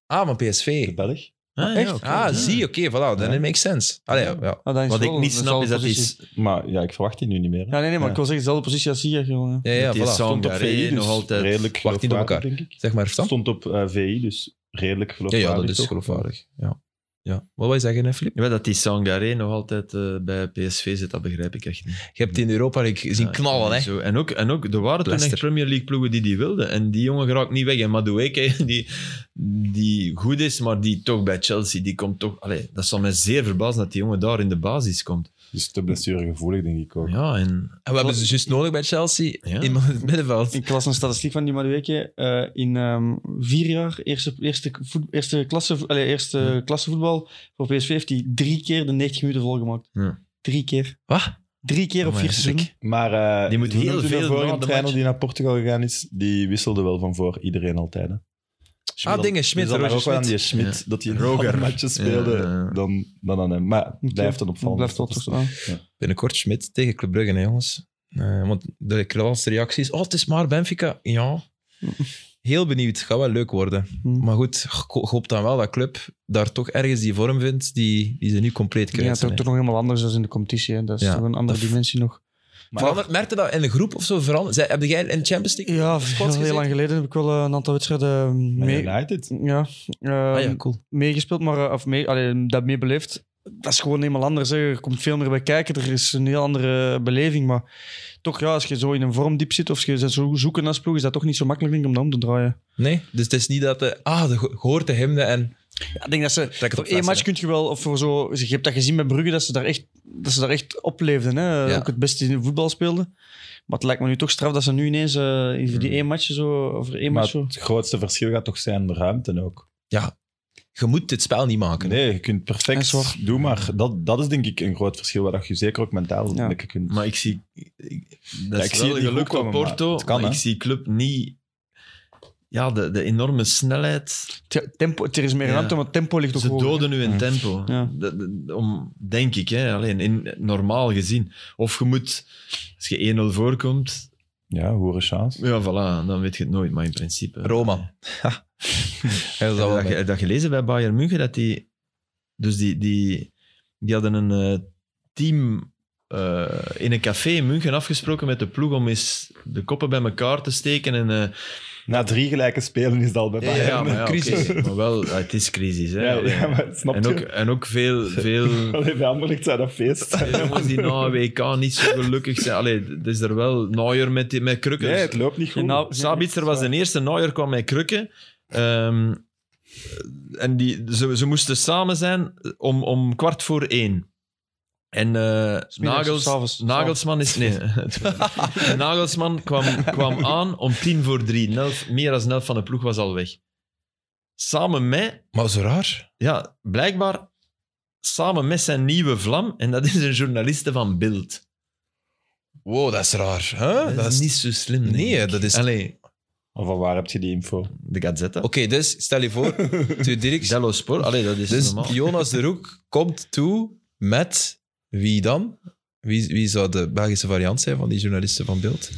S1: Ah, van
S2: de
S1: PSV.
S2: Belg.
S3: Ah,
S4: echt?
S3: oké.
S1: Ah, zie, oké, voilà. Then
S2: Ja.
S1: it makes sense. Allee, ja. ja.
S4: Ah, dat is
S3: Wat ik
S4: wel
S3: niet
S4: een
S3: snap is dat
S4: dezelfde
S3: is...
S2: Maar ja, ik verwacht die nu niet meer. hè.
S4: Ja, nee, nee, maar
S2: Ja.
S4: ik wil zeggen, dezelfde positie als hier gewoon. hè.
S1: Ja, ja,
S3: die
S1: voilà.
S3: song-
S2: Stond op
S3: Hongarije
S2: VI, dus
S3: nog altijd.
S2: redelijk
S1: Wacht niet op
S2: geloofwaardig, denk ik.
S1: Zeg maar, Stan.
S2: Stond op eh, VI, dus redelijk
S1: Ja,
S2: geloofwaardig.
S1: ja, dat is
S2: toch?
S1: geloofwaardig. Ja. Ja. Wat wil je zeggen, hè, Filip?
S3: Ja, dat die Sangaré nog altijd eh, bij PSV zit, dat begrijp ik echt niet.
S1: Je hebt in Europa League zien
S3: Ja,
S1: knallen, hè?
S3: Zo. En, ook, en ook, er waren toen echt
S1: Leicester.
S3: Premier League ploegen die die wilden. En die jongen geraakt niet weg. En Madueke, die, die goed is, maar die toch bij Chelsea, die komt toch... Allee, dat zal mij zeer verbazen dat die jongen daar in de basis komt.
S2: Dus te blessuregevoelig, denk ik ook.
S3: Ja, en...
S1: En we hebben ze juist nodig bij Chelsea.
S3: Ja.
S1: Iemand in het middenveld.
S4: Ik las een statistiek van die Madueke. eh in ehm, vier jaar eerste, eerste, voet- eerste, klasse, allee, eerste klasse voetbal voor PSV heeft hij drie keer de 90 minuten volgemaakt.
S3: Ja.
S4: Drie keer.
S1: Wat?
S4: Drie keer op
S3: Amai,
S4: vier
S3: dat is
S4: seizoenen.
S2: Maar eh,
S3: Die moet
S2: hoe
S3: heel
S2: noemt u
S3: veel
S2: de
S3: na
S2: vorige
S3: de
S2: trainer
S3: match.
S2: die naar Portugal gegaan is, die wisselde wel van voor iedereen altijd. Hè.
S1: Ah, dingen, Schmidt,
S2: dus dan
S1: Roger
S2: ook wel aan
S1: Schmidt.
S2: die Schmidt, dat hij een
S3: Roger.
S2: ander matje speelde
S3: Ja, ja, ja.
S2: Dan, dan aan hem. Maar het blijft een
S4: Dat
S2: opvallend.
S4: Blijft wel toch staan.
S1: Binnenkort Schmidt tegen Club Brugge, hè, jongens. Eh, want de laatste reactie is, oh, het is maar Benfica. Ja. Heel benieuwd. Gaat wel leuk worden.
S4: Hm.
S1: Maar goed, ik ho- ik hoop dan wel dat club daar toch ergens die vorm vindt die, die ze nu compleet
S4: Ja, het
S1: krijgt.
S4: is ook toch nog helemaal anders dan in de competitie. Hè. Dat is
S1: Ja.
S4: toch een andere
S1: Dat-
S4: dimensie nog.
S1: Verandert, merkte dat in de groep of zo? Veranderd? Zij, heb jij in de Champions League?
S4: Ja,
S1: Spots
S4: heel, heel
S1: gezeten?
S4: lang geleden heb ik wel eh, een aantal wedstrijden eh,
S2: Man
S4: mee,
S2: United.
S4: ja, eh,
S1: ah ja, cool.
S4: meegespeeld, maar eh, of mee, allee, dat meebeleefd. Dat is gewoon helemaal anders. Hè. Er komt veel meer bij kijken. Er is een heel andere beleving. Maar toch, ja, als je zo in een vormdiep zit of als je zo zoeken als ploeg, is dat toch niet zo makkelijk denk ik, om dat om te draaien.
S1: Nee, dus het is niet dat de... Ah, de ge- gehoord de hymne en...
S4: Ja, ik denk dat ze
S1: Trek het
S4: voor
S1: op
S4: één match
S1: flessen,
S4: kun je wel, of voor zo, je hebt dat gezien bij Brugge, dat ze daar echt, dat ze daar echt opleefden. Hè?
S1: Ja.
S4: Ook het beste in de voetbal speelden. Maar het lijkt me nu toch straf dat ze nu ineens eh in die één match zo, over één match
S2: Maar
S4: zo...
S2: het grootste verschil gaat toch zijn de ruimte ook.
S1: hè. Je moet dit spel niet maken.
S2: Nee, je kunt
S4: En zorg.
S2: perfect. Doe maar. Dat, dat is denk ik een groot verschil waar dat je zeker ook mentaal
S4: Ja.
S2: lekker kunt.
S3: Maar ik zie... Ik,
S2: Ja,
S3: dat is
S2: ik zie
S3: wel
S2: het niet
S3: gelukt
S2: goed
S3: op
S2: komen, maar
S3: Porto,
S2: het kan,
S3: maar ik
S2: hè.
S3: zie club niet... Ja, de, de enorme snelheid...
S4: Te- Tempo, er is meer
S3: Ja.
S4: ruimte, maar het tempo ligt ook
S3: Ze
S4: hoger.
S3: doden nu in
S2: Ja.
S3: tempo.
S4: Ja.
S3: Dat- dat- om, denk ik, hè, alleen in, normaal gezien. Of je moet, als je 1-0 voorkomt,
S2: Ja, hoere chance.
S3: ja, voilà, dan weet je het nooit. Maar in principe.
S1: [LAUGHS] Roma. Ha. Hij was al wel
S3: Heb je dat,
S1: bij.
S3: ge- dat gelezen bij Bayern München, dat die, dus die, die, die hadden een eh, team eh, in een café in München afgesproken met de ploeg om eens de koppen bij elkaar te steken en eh,
S2: Na drie gelijke spelen is het al bij
S1: Ja, ja,
S2: Bayern.
S3: ja, maar ja,
S1: crisis.
S3: oké, maar wel, ja, het is crisis. Hè?
S2: Ja, ja, maar snap
S3: en,
S2: je?
S3: ook, en ook veel, veel
S2: Allee, bij Anderlecht zijn dat feest.
S3: Veel jongens die na een WK niet zo gelukkig zijn. Allee, het is er wel naaier met, die- met krukken.
S1: Dus
S2: Nee, het loopt niet goed.
S4: En nou-
S3: Sabitzer was de eerste, naaier kwam met krukken. Ehm, en die, ze, ze moesten samen zijn om, om kwart voor één. En eh,
S4: middags of
S3: Nagels,
S4: s avonds?
S3: Nagelsman is... Nee. [LAUGHS] En Nagelsman kwam, kwam aan om tien voor drie. Nelf- meer dan elf van de ploeg was al weg. Samen met
S1: Maar zo raar.
S3: ja, blijkbaar samen met zijn nieuwe vlam, en dat is een journaliste van Bild.
S1: Wow, Oh, dat is raar. Hè?
S3: dat, is niet zo slim. denk
S1: Nee,
S3: ik.
S1: dat is...
S3: Allee,
S2: Of van waar heb je die
S1: Ah,
S2: info?
S3: de Gazette.
S1: Oké, dus stel je [LAUGHS] voor, Tuur Dirks.
S5: Dello Sport, allee, dat is
S1: Dus
S5: normaal.
S1: Jonas de Roek komt toe met wie dan? Wie, wie zou de Belgische variant zijn van die journalisten van Beeld?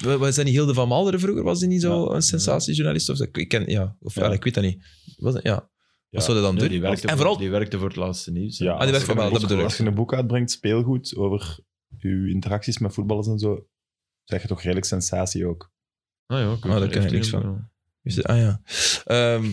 S1: Wa- Was dat niet Hilde van Malderen vroeger? Was die niet zo een sensatiejournalist? Of, zo? ik, ken, ja, of, ja.
S2: Ja.
S1: ik weet dat niet. Was dat- ja.
S2: Ja.
S1: Wat zou dat dan
S5: Ja,
S1: doen?
S5: die, werkte
S1: en
S5: voor,
S1: vooral,
S5: die werkte voor het laatste nieuws. hè.
S2: Ja,
S1: die
S2: als
S1: werkt
S2: je
S1: voor mij,
S2: een
S1: dat
S2: boek-
S1: bedoel ik.
S2: Als je een boek uitbrengt, speelgoed, over je interacties met voetballers en zo, zeg je toch redelijk sensatie ook. [LAUGHS]
S3: Ah, ja, ik
S1: Ah, daar ken ik niks
S3: van.
S1: Is het- ah ja. Ehm,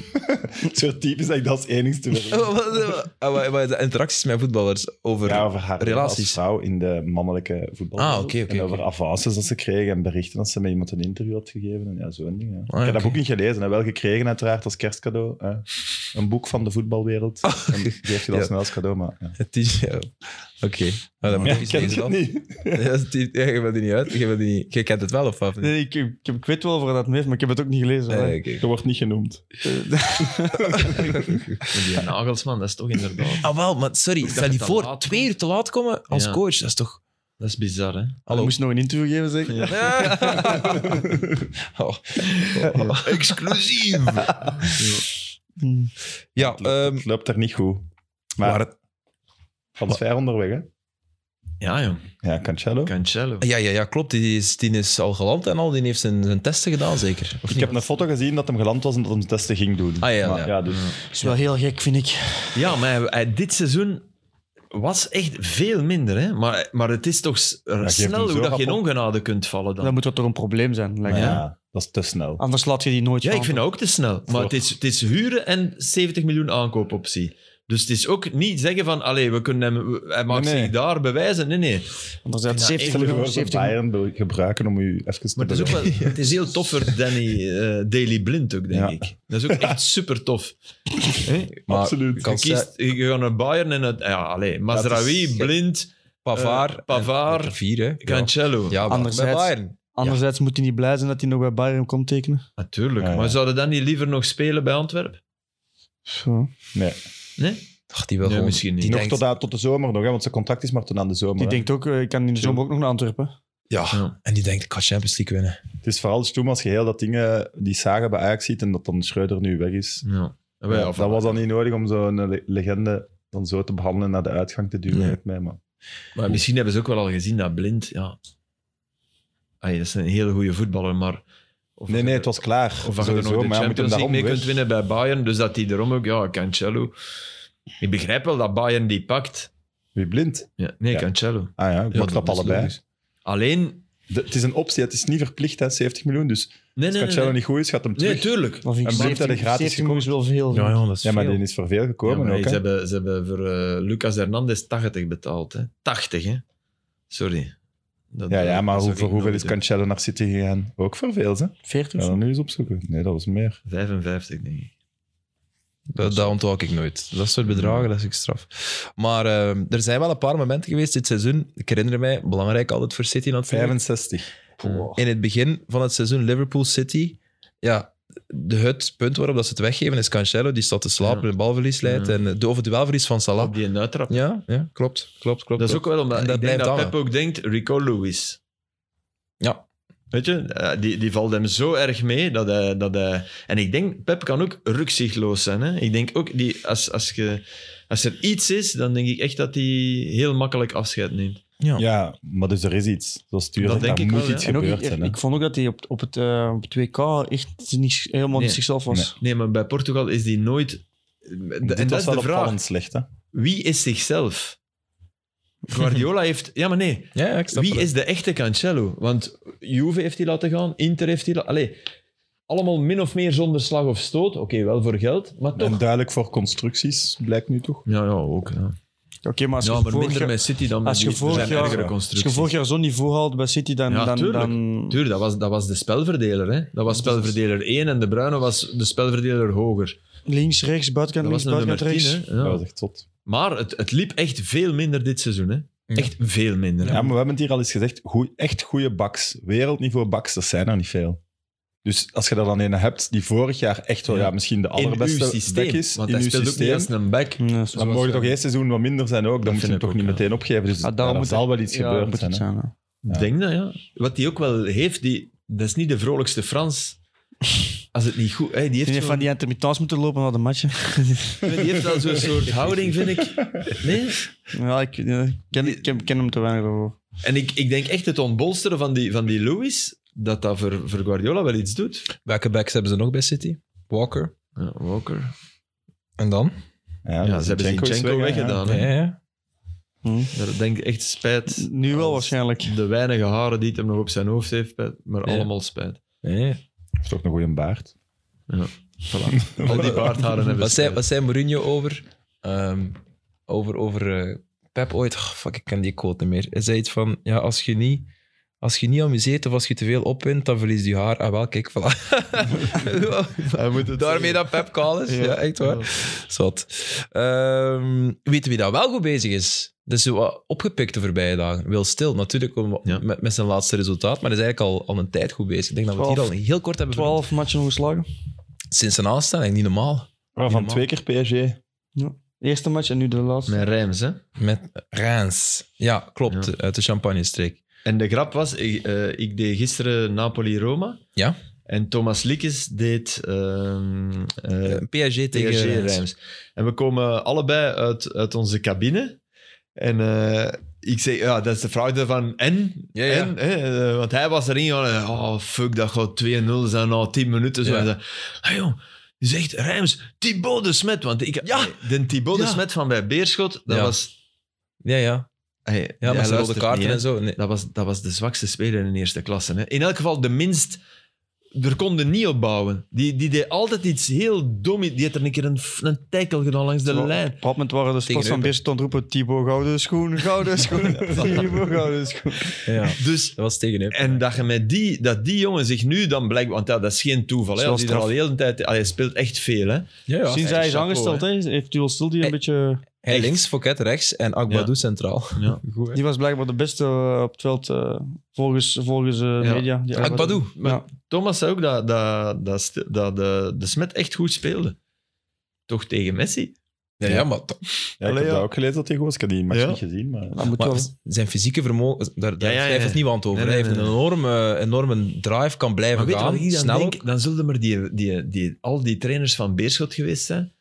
S2: Het is wel typisch dat ik dat als enigste wil.
S1: wat- wat- ah, wat- wat- de interacties met voetballers over...
S2: Ja, over haar
S1: Relaties.
S2: als vrouw in de mannelijke voetbal.
S1: Ah, oké, oké,
S2: En over
S1: oké.
S2: avances dat ze kregen en berichten dat ze met iemand een interview had gegeven. En ja, zo'n ding. ja. ik heb
S1: Ah, oké.
S2: dat boek niet gelezen. En wel gekregen uiteraard als kerstcadeau. Hè. Een boek van de
S1: [LAUGHS]
S2: voetbalwereld. En die heeft je dat
S1: Ja.
S2: snel als cadeau, maar... Ja.
S1: Het is- ja. Oké. Nou, dan moet
S2: Ja,
S1: ik eens
S2: ken
S1: lezen
S2: je het
S1: dan.
S2: niet?
S1: Ja, het is- ja, je wil die niet uit. Je, wil die niet, je kent het wel, of wat?
S4: Nee, ik, ik, ik weet wel waar dat mee heeft, maar ik heb het ook niet gelezen.
S1: Nee,
S4: hoor.
S1: oké.
S2: Je wordt niet genoemd.
S3: Die Nagelsman, dat is toch inderdaad...
S1: Ah, wel, maar sorry, stel
S3: je
S1: je
S3: te
S1: voor,
S3: laat
S1: twee uur te laat komen als
S3: Ja.
S1: coach, dat is [LAUGHS] toch...
S3: Dat is bizar, hè?
S4: Hij
S1: Hallo.
S4: moest nog een interview geven, zeker?
S1: Oh.
S3: Exclusief!
S4: Hm.
S1: Ja, ehm,
S2: Het loopt er niet goed. Maar,
S1: maar
S2: maar
S1: het-
S2: transfer onderweg, hè?
S3: ja, joh.
S2: Ja, Cancelo.
S3: Cancelo.
S1: ja, ja, ja, klopt, die is, die is al geland en al, die heeft zijn, zijn testen gedaan, zeker. Of
S2: Ik
S1: niet?
S2: heb een foto gezien dat hem geland was en dat hem testen ging doen.
S1: Ah, ja,
S2: Maar
S1: ja.
S2: dus
S4: Dat is wel heel gek, vind ik.
S3: Ja, maar hij- hij- dit seizoen was echt veel minder. Hè? Maar, maar het is toch s- er
S2: geeft hem
S3: snel
S2: zo
S3: hoe dat
S2: rap
S3: je in
S2: op.
S3: ongenade kunt vallen dan.
S4: Dan moet dat toch een probleem zijn, lijkt
S2: Maar
S4: me.
S2: ja. dat is te snel.
S4: Anders laat je die nooit
S3: Ja,
S4: gaan.
S3: ik vind dat ook te snel. Maar het
S2: Toch.
S3: is, het is huren en 70 miljoen aankoopoptie. Dus het is ook niet zeggen van, allee, we kunnen hem, we- hij mag
S2: Nee, nee.
S3: zich daar bewijzen. Nee, nee.
S4: Anderzijds,
S3: Ja,
S4: 70
S2: Stel je
S4: miljoen,
S2: voor dat
S4: 70
S2: Bayern wil gebruiken om u even te
S3: Maar het is, ook
S2: belonen. [LAUGHS]
S3: wel, het is heel tof voor Danny eh Daily Blind ook, denk
S2: Ja.
S3: ik. Dat is ook echt super tof.
S1: Maar
S2: Absoluut.
S1: je
S3: Je,
S1: kan
S3: kiest, je gaat naar Bayern en... Het, ja, allee, Mazraoui,
S2: is-
S3: Blind,
S1: Pavaar,
S3: eh, Pavard,
S1: en- vier, hè. Ja,
S3: Cancelo.
S1: ja maar
S4: Anderzijds-
S1: bij Bayern.
S4: Anderzijds moet hij niet blij zijn dat hij nog bij Bayern komt tekenen.
S3: Natuurlijk,
S2: Ja, ja.
S3: maar zouden dan niet liever nog spelen bij Antwerpen?
S4: Zo.
S2: Nee.
S3: Nee?
S1: Ach, die wil
S3: Nee,
S1: gewoon...
S3: misschien niet.
S1: die
S2: Nog
S1: denkt-
S2: tot, aan- tot de zomer nog, hè, want zijn contract is maar tot aan de zomer.
S4: Die
S2: hè.
S4: denkt ook, eh, ik kan in de zomer ook nog naar Antwerpen.
S1: ja, en die denkt, ik ga Champions League winnen.
S2: Het is vooral stoem als je heel dat dingen die Saga bij Ajax ziet en dat dan Schreuder nu weg is.
S3: Ja.
S2: Ja,
S3: Ja, of-
S2: dat was dan niet nodig om zo'n eh, le- legende dan zo te behandelen en naar de uitgang te duwen,
S3: Nee.
S2: lijkt mij. Maar
S3: Maar misschien hebben ze ook wel al gezien dat Blind, ja... Ay, dat is een hele goede voetballer, maar... Of
S2: nee, nee, het was klaar.
S3: Of dat je er nog
S2: sowieso,
S3: de
S2: maar ja, moet hem
S3: Champions League
S2: daarom
S3: mee
S2: weg.
S3: kunt winnen bij Bayern, dus dat hij erom ook... Ja, Cancelo. Ik begrijp wel dat Bayern die pakt.
S2: Wie blind?
S3: Ja, nee,
S2: Ja.
S3: Cancelo.
S2: Ah ja, ik
S1: Ja,
S2: snap
S1: dat is
S2: allebei.
S1: logisch.
S3: Alleen...
S2: De- het is een optie, het is niet verplicht, hè, 70 miljoen. Dus als
S3: Nee, nee, nee,
S2: Cancelo
S3: nee.
S2: niet goed is, gaat hem terug.
S3: Nee, tuurlijk.
S4: Dan vind ik
S2: En Blind
S4: 70,
S2: had hij gratis
S4: 70 miljoen is wel veel.
S1: Ja, ja, dat is
S2: ja, maar
S1: veel.
S2: die is voor veel
S3: Ja,
S2: gekomen
S3: maar
S2: ook.
S3: ze,
S2: Hè.
S3: hebben, ze hebben voor eh, Lucas Hernandez 80 betaald. Hè. 80, hè? Sorry. Dat- eh,
S2: Ja, ja, maar hoe,
S3: dat
S2: voor
S3: zou ik
S2: hoeveel
S3: nooit
S2: is
S3: doen.
S2: Cancelo naar City gegaan? Ook voor veel, hè?
S4: 40?
S2: Ja, dan nu eens opzoeken. Nee, dat was meer.
S3: 55, denk ik.
S1: Dat, dat onthoud ik nooit. Dat soort bedragen, dat is ik straf. Maar ehm, er zijn wel een paar momenten geweest dit seizoen. Ik herinner mij, belangrijk altijd voor City natuurlijk.
S2: 65.
S1: In het begin van het seizoen Liverpool City. Ja, de, het punt waarop dat ze het weggeven is Cancelo. Die staat te slapen
S3: Ja.
S1: en balverlies leidt.
S3: Ja.
S1: En eh, de, of het duelverlies van Salah.
S3: Op die uittrap.
S1: Ja, ja klopt, klopt, klopt.
S3: Dat is
S1: klopt.
S3: ook wel omdat
S1: En dat
S3: ik denk
S1: blijft
S3: dat
S1: hangen.
S3: Pep ook denkt, Rico Lewis.
S1: Ja.
S3: Weet je, eh, die, die valt hem zo erg mee dat hij, dat hij... En ik denk, Pep kan ook rukzichtloos zijn. Hè? Ik denk ook, die, als, als, je, als er iets is, dan denk ik echt dat hij heel makkelijk afscheid neemt.
S2: Ja, maar dus er is iets. Zoals Stuur
S3: Dat
S2: zegt,
S3: denk
S2: daar
S3: ik
S2: moet
S3: wel,
S2: iets
S3: ja.
S4: En ook,
S2: gebeurd
S4: ik,
S2: zijn. hè.
S4: ik vond ook dat hij op, op, het, eh, op het WK echt niet, helemaal
S3: Nee.
S4: niet zichzelf was.
S3: Nee, maar bij Portugal is die nooit...
S2: Dit
S3: en dat
S2: was
S3: is
S2: wel
S3: de vraag.
S2: opvallend slecht, hè?
S3: Wie is zichzelf? Guardiola heeft... Ja, maar nee.
S1: Ja, ja, ik snap
S3: Wie
S1: het.
S3: is de echte Cancelo? Want Juve heeft hij laten gaan, Inter heeft hij laten... Allee, allemaal min of meer zonder slag of stoot. Oké, wel voor geld, maar toch...
S2: En duidelijk voor constructies, blijkt nu toch?
S3: Ja, ja, ook. Ja,
S4: Oké, maar als je
S3: ja maar
S4: vorig
S3: minder
S4: jaar-
S3: met City dan
S4: als
S3: met
S4: je
S3: die- er
S4: vorig
S3: zijn
S4: jaar-
S3: ergere
S4: als je
S3: constructies.
S4: vorig jaar zo'n niveau haalt bij City, dan...
S3: Ja,
S4: dan,
S3: tuurlijk.
S4: dan
S3: Tuur, dat was, dat was de spelverdeler. Hè? Dat was spelverdeler 1 en de Bruyne was de spelverdeler hoger.
S4: links, rechts,
S3: Dat
S4: buitenkant,
S3: was
S4: links,
S3: een nummer
S4: buitenkant,
S3: 10.
S4: rechts.
S3: Hè?
S2: Dat
S3: Ja.
S2: was echt zot.
S3: Maar het, het liep echt veel minder dit seizoen. Hè? Echt veel minder.
S2: Ja, maar we hebben het hier al eens gezegd. Goeie, echt goede baks. Wereldniveau baks, dat zijn er niet veel. Dus als je er dan een hebt die vorig jaar echt wel ja.
S3: Ja.
S2: misschien de
S3: In uw
S2: allerbeste
S3: systeem.
S2: back is,
S3: want
S2: in
S3: hij
S2: uw
S3: speelt ook
S2: systeem,
S3: niet als een back.
S4: Ja, dat is-
S2: dan mogen toch eerst seizoen wat minder zijn ook. Dan moet je hem
S3: vind
S2: toch
S3: ik
S2: niet
S3: ook, ja.
S2: meteen opgeven. Dus
S4: Ah,
S2: ja,
S4: daarom
S2: daar
S4: moet-
S2: zal wel iets
S4: ja,
S2: gebeurd
S4: moet
S2: zijn.
S4: het
S2: hè.
S4: zijn, ja.
S2: Ja.
S3: denk dat, ja. Wat hij ook wel heeft, die, dat is niet de vrolijkste Frans. Als het niet goed... Hey, die,
S4: Die
S3: heeft
S4: heeft
S3: zo'n-
S4: van die intermittents moeten lopen naar de matchen.
S3: die heeft wel zo'n soort houding, vind ik. Nee?
S4: [LAUGHS] Ja, ik eh, ken, ken, ken hem te weinig over.
S3: En ik, ik denk echt het ontbolsteren van die, van die Lewis, dat dat voor, voor Guardiola wel iets doet.
S1: Welke backs hebben ze nog bij City? Walker.
S3: Ja, Walker.
S1: En dan?
S2: Ja,
S3: Ja, ze hebben
S2: Zinchenko is
S3: Zinchenko
S2: weg, hè, ja.
S3: weggedaan.
S1: Ja,
S3: hè.
S1: ja, ja.
S4: Hm.
S3: Daar denk ik echt spijt.
S4: Nu wel
S3: Als-
S4: waarschijnlijk.
S3: De weinige haren die het hem nog op zijn hoofd heeft, spijt, maar allemaal spijt.
S1: Ja.
S2: Heeft ook een goede baard.
S3: Al die baardharen hebben
S1: Wat zei,
S3: spijt.
S1: wat zei Mourinho over, ehm, over, over eh, Pep ooit? Oh, fuck, ik ken die quote niet meer. Hij zei iets van, ja, als je niet, als je niet amuseert of als je te veel opwint, dan verliest je haar. Ah wel, kijk, voilà. [LAUGHS]
S3: Hij moet het
S1: Daarmee dat Pep kaal is. Ja, echt waar. Zat. Ehm weet wie dat wel goed bezig is? Dat is zo wat opgepikt de voorbije dagen. Wil stil, natuurlijk om-
S3: Ja.
S1: met, met zijn laatste resultaat, maar hij is eigenlijk al, al een tijd goed bezig. Ik denk dat we het hier
S4: Twaalf.
S1: al heel kort hebben vernoemd.
S4: 12 matchen ongeslagen.
S1: Sinds zijn aanstelling, niet normaal.
S2: Waarvan twee keer PSG.
S4: Eerste match en nu de laatste.
S3: Met Reims, hè.
S1: Met Reims. Ja, klopt,
S3: Ja.
S1: uit de Champagne-streek.
S3: En de grap was, ik, eh, ik deed gisteren Napoli-Roma.
S1: Ja.
S3: En Thomas Likes deed ehm, eh,
S1: Eh, PSG tegen
S3: PSG
S1: Reims.
S3: Reims. En we komen allebei uit, uit onze cabine. En eh, ik zeg, ja, dat is de vraag van en?
S1: Ja, ja.
S3: en hè, eh, want hij was erin, ja, oh fuck, dat gaat 2-0 zijn na 10 minuten. Zo.
S1: Ja.
S3: Hij zei, "Ah, joh, je zegt Reims, Thibaut de Smet. Want ik, eh,
S1: Ja.
S3: de Thibaut
S1: Ja.
S3: de Smet van bij Beerschot, dat
S1: Ja.
S3: was...
S1: Ja, ja.
S3: Hey,
S1: Ja,
S3: hij
S1: met zijn rode
S3: luistert
S1: kaarten
S3: niet, hè.
S1: en zo. Nee.
S3: Dat was, dat was de zwakste speler in de eerste klasse. Hè. In elk geval de minst... Er konden niet op bouwen. Die, die deed altijd iets heel dom. Die had er een keer een, f- een tackle gedaan langs de
S4: Zo.
S3: lijn.
S4: Op dat moment waren de sports van
S1: Eupen.
S4: Beerschot aan het roepen Thibaut Gouden Schoen, Gouden [LAUGHS] Schoen, Thibaut Gouden Schoen.
S3: [LAUGHS]
S1: Ja, dat
S3: Dus...
S1: was tegen hem.
S3: En dat, je met die, dat die jongen zich nu dan blijkbaar... Want ja, dat is geen toeval. Hè.
S4: Zo
S3: Als die er
S4: straf.
S3: al de hele tijd... Hij speelt echt veel. Hè.
S1: Ja, ja.
S4: Sinds hij is
S3: chapeau,
S4: aangesteld, hè, heeft Duel Stil die een
S1: Hey.
S4: beetje...
S1: Hij
S3: echt.
S1: links, Fouquet rechts en Akbadou centraal.
S3: Ja.
S1: [LAUGHS] Goed, hè?
S4: Die was blijkbaar de beste eh, op het veld, eh, volgens, volgens eh,
S3: Ja.
S4: media. Die
S1: Akbadou.
S3: Maar
S4: Ja.
S3: Thomas zei ook dat, dat, dat, st- dat de, de Smet echt goed speelde. Toch tegen Messi?
S1: Ja, ja, maar, to-
S2: Ja, ik
S3: Allee,
S2: heb
S3: ja.
S2: dat ook gelezen dat hij goed was. Ik heb die match
S3: Ja.
S2: niet gezien, maar...
S4: Dat moet
S1: maar
S4: wel...
S1: zijn fysieke vermogen, daar, daar
S3: Ja, ja, ja.
S1: twijfelt niemand over.
S3: Nee, nee,
S1: hij heeft
S3: nee,
S1: een
S3: nee.
S1: enorme, enorme drive, kan blijven
S3: Maar weet je
S1: gaan.
S3: wat ik dan
S1: snel
S3: denk?
S1: ook.
S3: Dan zullen maar die, die, die, al die trainers van Beerschot geweest zijn.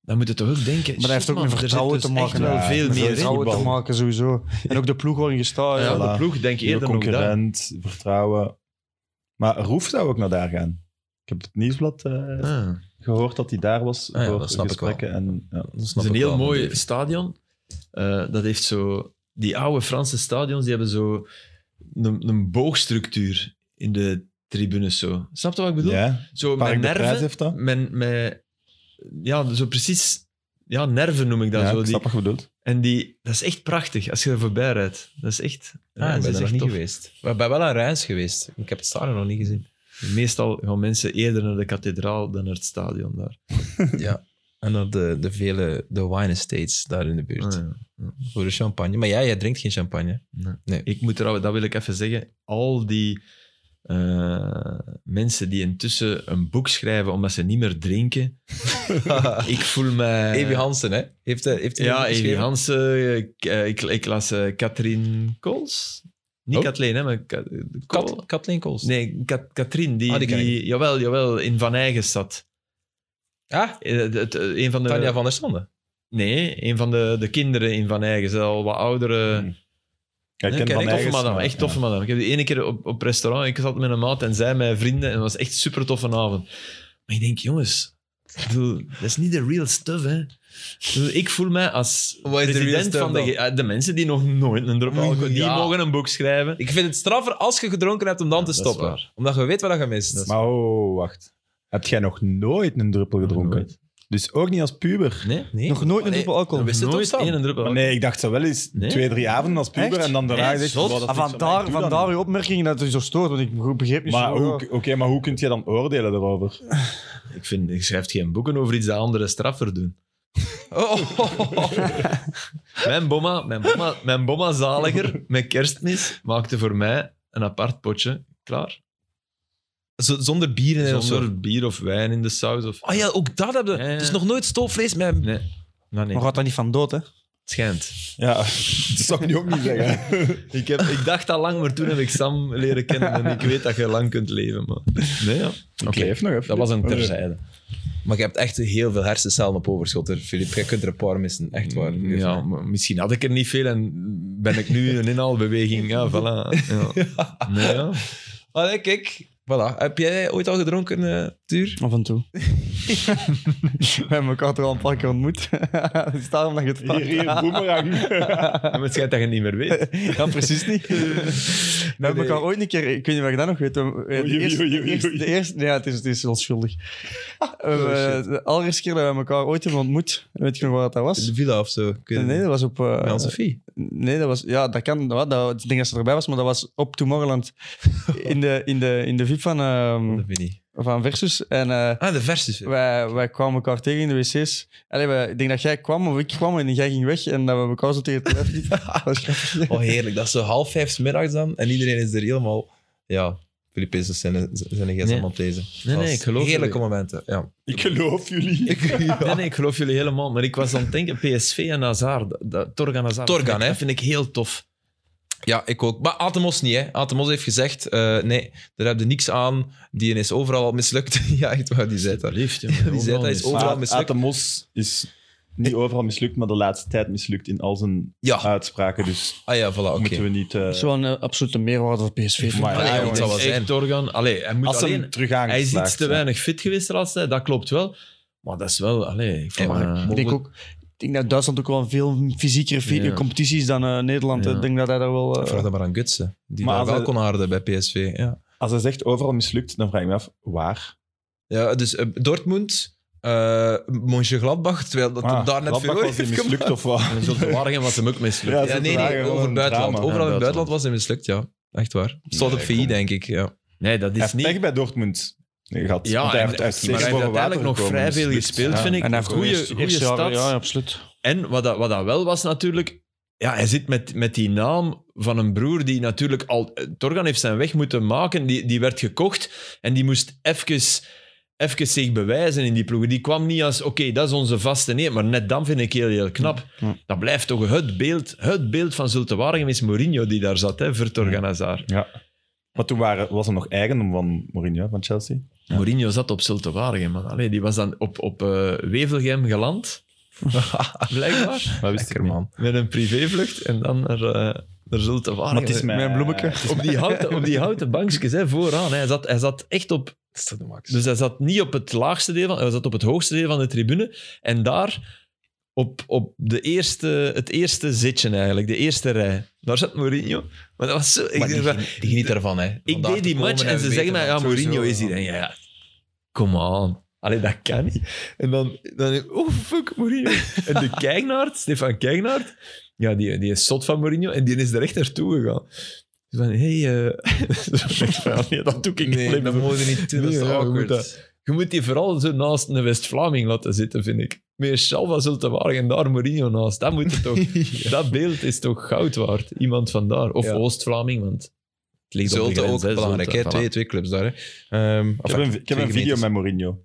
S3: Dan moeten we toch ook denken...
S4: Maar hij heeft
S3: shit,
S4: ook
S3: man,
S4: met
S3: er zit
S4: vertrouwen
S3: dus
S4: te maken,
S3: echt wel
S2: hè.
S3: veel
S2: Met
S3: meer in.
S4: Vertrouwen te
S2: voetbal.
S4: maken, sowieso. En ook de ploeg waarin je staat. Ja,
S3: Ja,
S2: Voilà.
S3: de ploeg denk ik
S2: Nieuwe
S3: eerder nog daar.
S2: concurrent, vertrouwen. Maar Roef zou ook naar daar gaan. Ik heb het nieuwsblad eh,
S3: Ah,
S2: gehoord dat hij daar was
S1: Ah ja,
S2: voor
S1: dat snap ik
S2: gesprekken. En, ja.
S1: Dat
S3: het
S1: snap
S3: is een
S1: ik
S3: heel
S1: wel,
S3: mooi
S1: natuurlijk.
S3: stadion. Eh, dat heeft zo... Die oude Franse stadions, die hebben zo een, een boogstructuur in de tribunes. Zo. Snap je wat ik bedoel?
S2: ja,
S3: Zo met
S2: Park de Prijs
S3: nerven.
S2: heeft dat.
S3: Met, met, ja, zo precies... Ja, nerven noem ik dat
S2: Ja,
S3: zo.
S2: ik
S3: Die,
S2: snap wat je bedoelt.
S3: En die, dat is echt prachtig als je er voorbij rijdt. Dat is echt.
S1: Ah,
S3: dat
S1: ik
S3: is
S1: ben er
S3: echt
S1: nog niet
S3: tof.
S1: geweest. Maar ik ben wel aan Reims geweest. Ik heb het stadion nog niet gezien.
S3: Meestal gaan mensen eerder naar de kathedraal dan naar het stadion daar.
S1: En naar de, de vele de wine estates daar in de buurt.
S3: Ah, ja.
S1: Voor de champagne. Maar jij, jij drinkt geen champagne.
S3: Ik moet trouwens, dat wil ik even zeggen. Al die eh, mensen die intussen een boek schrijven omdat ze niet
S1: [LAUGHS]
S3: meer drinken. ik voel mij.
S1: Evi Hansen, hè? Heeft, hij- heeft hij
S3: Eh, Ja,
S1: dat
S3: Evi
S1: geschreven?
S3: Hansen. Ik, eh, ik, ik las eh, Katrien Kools. Niet
S1: Oh.
S3: Kathleen, hè, maar Ka- Kool.
S1: Kat, Kathleen Kools.
S3: Nee, Kat- Katrien, die,
S1: Ah, die
S3: die,
S1: ken ik
S3: jawel, jawel, in Van Eigen zat.
S1: Ah,
S3: Eh, het- het- een van de,
S1: Tanja van der Sande.
S3: Nee, een van de, de kinderen in Van Eigen. Ze is al wat oudere.
S2: Hmm. Kijk,
S1: Nee,
S2: ken
S1: ken
S2: Van
S1: ik.
S3: Toffe
S2: Eyck,
S3: madame,
S2: maar-
S3: echt toffe
S2: ja.
S3: madame. Ik heb die ene keer op, op restaurant, ik zat met een maat en zij met vrienden en het was echt super toffe avond. Maar ik denk, jongens, ik bedoel, dat is niet de real stuff, hè. Ik, bedoel, ik voel mij als
S1: Wat is de real
S3: president
S1: stuff
S3: van de,
S1: dan?
S3: ge- eh, de mensen die nog nooit een drop alcohol... Die
S1: [LAUGHS] Ja.
S3: mogen een boek schrijven.
S1: Ik vind het straffer als je gedronken hebt om dan te
S3: dat is
S1: stoppen.
S3: waar.
S1: Omdat je weet wat je mist.
S2: Maar oh, wacht. Heb jij nog nooit een druppel gedronken?
S3: Nooit.
S2: Dus ook niet als puber?
S3: Nee?
S1: Nee?
S4: Nog nooit een
S1: Nee,
S4: druppel alcohol.
S1: dan wist het
S3: Nooit
S1: opstaan.
S3: één druppel
S2: Maar
S3: alcohol.
S2: nee, ik dacht zo wel eens
S3: Nee?
S2: twee, drie avonden als puber
S4: Echt?
S2: en dan daarna
S3: Nee,
S2: gezegd... wow,
S3: zot.
S2: dat is
S4: Ah,
S2: niks
S4: van
S2: voor mij,
S4: daar,
S2: ik doe
S4: van
S2: dat
S4: daar
S2: niet.
S4: je opmerking dat je zo stoort, want ik begreep niet
S2: Maar
S4: zo...
S2: hoe, oké, maar hoe kun je dan oordelen daarover?
S3: Ik vind, je schrijft geen boeken over iets dat anderen straffer doen.
S1: Oh, oh, oh, oh.
S3: Mijn bomma, mijn bomma, mijn bomma zaliger met kerstmis maakte voor mij een apart potje klaar.
S1: Z- zonder bieren en of zo.
S3: Zonder bier of wijn in de saus. Of...
S1: Ah ja, ook dat hebben we.
S3: Ja, ja.
S1: Het is nog nooit stoofvlees met...
S3: Nee. Maar Nou, nee,
S4: Maar gaat dat niet van dood, hè?
S3: het schijnt.
S2: Ja, [LAUGHS] dat zou ik nu ook niet zeggen.
S3: Ik, heb, ik dacht al lang, maar toen heb ik Sam leren kennen. En ik weet dat je lang kunt leven. Maar... Nee, ja.
S2: Ik
S1: Oké.
S2: leef nog even.
S1: Dat was een
S2: Oh, nee.
S1: terzijde. Maar je hebt echt heel veel hersencellen op overschot, hè, Filip. Je kunt er een paar missen, echt waar.
S3: Mm, ja, maar misschien had ik er niet veel en ben ik nu een inhaalbeweging. Ja, voilà.
S1: [LAUGHS]
S3: Ja. Nee, ja.
S1: Allee, kijk. Voilà. Heb jij ooit al gedronken, eh Tuur?
S4: Af en toe. [LAUGHS] We hebben elkaar toch al een paar keer ontmoet. [LAUGHS] Het is daarom dat je het
S2: Hier, hier, boemerang.
S3: Maar het schijnt dat je het niet meer weet.
S4: Ja, precies niet. We hebben elkaar ooit een keer, ik weet niet of ik dat nog weet. we- eh,
S2: Oei, oei,
S4: De eerste,
S2: oei,
S4: de
S2: oei,
S4: eerste,
S2: oei.
S4: de eerste- ja, het is, het is wel schuldig. We hebben, eh, de allereerste keer dat we elkaar ooit hebben ontmoet, weet je nog waar dat
S1: In
S4: was?
S1: de villa of zo? Ik weet het
S4: Nee,
S1: niet.
S4: dat was op. eh,
S1: Bij Anne-Sophie.
S4: nee, dat was. Ja, dat kan. Dat, dat, ik denk dat ze erbij was, maar dat was op Tomorrowland. In de, in de, in de VIP van, ehm,
S1: Dat weet ik niet.
S4: van Versus. En eh,
S1: Ah, de versus.
S4: wij, wij kwamen elkaar tegen in de wc's. Allee, wij- ik denk dat jij kwam, of ik kwam en jij ging weg. En dat we elkaar zo tegen het lijf liepen. Dat was grappig.
S1: Oh, heerlijk. Dat is zo half vijf 's middags dan en iedereen is er helemaal... Ja, Filip is dus zijn, zijn gsm
S3: Nee.
S1: aan het lezen.
S3: Nee,
S1: Dat
S3: nee,
S1: is
S3: ik geloof
S1: Heerlijke
S3: jullie.
S1: momenten, ja.
S2: Ik geloof jullie.
S3: Nee, nee, ik geloof jullie helemaal. Maar ik was aan het denken, PSV en Hazard. dat- dat- Torgan Hazard.
S1: Torgan,
S3: Dat vind ik-
S1: hè?
S3: Dat vind ik heel tof.
S1: Ja, ik ook. Maar Atemos niet, hè. Atemos heeft gezegd, eh, nee, daar heb je niks aan. Die is overal al mislukt. [LAUGHS] ja, echt waar, die zit daar.
S3: Lief, jongen.
S1: Die zei dat is
S3: Overal
S1: overal
S2: Maar
S1: mislukt.
S2: Atemos is niet overal mislukt, maar de laatste tijd mislukt in al zijn
S1: Ja,
S2: uitspraken. Dus
S1: ah ja, voilà, oké.
S2: moeten we niet... eh,
S4: Dat is wel een eh, absolute meerwaarde voor PSV.
S2: Maar
S1: Allee,
S2: ja,
S1: het
S2: jongens,
S1: zal
S3: is
S1: wel
S3: Ah, echt
S1: zijn.
S3: Torgan. Allee, hij moet
S2: als
S3: alleen...
S2: hem terug aangeslagen
S3: Hij is iets te weinig fit geweest de laatste tijd, dat klopt wel. Maar dat is wel... Allee, ik vond,
S1: Ja, maar-
S3: eh,
S4: Ik denk ook. Ik denk dat Duitsland ook wel een veel fysiekere fi-
S3: Ja.
S4: competitie is dan eh, Nederland.
S3: Ja.
S4: Ik denk dat hij daar wel. eh,
S1: Vraag dat maar aan Gutsen, die
S2: Maar
S1: daar
S2: als
S1: wel
S2: hij-
S1: kon aarden bij PSV. Ja,
S2: Als hij zegt overal mislukt, dan vraag ik me af, waar?
S1: ja dus eh, Dortmund, eh Mönchengladbach, terwijl [LAUGHS] dat hem
S2: Ah,
S1: daar net
S2: Gladbach
S1: voor
S2: was die
S1: heeft
S2: mislukt
S1: gemaakt.
S2: of wat?
S3: En zo te wargen was hem ook mislukt.
S2: Ja,
S1: Ja,
S2: zo
S1: nee,
S2: te
S1: nee,
S2: lagen, wat
S1: over
S2: een
S1: het buitenland.
S2: drama.
S1: Overal in
S3: Ja,
S1: het buitenland was hij mislukt, ja. Echt waar. Stond
S2: Nee,
S1: op VI,
S2: kom.
S1: denk ik. Ja.
S3: Nee,
S2: Hij
S3: dat is
S2: heeft
S3: niet...
S2: pech bij Dortmund gehad.
S3: Ja,
S2: want hij
S3: en-
S2: heeft, hij heeft
S3: maar
S2: steeds
S3: hij heeft
S2: boven water
S3: uiteindelijk nog
S2: gekomen,
S3: vrij veel
S2: mislukt.
S3: gespeeld,
S2: Ja.
S3: vind ik.
S4: en hij heeft
S3: Goeie-
S4: goede,
S3: goeie
S4: eerste jaren-
S3: stad.
S4: Ja, absoluut.
S3: En wat dat, wat dat wel was natuurlijk... Ja, hij zit met, met die naam van een broer die natuurlijk al... eh, Torgan heeft zijn weg moeten maken. Die, die werd gekocht en die moest even, even zich bewijzen in die ploeg. Die kwam niet als, oké, dat is onze vaste. Nee, maar net dan vind ik heel, heel knap.
S4: Ja.
S3: Dat blijft toch het beeld, het beeld van Zulte Waregem is Mourinho die daar zat, hè, voor Torgan Hazard.
S2: Ja. Maar toen waren, was hij nog eigendom van Mourinho, van Chelsea.
S3: Mourinho zat op Zulte Waregem, man. Allee, die was dan op, op eh, Wevelgem
S4: [LAUGHS]
S3: geland. Blijkbaar.
S2: Dat wist
S1: Lekker,
S2: ik niet.
S1: man.
S3: Met een privévlucht en dan naar, eh naar Zulte Waregem.
S2: Maar het is
S4: Met een bloemetje.
S2: het is
S3: op, die houten, op die houten bankjes hè, vooraan. Hij zat, hij zat echt op... Dus hij zat niet op het laagste deel, van, hij zat op het hoogste deel van de tribune. En daar, op, op de eerste, het eerste zitje eigenlijk, de eerste rij, daar zat Mourinho. Maar dat was zo... Ik,
S1: Maar die,
S3: dacht van,
S1: geniet- die geniet ervan, hè. Om
S3: ik
S1: daar
S3: deed
S1: te
S3: die
S1: komen
S3: match
S1: en
S3: en
S1: we
S3: ze
S1: weten
S3: zeggen mij,
S1: van
S3: ja,
S1: sowieso,
S3: Mourinho is hier. En ja, ja, come on. Allee, dat kan niet. En dan, dan oh fuck,
S1: [LAUGHS]
S3: Mourinho. En de Kijknaard, Stefan Kijknaard, ja, die, die is zot van Mourinho en die is er echt naartoe gegaan. Dus van, hey, eh nee, [LAUGHS] dat doe ik
S1: Nee,
S3: alleen
S1: dat
S3: maar.
S1: mogen we niet doen. Dat is
S3: Nee, [LAUGHS] ja, we
S1: awkward.
S3: moeten- Je moet die vooral zo naast een West-Vlaming laten zitten, vind ik. Meer Salva zult te waren en daar Mourinho naast. Dat, moet
S1: [LAUGHS]
S3: het toch, dat beeld is toch goud waard. Iemand van daar. Of
S1: Ja.
S3: Oost-Vlaming, want het ligt op de
S1: Zulte
S3: grens,
S1: ook
S3: hè, Zulte,
S1: belangrijk, hè.
S3: voilà.
S1: Twee, twee clubs daar, hè. Ehm,
S2: Ik
S1: enfin,
S2: heb een, ik heb
S1: twee
S2: een video
S1: gemeentes.
S2: met Mourinho.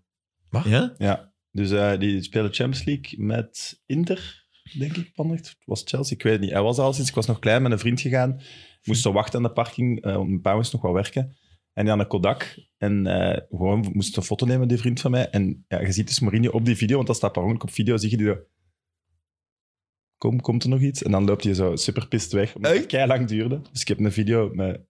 S3: Ja?
S2: Dus eh, die spelen Champions League met Inter, denk ik, vannacht. Het was Chelsea, ik weet het niet. Hij was al sinds, ik was nog klein met een vriend gegaan. Moest zo wachten aan de parking, eh, want mijn pa moest nog wel werken. En die aan de Kodak. En eh, gewoon moest een foto nemen, die vriend van mij. En ja, je ziet dus Mourinho op die video, want dat staat per ongeluk op video, zie je die zo... Kom, komt er nog iets? En dan loopt hij zo superpist weg. Omdat het kei lang duurde. Dus ik heb een video
S3: [LAUGHS]
S2: met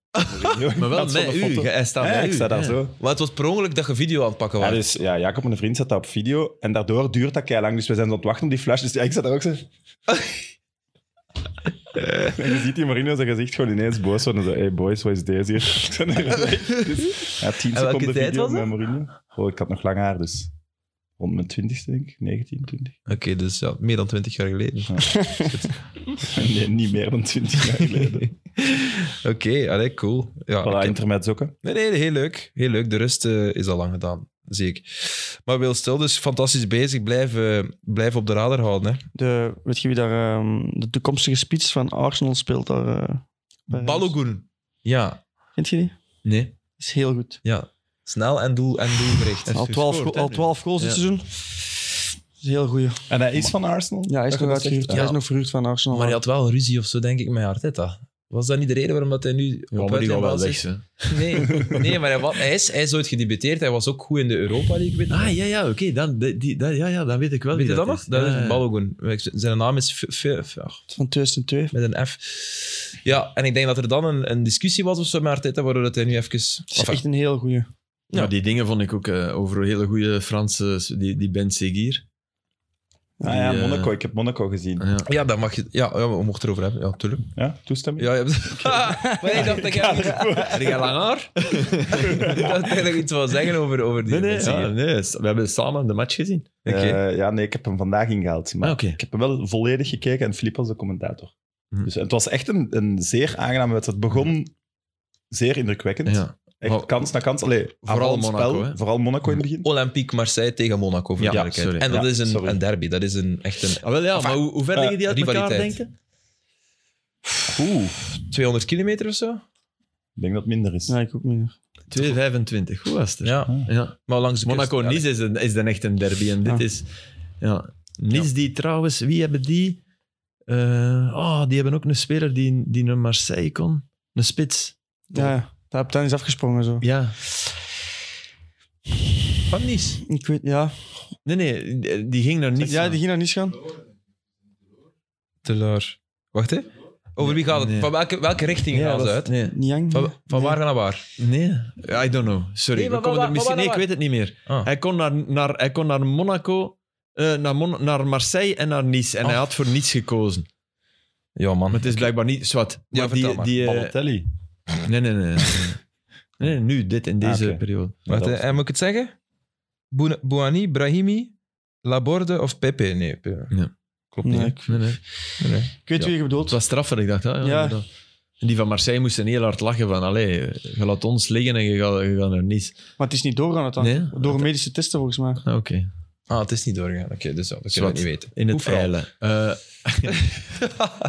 S2: Mourinho.
S3: Maar wel
S2: Dat is zo'n
S3: met u.
S2: foto.
S3: ge- Hij staat
S2: Ja,
S3: bij
S2: ik
S3: u,
S2: sta daar
S3: ja.
S2: zo.
S1: Maar het was per ongeluk dat je video aan het pakken was.
S2: Ja, dus ja, Jacob en een vriend zat dat op video en daardoor duurt dat kei lang. Dus we zijn zo aan het wachten op die flash. Dus ja, ik zat daar ook zo.
S1: [LAUGHS]
S2: en je ziet die Marino zijn gezicht gewoon ineens boos worden. En zo, hey boys, wat is deze hier? [LAUGHS] Ik ben er weg. dus, ja, 10
S1: En welke
S2: seconden
S1: tijd
S2: video
S1: was
S2: met Marino. Oh, ik had nog lang haar, dus rond mijn twintigste denk ik. 19, 20.
S1: Oké, dus ja, meer dan twintig jaar
S3: [LAUGHS]
S1: geleden.
S2: [LAUGHS] Nee, niet meer dan 20 jaar geleden.
S1: Oké, allee, cool. [LAUGHS] Ja, ik
S2: Voilà,
S1: heb-
S2: internet zoeken.
S1: Nee, nee, heel leuk. Heel leuk. De rest eh, is al lang gedaan, zie ik. Maar Wil Stil dus fantastisch bezig. Blijf, eh, blijf op de radar houden. Hè.
S4: De, weet je wie daar ehm, de toekomstige spits van Arsenal speelt? Daar, eh, bij Rennes?
S1: Balogun. Ja.
S4: Kent je die?
S1: Nee.
S4: Dat is heel goed.
S1: Ja. Snel en, doel, en doelgericht.
S4: Al 12,
S3: dus gescoord,
S4: go-
S3: hè,
S4: al
S3: nu.
S4: 12 goals dit seizoen. Dat is een heel goeie.
S2: En hij is van Arsenal?
S4: Ja, hij is
S2: Dat
S4: nog
S2: je dat zegt?
S4: uitgehuurd.
S1: Ja.
S4: Hij is nog verhuurd van Arsenal.
S1: Maar hij had wel ruzie of zo, denk ik, met Arteta. Was dat niet de reden waarom dat hij nu op
S3: maar die gaat wel
S1: uitleenbasis
S3: weg.
S1: is?
S3: hè.
S1: [LAUGHS] Nee, nee maar hij, wa- hij, is, hij is ooit gedebuteerd. Hij was ook goed in de Europa League. Weet,
S3: Ah, ja, ja, oké. dan, die, die- dat- ja, ja, dan weet ik wel
S1: weet je
S3: wie
S1: dat
S3: dat
S1: nog?
S3: is.
S1: Dat
S3: Ja,
S1: is
S3: ja.
S1: Balogun. Zijn naam is... F- F- F- ach,
S4: Van 2002.
S1: met een F. Ja, en ik denk dat er dan een, een discussie was of zo met Arteta, waardoor dat hij nu even...
S4: Dat is
S1: Enfin,
S4: echt een heel goeie.
S3: Ja. Maar die dingen vond ik ook eh, over een hele goede Franse, die, die Ben Seguir.
S2: Ah ja,
S3: Die, eh,
S2: Monaco. Ik heb Monaco gezien.
S3: Ja.
S1: ja, dat mag je... Ja, ja we mochten erover hebben. Ja, tuurlijk.
S2: Ja, toestemming?
S1: Ja, je hebt... [LAUGHS] maar ik dacht dat jij... [LAUGHS] Heb jij lang haar? ik dacht dat ik nog iets wou zeggen over, over die
S3: Nee, nee,
S1: mensen.
S3: ja, nee, s- we hebben samen de match gezien.
S1: Oké.
S2: Eh, ja, nee, ik heb hem vandaag ingehaald. Maar
S3: Ah, oké.
S2: ik heb hem wel volledig gekeken en Filip was de commentator.
S3: Hm.
S2: Dus het was echt een, een zeer aangename wedstrijd. Het begon zeer indrukwekkend.
S3: Mhm. Ja.
S2: Echt
S3: Maar-
S2: kans na kans. Allee,
S3: Vooral
S2: aanvallend
S3: Monaco,
S2: spel.
S3: hè?
S2: Vooral Monaco in het begin.
S1: Olympique Marseille tegen Monaco, voor
S3: Ja,
S1: de duidelijkheid.
S3: sorry.
S1: En dat
S2: Ja,
S1: is een,
S2: sorry.
S1: een derby. Dat is een, echt een
S3: Ah, wel, ja,
S1: Enfin,
S3: maar hoe, hoe ver liggen die uit
S1: eh,
S3: elkaar,
S1: rivaliteit.
S3: denken?
S2: Oeh,
S1: 200 kilometer of zo.
S2: ik denk dat het minder is.
S4: Nee, ik ook minder.
S3: 2,25. Hoe was het? er?
S1: Ja,
S3: Ja.
S1: maar langs de kust. Ja,
S3: Monaco-Nice is, een- is dan echt een derby. En dit
S4: Ja.
S3: is... Ja. Nice die trouwens... Wie hebben die? Eh, oh, die hebben ook een speler die, die naar Marseille kon. Een spits.
S4: Ja, ja. De kapitein is afgesprongen zo.
S3: Ja.
S1: Van Nice.
S4: Ik weet, ja.
S3: Nee, nee. die- Die ging naar Nice.
S4: ja, die ging naar niet gaan.
S1: Teleur. Wacht, hè. Over wie gaat het?
S3: Nee.
S1: Van welke, welke richting
S3: Ja,
S1: gaan ze
S3: dat-
S1: uit?
S3: Nee.
S4: Niang.
S1: Van, van waar naar waar?
S3: Nee, I don't know. Sorry,
S1: Nee,
S3: we
S1: maar
S3: komen
S1: waar-
S3: er
S1: waar-
S3: misschien... Nee, ik
S1: waar-
S3: weet het niet meer.
S1: Ah.
S3: Hij, kon naar, naar, hij kon naar Monaco, eh, naar, Mon- naar Marseille en naar Nice. En hij
S1: Ah.
S3: had voor Nice gekozen.
S1: Ja, man.
S3: Maar het is blijkbaar niet... Zwart.
S1: Ja,
S3: Maar
S1: vertel
S3: die,
S1: maar.
S3: die, eh,
S2: Balotelli.
S3: [LAUGHS] nee, nee, nee. Nee, nu, dit, in
S2: Ah,
S3: deze
S2: oké.
S3: periode.
S1: Wacht,
S2: Dat
S1: hè.
S2: was-
S1: en moet ik het zeggen? Bouna- Bouani, Brahimi, Laborde of Pepe? Nee, Pepe.
S3: Ja.
S1: klopt niet.
S4: Nee,
S1: hè.
S4: ik,
S3: Nee, nee.
S1: Nee.
S4: ik weet
S3: Ja.
S4: wie je
S3: Het
S4: bedoelt.
S3: was straffer, ik dacht. Hè? Ja,
S4: Ja.
S3: inderdaad. En die van Marseille moesten heel hard lachen van, allee, je laat ons liggen en je gaat, je gaat naar Nice.
S4: Maar het is niet doorgaan uiteindelijk.
S3: Nee?
S4: Door medische testen volgens mij.
S3: Ah, Oké.
S1: Ah, het is niet doorgegaan. Oké, dus ja, dat kunnen
S3: Zwart.
S1: we niet weten.
S3: In het
S1: Hoe vooral?
S3: eilen. Eh,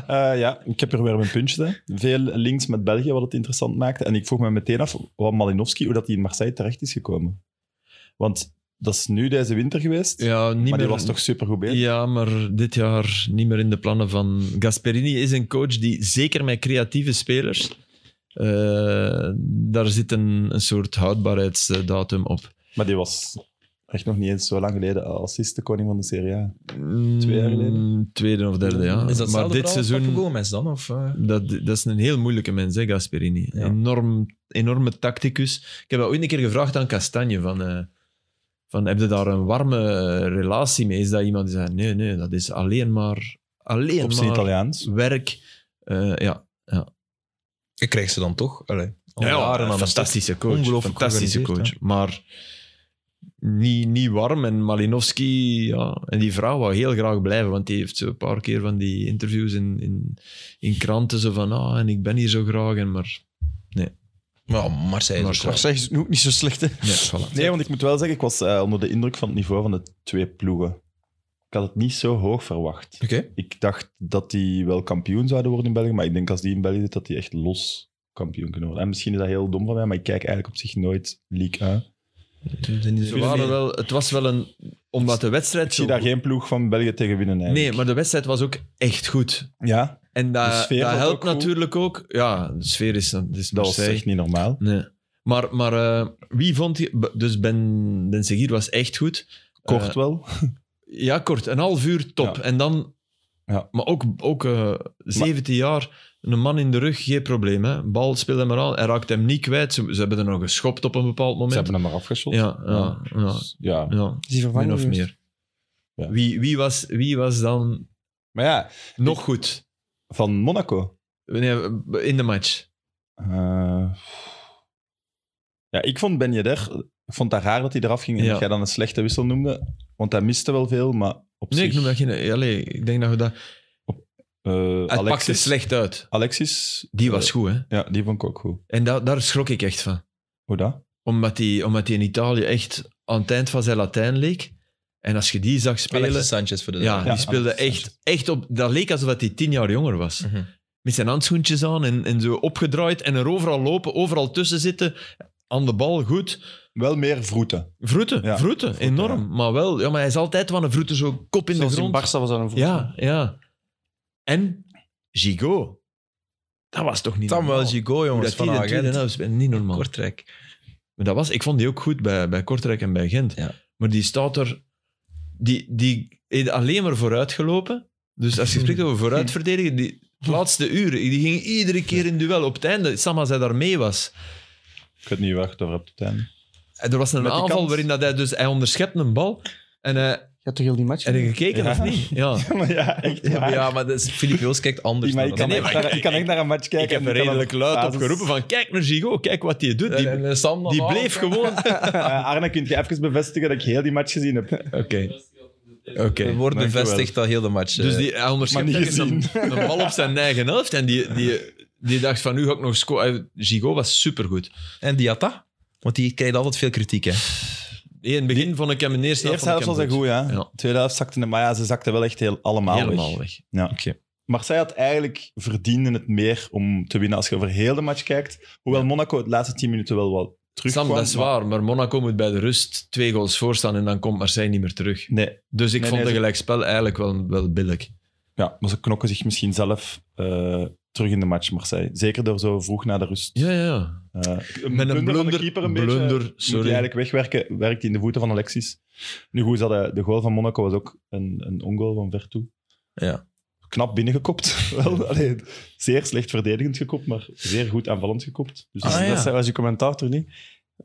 S2: Eh, ja, ik heb er weer mijn puntje. Hè. Veel links met België, wat het interessant maakte. En ik vroeg me meteen af wat Malinowski, hoe dat hij in Marseille terecht is gekomen. Want dat is nu deze winter geweest.
S3: ja, niet
S2: maar
S3: meer,
S2: die was toch supergoed bezig.
S3: Ja, maar dit jaar niet meer in de plannen van Gasperini. Is een coach die zeker met creatieve spelers. eh, daar zit een, een soort houdbaarheidsdatum op.
S2: Maar die was echt nog niet eens zo lang geleden assist de koning van de Serie A.
S3: Twee
S2: jaar geleden?
S3: Mm, Tweede of derde, ja.
S1: Is dat
S3: maar dit seizoen,
S1: Gomez dan? Of, eh?
S3: dat, dat is een heel moeilijke mens, hè, Gasperini.
S1: Ja.
S3: Enorm, enorme tacticus. Ik heb dat ooit een keer gevraagd aan Castagne: van, eh, van, heb je daar een warme eh, relatie mee? Is dat iemand die zegt: nee, nee, dat is alleen maar. Alleen
S2: Op zijn
S3: maar
S2: Italiaans.
S3: werk. eh, ja,
S1: Ik krijg ze dan toch? Allee, al
S3: ja,
S1: jaren aan
S3: een
S1: de
S3: fantastische coach.
S1: Ongelooflijk
S3: fantastische coach.
S1: georganiseerd,
S3: Maar niet, niet warm. En Malinowski, ja. En die vrouw wou heel graag blijven, want die heeft zo een paar keer van die interviews in, in, in kranten. Zo van, ah, en ik ben hier zo graag. En maar,
S1: top. Maar ja, Marseille is ook
S3: Marseille.
S1: wel-
S4: Marseille is ook niet zo slecht, hè.
S3: nee, voilà.
S2: Nee, want ik moet wel zeggen, ik was eh, onder de indruk van het niveau van de twee ploegen. Ik had het niet zo hoog verwacht.
S1: Oké.
S2: Ik dacht dat die wel kampioen zouden worden in België, maar ik denk als die in België zit, dat die echt los kampioen kunnen worden. En misschien is dat heel dom van mij, maar ik kijk eigenlijk op zich nooit League 1.
S3: Ze waren wel, het was wel een... Omdat de wedstrijd...
S2: Ik zie
S3: zo-
S2: daar geen ploeg van België tegen winnen.
S3: nee,
S2: Eigenlijk.
S3: maar de wedstrijd was ook echt goed.
S2: Nee. Ja,
S3: En
S2: De
S3: dat,
S2: sfeer
S3: dat
S2: was
S3: helpt
S2: ook goed.
S3: natuurlijk ook. Ja, de sfeer is... Dat is
S2: dat was
S3: Marseille.
S2: echt niet normaal.
S3: Nee. Maar, maar eh, wie vond je... B- Dus Ben, ben Seguir was echt goed. Eh,
S2: Kort wel.
S3: Ja, kort. Een half uur top.
S2: Ja.
S3: En dan...
S2: Ja.
S3: Maar ook, ook eh 17 jaar, een man in de rug, geen probleem. Hè? Bal speelde hem aan. Hij raakte hem niet kwijt. Ze, ze hebben er nog geschopt op een bepaald moment.
S2: Ze hebben hem maar afgeschot.
S3: Ja, ja, ja.
S2: Dus, ja.
S3: ja.
S4: Is die vervangen dus.
S3: Min of
S4: geweest?
S3: meer.
S2: Ja.
S3: Wie, wie, was, wie was dan
S2: Maar ja,
S3: nog goed
S2: van Monaco.
S3: Nee, in de match?
S2: Eh, ja, ik vond Ben Yedder, ik vond het raar dat hij eraf ging en
S3: Ja.
S2: dat jij dan een slechte wissel noemde, want hij miste wel veel, maar op
S3: Nee, ik
S2: zich...
S3: noem dat geen... Allee, ik denk dat we dat...
S2: eh,
S3: Het pakte
S2: Alexis,
S3: slecht uit.
S2: Alexis, eh,
S3: Die was goed, hè.
S2: ja, die vond ik ook goed.
S3: En da- daar schrok ik echt van.
S2: Hoe dat?
S3: Omdat hij omdat die in Italië echt aan het eind van zijn Latijn leek. En als je die zag spelen...
S1: Alexis Sanchez voor de
S2: Ja,
S3: Ja, die speelde
S2: Alexis
S3: echt, echt op... Dat leek alsof dat hij tien jaar jonger was.
S1: Mhm.
S3: Met zijn handschoentjes aan en, en zo opgedraaid en er overal lopen, overal tussen zitten. aan de bal goed.
S2: Wel meer vroeten.
S3: Vroeten,
S2: Ja,
S3: vroeten, enorm. Maar wel, ja, maar hij is altijd van een vroeten zo kop in
S5: Zoals
S3: de
S5: in
S3: grond.
S5: Barca was dat een voet.
S3: ja, ja. En Gigo. Dat was toch niet
S1: Dan wel
S3: normaal.
S1: Gigo,
S3: Hoe
S1: jongens,
S3: dat
S1: van
S3: die dat deed,
S1: Agent.
S3: dat is niet normaal.
S1: Kortrijk.
S3: Maar dat was, ik vond die ook goed bij, bij Kortrijk en bij Gent.
S1: Ja.
S3: Maar die staat er... Die, die heeft alleen maar vooruit gelopen. Dus als je spreekt over vooruit verdedigen, die het laatste uur, die ging iedere keer in duel. Op het einde, Sam als hij daar mee was.
S2: Ik weet niet waar je het over hebt. Tijn.
S3: En Er was een
S2: Met die
S3: aanval
S2: kant.
S3: waarin dat hij dus... Hij onderschept een bal en hij...
S4: Je hebt toch heel die match
S3: Heb je
S4: gezien?
S3: gekeken
S2: [LAUGHS] Ja.
S3: of niet? Ja.
S2: Maar ja, echt
S1: Ja, maar,
S2: waar.
S1: ja, maar dat is- Filip Joos kijkt anders.
S2: Die- maar
S1: naar
S2: ik,
S1: dat.
S2: kan echt naar, ik kan echt naar een match kijken.
S3: Ik heb
S2: en
S3: er
S2: kan
S3: redelijk
S2: dan
S3: luid
S2: basis-
S3: op geroepen van kijk naar Gigo, kijk wat hij doet. Die,
S1: En, eh, Sam dan
S3: die
S1: ook.
S3: bleef gewoon...
S2: [LAUGHS]
S3: Oké.
S2: [LAUGHS] Eh, Arne, kun je even bevestigen dat ik heel die match gezien heb?
S3: Oké.
S1: Er wordt
S2: Dank je wel.
S1: bevestigd dat heel de match.
S3: Dus
S1: eh,
S3: die, hij onderschept
S2: maar niet
S3: ergens een, een bal op zijn eigen helft. En die, die, die dacht van, nu ga ik nog scoren. Gigo was supergoed.
S1: En Diatta? Want die krijgt altijd veel kritiek, hè.
S3: Nee, in het begin vond ik hem in de eerste
S2: De
S3: helft...
S2: eerste
S3: vond ik
S2: helft was hij
S3: hem
S2: goed, ja.
S3: Ja.
S2: Tweede helft zakte hem, maar ja, ze zakte wel echt heel allemaal weg.
S3: Helemaal weg.
S2: Ja.
S1: Oké.
S2: Maar zij had eigenlijk verdiende het meer om te winnen als je over heel de match kijkt. Hoewel Monaco het laatste 10 minuten wel wat terug
S3: Sam, dat is waar. Maar Monaco moet bij de rust twee goals voorstaan en dan komt Marseille niet meer terug.
S2: Nee,
S3: Dus ik
S2: Nee, nee,
S3: vond het
S2: ze-
S3: gelijkspel eigenlijk wel, wel billig.
S2: ja, maar ze knokken zich misschien zelf eh, terug in de match, Marseille. Zeker door zo vroeg na de rust.
S3: Ja, ja.
S2: Eh,
S3: Met een
S2: van de
S3: blunder,
S2: keeper een beetje.
S3: blunder
S2: Moet
S3: sorry.
S2: hij eigenlijk wegwerken, werkt hij in de voeten van Alexis. Nu goed, ze hadden- de goal van Monaco was ook een, een ongoal van Vertu.
S1: Ja.
S2: Knap binnengekopt. [LAUGHS] Wel, allee, zeer slecht verdedigend gekopt, maar zeer goed aanvallend gekopt. Dus
S1: Ah,
S2: dat is-
S1: ja.
S2: dat
S4: Dat
S2: zijn-
S4: was je commentaar toch niet?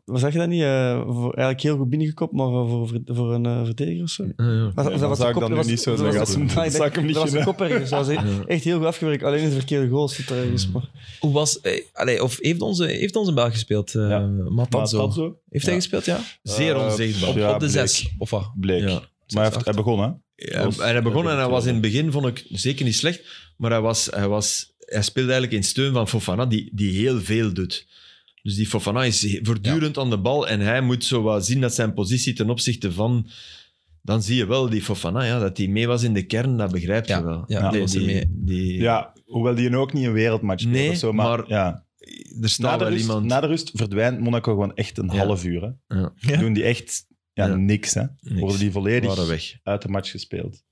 S4: Wat zeg je dat niet? Eh, voor, eigenlijk heel goed binnengekopt, maar eh, voor, voor, voor een eh, verdediger of zo.
S3: Ja, ja.
S4: Was-
S2: Nee,
S4: was
S2: dat
S4: de
S2: zou ik
S4: kop-
S2: dan nu
S4: was-
S2: niet zo
S4: dat
S2: zeggen.
S4: was
S2: [LAUGHS]
S4: de-
S2: Als hem-
S4: Ah, ik
S2: zou ik hem niet
S4: Dat was de
S2: gunnen.
S4: kop ergens. Dat
S2: [LAUGHS]
S4: was e- echt heel goed afgewerkt. Alleen de verkeerde goal zit er ergens. Maar.
S1: Hoe was... eh, allee, of heeft onze, heeft onze Belg gespeeld? eh
S2: Ja. Maar
S1: Matanzo.
S2: dat zo
S1: Heeft
S2: Ja.
S1: hij gespeeld, ja?
S3: Zeer
S2: Eh,
S3: onzichtbaar.
S1: Op,
S2: Ja,
S1: op de
S2: bleek.
S1: zes. Of wat?
S2: bleek.
S3: Ja.
S2: Maar hij,
S1: Zes,
S2: heeft, hij begon, hè?
S3: Ja, en hij begon en hij was in het begin, vond ik zeker niet slecht, maar hij, was, hij, was, hij speelde eigenlijk in steun van Fofana, die, die heel veel doet. Dus die Fofana is he- voortdurend aan de bal en hij moet zo wat zien dat zijn positie ten opzichte van. Dan zie je wel die Fofana, ja, dat hij mee was in de kern, dat begrijp je
S1: Ja,
S3: wel.
S1: ja, die
S3: die,
S1: was er mee.
S3: die-
S2: Ja, hoewel die ook niet een wereldmatch speelde
S3: Nee,
S2: of zo, maar,
S3: maar-
S2: ja.
S3: Er
S2: na
S3: staat
S2: de,
S3: wel
S2: rust,
S3: iemand.
S2: na de rust verdwijnt Monaco gewoon echt een
S3: Ja.
S2: half uur. Hè.
S3: Ja.
S1: Ja.
S2: Doen die echt ja,
S3: Ja.
S2: niks. Hè.
S3: Niks.
S2: Worden die
S3: waren
S2: volledig
S3: weg.
S2: uit de match gespeeld.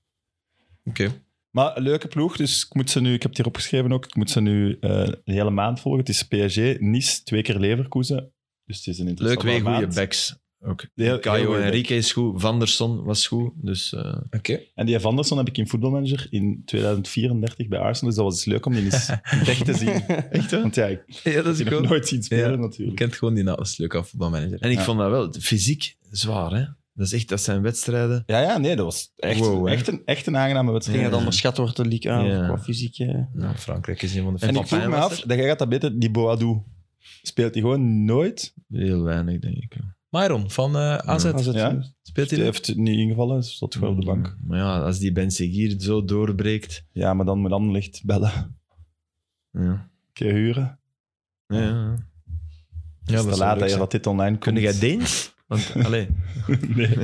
S1: Oké.
S2: Maar een leuke ploeg, dus ik, moet ze nu, ik heb het hier opgeschreven ook. Ik moet ze nu eh, een hele maand volgen. Het is PSG, Nice, twee keer Leverkusen. Dus het is een
S3: Leuk,
S2: interessante
S3: twee goede
S2: maand.
S3: backs. Ook.
S2: Heel- heel
S3: Caio
S2: goeie back.
S3: Henrique is goed, Vanderson was goed, dus... eh,
S1: Oké.
S2: En die Vanderson heb ik in Voetbalmanager in 2034 bij Arsenal. Dus dat was leuk om die
S3: [LAUGHS]
S2: eens echt te zien. Echt, hè? Want ja, ik heb
S1: Ja, dat
S2: die nog nooit zien spelen
S1: Ja.
S2: natuurlijk.
S1: Je kent gewoon die naam. Dat is leuk af voetbalmanager.
S3: En ik
S2: Ja.
S3: vond dat wel fysiek zwaar, hè? Dat, is echt, dat zijn wedstrijden.
S2: Ja, ja, nee, dat was echt,
S3: Wow, hè?
S2: echt, een, echt een aangename wedstrijd.
S4: Ging het onderschat wordt de league aan
S3: Ja.
S4: qua fysiek. eh.
S1: Nou, Frankrijk is een van de
S2: En
S1: favorieten.
S2: ik vroeg me
S3: Papijn was
S2: af, dat jij gaat dat beter, die Boadou. Speelt hij gewoon nooit?
S3: Heel weinig, denk ik.
S1: Myron van eh, AZ.
S4: Als het-
S2: Ja.
S1: Speelt hij
S2: Die
S1: nu?
S2: heeft het niet ingevallen, ze zat gewoon op de bank.
S3: Mm, Maar ja, als die Ben Seguir zo doorbreekt.
S2: Ja, maar dan moet Anderlecht bellen. Een
S3: Ja.
S2: keer huren.
S3: Ja, ja.
S2: Ja, dat is te
S1: zou
S2: laat
S1: leuk
S2: dat, je
S1: zijn.
S2: dat dit online komt.
S3: Kun jij Deens? Want, [LAUGHS] allee,
S2: [LAUGHS] nee.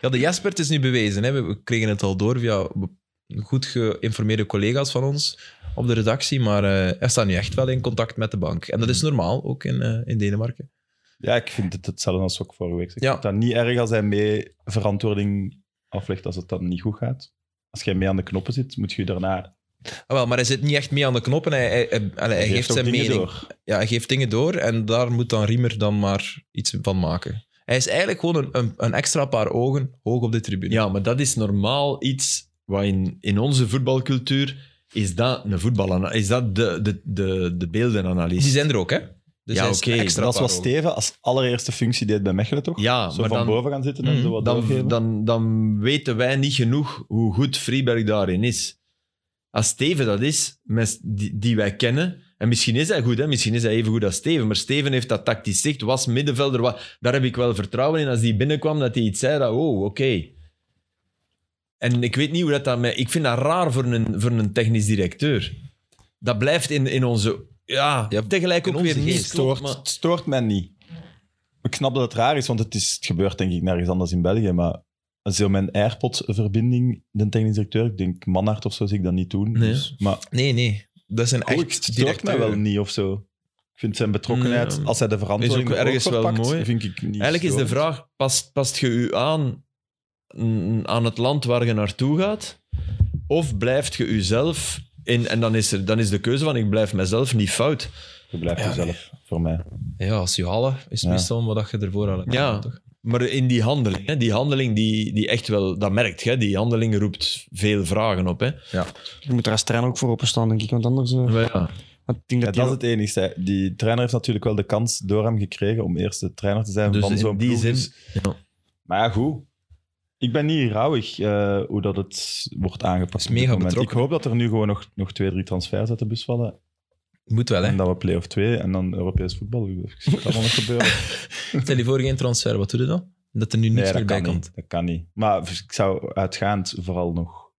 S1: Ja, de Jasper het is nu bewezen. Hè. We- We kregen het al door via be- goed geïnformeerde collega's van ons op de redactie. Maar eh hij staat nu echt wel in contact met de bank. En dat is
S2: Hmm.
S1: normaal, ook in, eh, in Denemarken.
S2: Ja, ik vind het hetzelfde als ook vorige week. Ik
S1: Ja.
S2: vind dat niet erg als hij mee verantwoording aflegt als het dan niet goed gaat. Als jij mee aan de knoppen zit, moet je daarna...
S1: Ah, wel, maar hij zit niet echt mee aan de knoppen. Hij, hij, hij, allee, hij
S2: Je
S1: geeft
S2: ook
S1: zijn
S2: dingen
S1: mening.
S2: door.
S1: Ja, hij geeft dingen door en daar moet dan Riemer dan maar iets van maken. Hij is eigenlijk gewoon een, een, een extra paar ogen hoog op de tribune.
S3: ja, maar dat is normaal iets wat in, in onze voetbalcultuur. Is dat een voetbalana- Is dat de, de, de, de
S1: Die
S3: beeldenanalyse?
S1: zijn er ook, hè? Dus
S3: Ja,
S1: hij is
S3: oké,
S1: een
S2: Dat is
S1: paar
S2: wat
S1: ogen.
S2: Steven als allereerste functie deed bij Mechelen, toch?
S3: Ja,
S2: zo
S3: maar
S2: van
S3: dan,
S2: boven gaan zitten en
S1: Mhm.
S2: zo wat
S3: dan,
S2: doorgeven.
S3: dan, dan weten wij niet genoeg hoe goed Freeberg daarin is. Als Steven dat is, mens- die, die wij kennen, en misschien is hij goed, hè? misschien is hij even goed als Steven, maar Steven heeft dat tactisch zicht, was middenvelder, wa- daar heb ik wel vertrouwen in. Als die binnenkwam, dat hij iets zei, dat, oh, oké. En ik weet niet hoe dat, dat mij... Ik vind dat raar voor een, voor een technisch directeur. Dat blijft in, in onze... Ja,
S1: Ja,
S3: tegelijk
S1: in
S3: ook
S1: onze
S3: weer niet.
S1: geest.
S3: klopt,
S2: stoort,
S3: maar-
S2: het stoort mij niet. Ik snap dat het raar is, want het, is, het gebeurt denk ik nergens anders in België, maar zo mijn AirPod-verbinding, de technisch directeur, ik denk Manhart of zo, zie ik dat niet doen.
S3: Nee.
S2: Dus, maar
S1: Nee, nee. Dat zijn
S2: cool,
S1: echt
S2: het stoort mij
S1: directeuren.
S2: wel niet of zo. Ik vind zijn betrokkenheid,
S3: Mm, ja.
S2: als hij de
S3: Is ook
S2: verantwoording
S3: ergens
S2: ergens
S3: wel
S2: pakt,
S3: mooi.
S2: vind ik niet
S3: Eigenlijk is de
S2: storend.
S3: vraag, past, past je u aan mm, aan het land waar je naartoe gaat? Of blijft je uzelf? In, en dan is, er, dan is de keuze van ik blijf mezelf niet fout.
S2: Je blijft jezelf, voor mij.
S1: Ja, als je halen is
S2: Ja.
S1: meestal wat dat je ervoor aan hebt.
S3: Ja.
S1: toch?
S3: Maar in die handeling, hè, die handeling die, die echt wel, dat merkt je, die handeling roept veel vragen op. Hè.
S4: Je moet er als trainer ook voor openstaan, denk ik. Want anders... eh,
S3: Maar ja,
S4: want ik denk
S2: Ja,
S4: dat
S2: dat is
S4: die-
S2: het enige. Die trainer heeft natuurlijk wel de kans door hem gekregen om eerst de trainer te zijn
S3: Dus
S2: van
S3: in
S2: zo'n
S3: die
S2: ploeg.
S3: zin,
S2: Dus-
S3: ja.
S2: Maar ja, goed. Ik ben niet rouwig eh, hoe dat het wordt aangepast.
S1: Is
S2: op dit
S1: mega
S2: moment. Ik
S1: betrokken.
S2: hoop dat er nu gewoon nog, nog twee, drie transfers uit de bus vallen.
S1: Moet wel, hè.
S2: En dat we play-off 2 en dan Europees voetbal. Ik zie het allemaal nog
S1: [LAUGHS]
S2: gebeuren.
S1: Stel je voor geen transfer, wat doe je dan? Dat er nu niks
S2: Nee, dat
S1: meer bij
S2: kan,
S1: komt.
S2: niet. dat kan niet. Maar ik zou uitgaand vooral nog...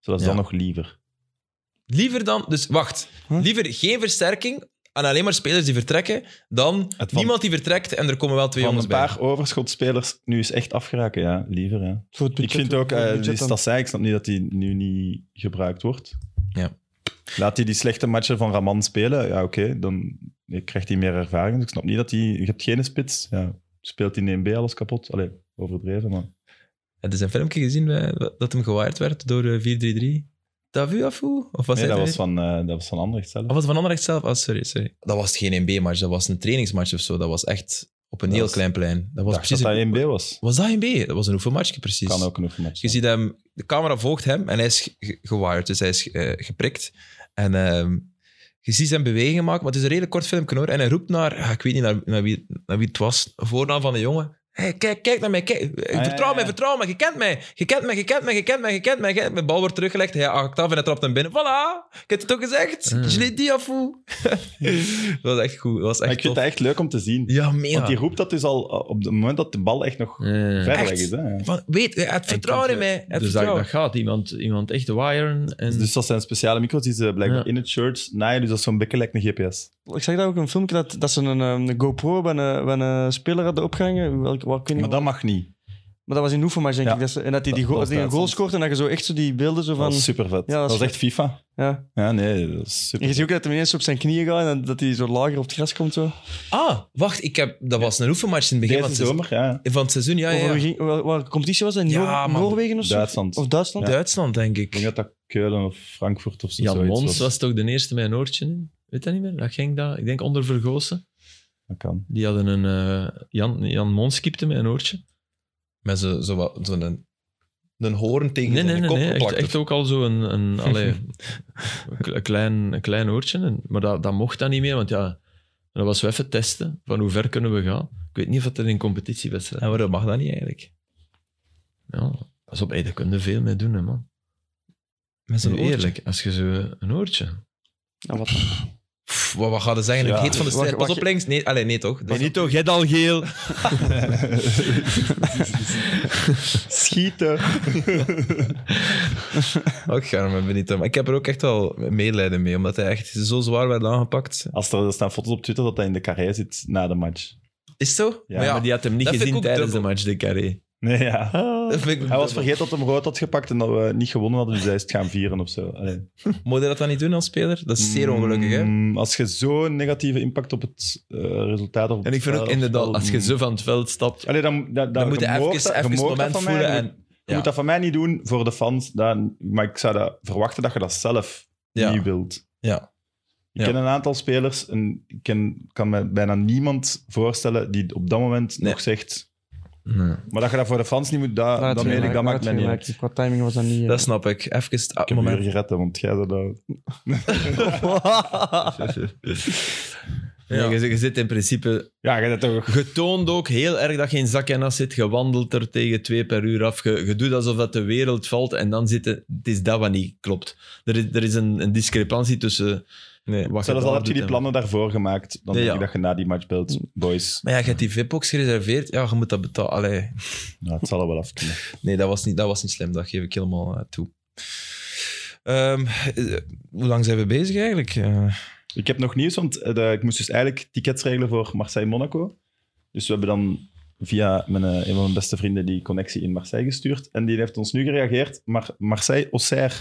S2: Zodat is
S1: Ja.
S2: dan nog liever.
S1: Liever dan... Dus wacht.
S4: Huh?
S1: Liever geen versterking en alleen maar spelers die vertrekken, dan
S2: van-
S1: niemand die vertrekt en er komen wel twee
S2: Van
S1: jongens
S2: een
S1: bij.
S2: paar overschotspelers nu is echt afgeraken, ja. Liever, ja.
S4: voor het budget-
S2: ik vind ook,
S4: voor het
S2: eh
S4: budget
S2: die
S4: dan.
S2: Stassij, ik snap niet dat die nu niet gebruikt wordt.
S1: Ja.
S2: Laat hij die slechte matchen van Raman spelen, ja oké, dan krijgt hij meer ervaring. Dus ik snap niet dat hij... Je hebt geen spits, ja. Speelt in 1B alles kapot? Allee, overdreven, maar...
S1: Heb je zijn filmpje gezien eh, dat hem gewaaid werd door eh, 4-3-3? Tavu afu? Of was
S2: nee,
S1: hij
S2: dat
S1: er
S2: was,
S1: weer?
S2: van, eh, dat was van Anderlecht zelf.
S1: Of was het van Anderlecht zelf? Ah, sorry, sorry. Dat was geen 1B-match, dat was een trainingsmatch of zo. Dat was echt op een
S2: Dat
S1: heel
S2: was-
S1: klein plein. Dat was
S2: was
S1: precies...
S2: dat
S1: een-
S2: hij 1B was.
S1: Was dat 1B? Dat was een oefenmatchje, precies.
S2: Kan ook een oefenmatch.
S1: Je
S2: zijn.
S1: ziet hem, de camera volgt hem en hij is ge- ge- gewired, dus hij is eh, geprikt. En ehm, je ziet zijn bewegingen maken, maar het is een redelijk kort filmpje hoor. En hij roept naar, ah, ik weet niet naar, naar, wie, naar wie het was, voornaam van de jongen. Hey, kijk, kijk naar mij, kijk. Eh,
S2: ja,
S1: vertrouw
S2: Ah, ja.
S1: mij, vertrouw mij, je kent mij. Je kent mij, je kent mij, je kent mij, je kent mij. je kent mij. De bal wordt teruggelegd, hij haakt af en hij trapt hem binnen. Voilà, ik heb het ook gezegd.
S3: Mm.
S1: Je l'ai dit, afou. [LAUGHS] dat was echt goed, dat was
S2: Ah. Maar
S1: echt
S2: ik vind
S1: tof.
S2: het echt leuk om te zien.
S1: Ja,
S2: Want die
S1: mega.
S2: roept dat dus al eh, op het moment dat de bal echt nog
S3: eh.
S2: ver
S1: Echt?
S2: weg is. Hè? ja.
S1: Van, weet, eh, het vertrouwen in mij. Het
S3: Dus dat,
S1: vertrouwen.
S3: dat gaat, iemand, iemand echt wiren. En,
S2: Dus dat zijn speciale micro's die ze blijkbaar
S3: Ja.
S2: in het shirt naaien. Dus dat is zo'n beetje like een GPS.
S4: Ik zag daar ook een filmpje dat, dat ze een, ehm, een GoPro bij een, bij een speler hadden opgehangen. Welk, wat, ik weet niet
S2: Maar
S4: wat-
S2: dat mag niet.
S4: maar dat was in Hoeven, maar denk
S2: Ja.
S4: ik. Dat ze, en dat hij die,
S2: Dat-
S4: go-
S2: dat
S4: die een goal
S2: Duitsland.
S4: scoort en dat je zo echt zo die beelden zo van...
S2: Dat is super vet.
S4: Ja,
S2: dat,
S4: dat is
S2: is echt FIFA.
S4: Ja.
S2: Ja, nee, dat is super.
S4: En je ziet ook dat hij ineens op zijn knieën gaat en dat hij zo lager op het gras komt. Zo.
S1: Ah, wacht, ik heb, dat was een oefenmatch in het begin
S2: Deze
S1: van het seizoen.
S2: zomer, ja.
S1: Van het seizoen, ja,
S4: Of
S1: ja.
S4: waar,
S1: ja.
S4: ging- waar, waar de competitie was dat? In
S1: Ja,
S4: Noor-
S1: man.
S4: Noorwegen of zo?
S2: Duitsland.
S4: Of
S2: Ik
S4: Duitsland?
S1: Duitsland, denk ik.
S2: denk dat dat Keulen of Frankfurt of zo.
S3: Jan
S2: zoiets
S3: Mons
S2: was.
S3: was toch de eerste met een oortje in? Weet dat niet meer? Dat ging dat, ik denk onder Vergozen.
S2: Dat kan.
S3: Die hadden een... eh, Jan, Jan Mons kipte met een oortje.
S1: Met zo'n zo, wat- zo'n- een, een hoorn tegen
S3: Nee, nee,
S1: zijn
S3: nee.
S1: kop
S3: nee. Echt,
S1: geplakt.
S3: echt ook al zo'n een, een, allee, een, klein, een klein oortje. En- Maar dat, dat mocht dan niet meer, want ja... Dat was we even testen, van hoe ver kunnen we gaan. Ik weet niet of dat er in competitiewedstrijd...
S1: En waarom mag dat niet
S3: [LAUGHS]
S1: eigenlijk?
S3: Ja, pas op, hey, daar kun je veel mee doen, hè, man.
S1: Met zo'n
S3: Nu
S1: oortje.
S3: Eerlijk, als je zo eh, een oortje...
S4: Ja, wat?
S1: Pff, wat, wat gaat het zeggen?
S2: Ja.
S1: Ik heet van de
S4: Wacht,
S1: strijd. Pas
S4: wacht,
S1: op links. Nee, allee, nee toch? Dat-
S3: toch, jij al [LAUGHS] geel.
S2: Schieten.
S1: Ook gaar, maar benieuwd. Maar ik heb er ook echt wel medelijden mee, omdat hij echt zo zwaar werd aangepakt.
S2: Als er, er staan foto's op Twitter dat hij in de carré zit na de match.
S1: Is het zo?
S2: Ja,
S1: maar ja,
S3: Maar die had hem niet
S1: Dat vind
S3: gezien
S1: ik ook
S3: tijdens
S1: dubbel.
S3: de match de carré.
S2: Nee, ja.
S1: dat vind ik
S2: Hij was vergeten dat hij hem rood had gepakt en dat we niet gewonnen hadden. Dus hij is het gaan vieren of zo. Allee.
S1: Moet je dat dan niet doen als speler? Dat is zeer ongelukkig, hè?
S2: Mm, Als je zo'n negatieve impact op het eh, resultaat... Of op
S3: En ik
S2: het
S3: vind
S2: spel
S3: ook
S2: of
S3: inderdaad,
S2: spel,
S3: als je
S2: mm.
S3: zo van het veld stapt,
S2: Allee, dan, dan, dan,
S1: moet je
S2: je
S1: even-
S2: mocht dat- je
S1: even het
S2: mocht dat
S1: moment
S2: van mij
S1: voelen
S2: doen.
S1: en-
S2: Je
S1: ja.
S2: moet dat van mij niet doen voor de fans. Dan, maar ik zou dat verwachten dat je dat zelf
S1: Ja.
S2: niet wilt.
S1: Ja.
S2: Ik
S1: Ja.
S2: ken een aantal spelers en ik ken, kan me bijna niemand voorstellen die op dat moment
S1: Nee.
S2: nog zegt...
S3: Nee.
S2: Maar dat je dat voor de fans niet moet, dat, dat meen ik, dat maakt mij niet uit.
S4: uit. Qua timing was dat niet... eh.
S1: Dat snap ik. Even het
S2: Ik heb
S1: moment.
S2: u hier gered, hè, want jij zei dat...
S3: [LAUGHS] Ja. je, je zit in principe
S2: Ja, jij bent toch...
S3: getoond ook heel erg dat je in zak en as zit. Je wandelt er tegen twee per uur af. Je, je doet alsof dat de wereld valt en dan zit het, het is dat wat niet klopt. Er is, er is een, een discrepantie tussen
S1: Nee.
S3: wat
S2: Zelfs
S3: daar
S2: al heb je
S3: doet
S2: die
S3: en-
S2: plannen daarvoor gemaakt, dan
S3: Ja,
S2: denk
S3: ja.
S2: ik dat je na die match belt. Boys,
S1: Maar ja, je hebt die VIP-box gereserveerd. Ja, je moet dat betalen. Allee.
S2: nou, het zal er wel af kunnen.
S1: Nee, dat was niet, dat was niet slim. Dat geef ik helemaal eh, toe. Ehm, eh, hoe lang zijn we bezig eigenlijk? Eh,
S2: Ik heb nog nieuws, want eh, de- ik moest dus eigenlijk tickets regelen voor Marseille-Monaco. Dus we hebben dan via mijn, eh, een van mijn beste vrienden die connectie in Marseille gestuurd. En die heeft ons nu gereageerd. Maar Marseille-Auxerre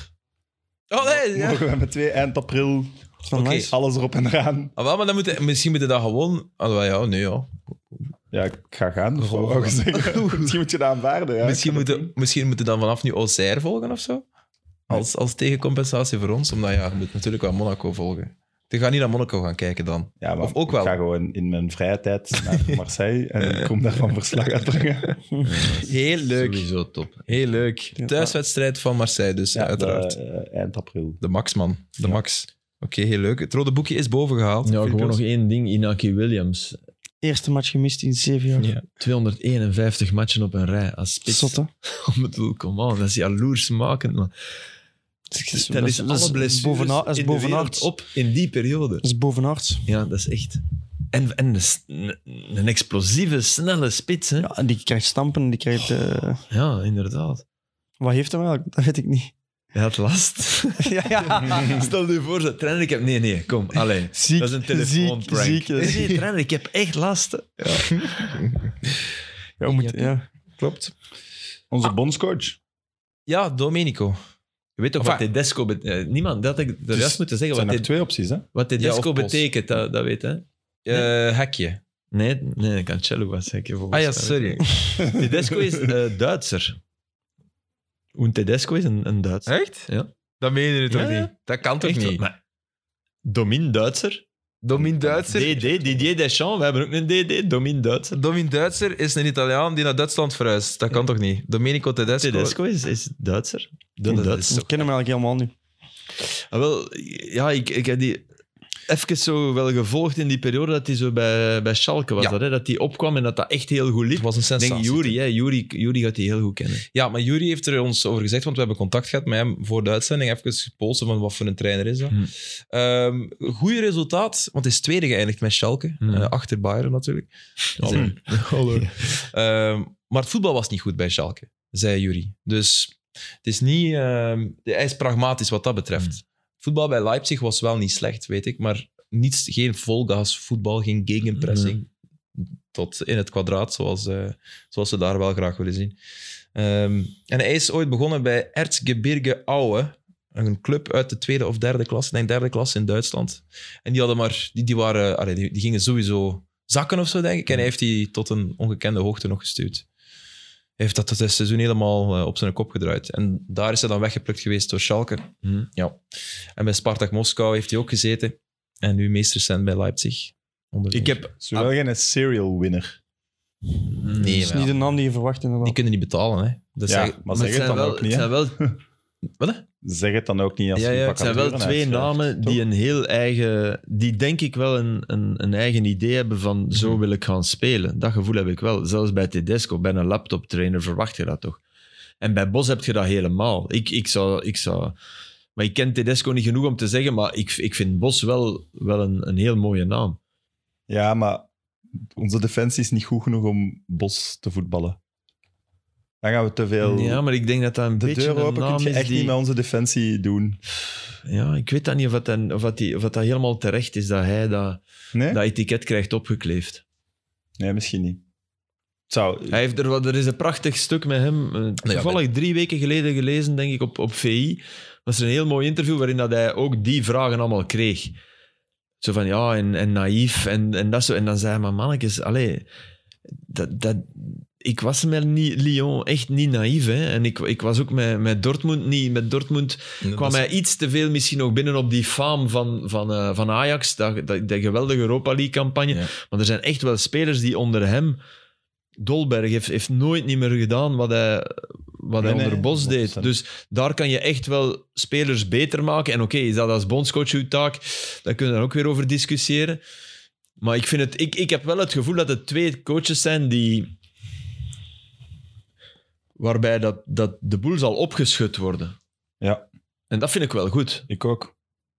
S1: Oh nee! ja.
S2: mogen we met 2 eind april
S4: Van
S1: Oké.
S4: Leijs.
S2: Alles erop en eraan.
S1: Ah, wel, maar dan moet, misschien moeten dat gewoon... Ah, wel, ja, nee, ja.
S2: Ja, ik ga gaan. dat wou ik
S1: [LAUGHS]
S2: zeggen. Misschien moet je dat aanvaarden. Ja.
S1: Oh. misschien, moeten, misschien moeten dan vanaf nu Auxerre volgen of zo. Als, als tegencompensatie voor ons. Omdat ja, je moet natuurlijk wel Monaco volgen. Je gaat niet naar Monaco gaan kijken dan.
S2: Ja, maar
S1: Of ook wel.
S2: Ik ga gewoon in mijn vrije tijd naar Marseille en ik kom daarvan verslag
S1: [LAUGHS]
S2: uitbrengen.
S1: Heel
S5: Sowieso top.
S1: Heel leuk. Thuiswedstrijd van Marseille dus,
S2: Ja,
S1: uiteraard.
S2: de, eh, eind april.
S1: De Max, man. De Max. Oké, heel leuk. Het rode boekje is boven gehaald.
S3: Ja,
S1: Filipio's.
S3: gewoon nog één ding. Inaki Williams.
S4: Eerste match gemist in zeven jaar.
S1: Ja.
S3: 251 matchen op een rij als spits.
S4: Zot, hè?
S3: [LAUGHS] Ik bedoel, come on, dat is jaloersmakend, man. Stel eens
S4: Dus dat is
S3: alle blessures
S4: bovenaan- dat is
S3: in de
S4: bovenaan.
S3: wereld op in die periode.
S4: Dat is bovenaard.
S3: Ja, dat is echt... En, en de s- een, een explosieve, snelle spits, hè? Ja,
S4: Ja, en die krijgt stampen. en Die krijgt, eh,
S3: inderdaad.
S4: Wat heeft hem eigenlijk? Dat weet ik niet.
S3: Hij had last.
S4: [LAUGHS] ja, ja.
S3: Stel je voor, zo, trainer, ik heb... Nee, nee, kom, alleen.
S4: Ziek,
S3: Dat is een telefoonprank.
S4: ziek,
S3: Nee,
S4: ziek.
S3: nee, trainer, ik heb echt last. hè.
S4: Ja, moet, ja.
S1: Klopt.
S2: Onze bondscoach.
S1: Ja, Domenico.
S3: Je weet toch
S1: Enfin,
S3: wat Tedesco betekent? Niemand, dat had ik er
S2: is-
S3: juist moeten
S2: Er
S3: zeggen.
S2: zijn
S3: Wat,
S2: nog
S3: Ted-
S2: twee opties,
S1: Ah.
S2: hè?
S3: wat Tedesco
S1: Ja, of Pols.
S3: betekent, dat, dat weet hè?
S1: Eh, hekje.
S3: Nee, nee, Cancelo was ik. volgens
S1: Ah ja,
S3: mij.
S1: sorry.
S3: Tedesco is eh, Duitser. Een Tedesco is een, een Duitser.
S1: Echt?
S3: Ja.
S1: Dat meen je toch
S3: Ja, ja.
S1: niet? Dat kan toch
S3: Echt,
S1: niet?
S3: Maar Domin Duitser.
S1: Domin Duitser.
S3: DD, Didier Deschamps. We hebben ook een DD, Domin Duitser.
S1: Domin Duitser is een Italiaan die naar Duitsland verhuist. Dat kan toch niet? Domenico Tedesco.
S3: Tedesco is, is Duitser. De
S1: Dat is
S3: Duitser.
S4: Ik ken hem eigenlijk helemaal niet.
S3: Ah, wel, ja, ik, ik heb die even zo wel gevolgd in die periode dat hij zo bij, bij Schalke was.
S1: Ja.
S3: Dat, hè, dat hij opkwam en dat dat echt heel goed liep.
S1: Het was een
S3: Ik
S1: sensatie.
S3: denk Jury, hè. Jury, Jury gaat die heel goed kennen.
S1: Ja, maar Jury heeft er ons over gezegd, want we hebben contact gehad met hem voor de uitzending. Even gepolsen van wat voor een trainer is dat.
S3: Hmm.
S1: Ehm goeie resultaat, want hij is tweede geëindigd met Schalke.
S3: Hmm.
S1: eh, achter Bayern natuurlijk. Zei- [LAUGHS] Ehm, maar het voetbal was niet goed bij Schalke, zei Jury. Dus het is niet... ehm, hij is pragmatisch wat dat betreft.
S3: Hmm.
S1: Voetbal bij Leipzig was wel niet slecht, weet ik. Maar niets, geen volgas voetbal, geen gegenpressing.
S3: Mm.
S1: Tot in het kwadraat, zoals, eh, zoals ze daar wel graag willen zien. Ehm, en hij is ooit begonnen bij Erzgebirge Aue. Een club uit de tweede of derde klasse, ik denk derde klasse in Duitsland. En die, hadden maar, die, die, waren, allee, die, die gingen sowieso zakken of zo, denk ik. En hij heeft die tot een ongekende hoogte nog gestuurd. Hij heeft dat het seizoen helemaal eh, op zijn kop gedraaid. En daar is hij dan weggeplukt geweest door Schalke.
S3: Hmm.
S1: Ja. En bij Spartak Moskou heeft hij ook gezeten. En nu meesterscent bij Leipzig. Onder
S3: Ik heb...
S2: Zowel wel geen serial winner.
S1: Nee,
S4: Dat is
S1: maar ja,
S4: niet de naam die je verwacht, inderdaad.
S1: die kunnen niet betalen. Hè. Dat
S2: ja,
S1: zeg-
S2: maar
S3: Dus Maar
S2: zeg
S3: het
S2: het
S3: zijn
S2: dan
S3: wel-
S2: ook niet.
S3: het zijn
S2: hè.
S3: wel
S1: Wat?
S2: Zeg het dan ook niet als
S3: Ja,
S2: je
S3: ja, het zijn wel
S2: vacaturen
S3: twee
S2: uitschrijft,
S3: namen
S2: toch?
S3: die een heel eigen... Die denk ik wel een, een, een eigen idee hebben van
S2: Hmm.
S3: zo wil ik gaan spelen. Dat gevoel heb ik wel. Zelfs bij Tedesco, bij een laptoptrainer verwacht je dat toch. En bij Bos heb je dat helemaal. Ik, ik, zou, ik zou... Maar ik ken Tedesco niet genoeg om te zeggen, maar ik, ik vind Bos wel, wel een, een heel mooie naam.
S2: Ja, maar onze defensie is niet goed genoeg om Bos te voetballen. Dan gaan we te veel...
S3: Ja, maar ik denk dat dat een
S2: de
S3: beetje
S2: deur
S3: een
S2: open
S3: naam
S2: kun je
S3: is
S2: echt
S3: die...
S2: niet met onze defensie doen.
S3: Ja, ik weet dat niet of dat, of dat, die, of dat, dat helemaal terecht is dat hij dat,
S2: Nee?
S3: dat etiket krijgt opgekleefd.
S2: Nee, misschien niet. Het zou...
S3: Hij heeft er, wat- er is een prachtig stuk met hem. eh, Toevallig drie weken geleden gelezen, denk ik, op, op VI. was er een heel mooi interview waarin dat hij ook die vragen allemaal kreeg. Zo van ja, en, en naïef en, en dat zo. En dan zei hij: Maar mannetjes, allee, dat, dat, ik was met Ni- Lyon echt niet naïef. Hè? En ik, ik was ook met, met Dortmund niet. Met Dortmund kwam hij iets te veel misschien nog binnen op die faam van, van, eh, van Ajax, dat, dat, die geweldige Europa League-campagne.
S1: Ja.
S3: Want er zijn echt wel spelers die onder hem... Dolberg heeft, heeft nooit niet meer gedaan wat eh, hij, wat
S2: Nee,
S3: hij onder
S2: nee,
S3: Bos deed.
S2: 100%.
S3: Dus daar kan je echt wel spelers beter maken. En oké, is dat als bondscoach uw taak? Daar kunnen we dan ook weer over discussiëren. Maar ik, vind het, ik, ik heb wel het gevoel dat het twee coaches zijn die... Waarbij dat, dat de boel zal opgeschud worden.
S2: Ja.
S3: En dat vind ik wel goed.
S2: Ik ook.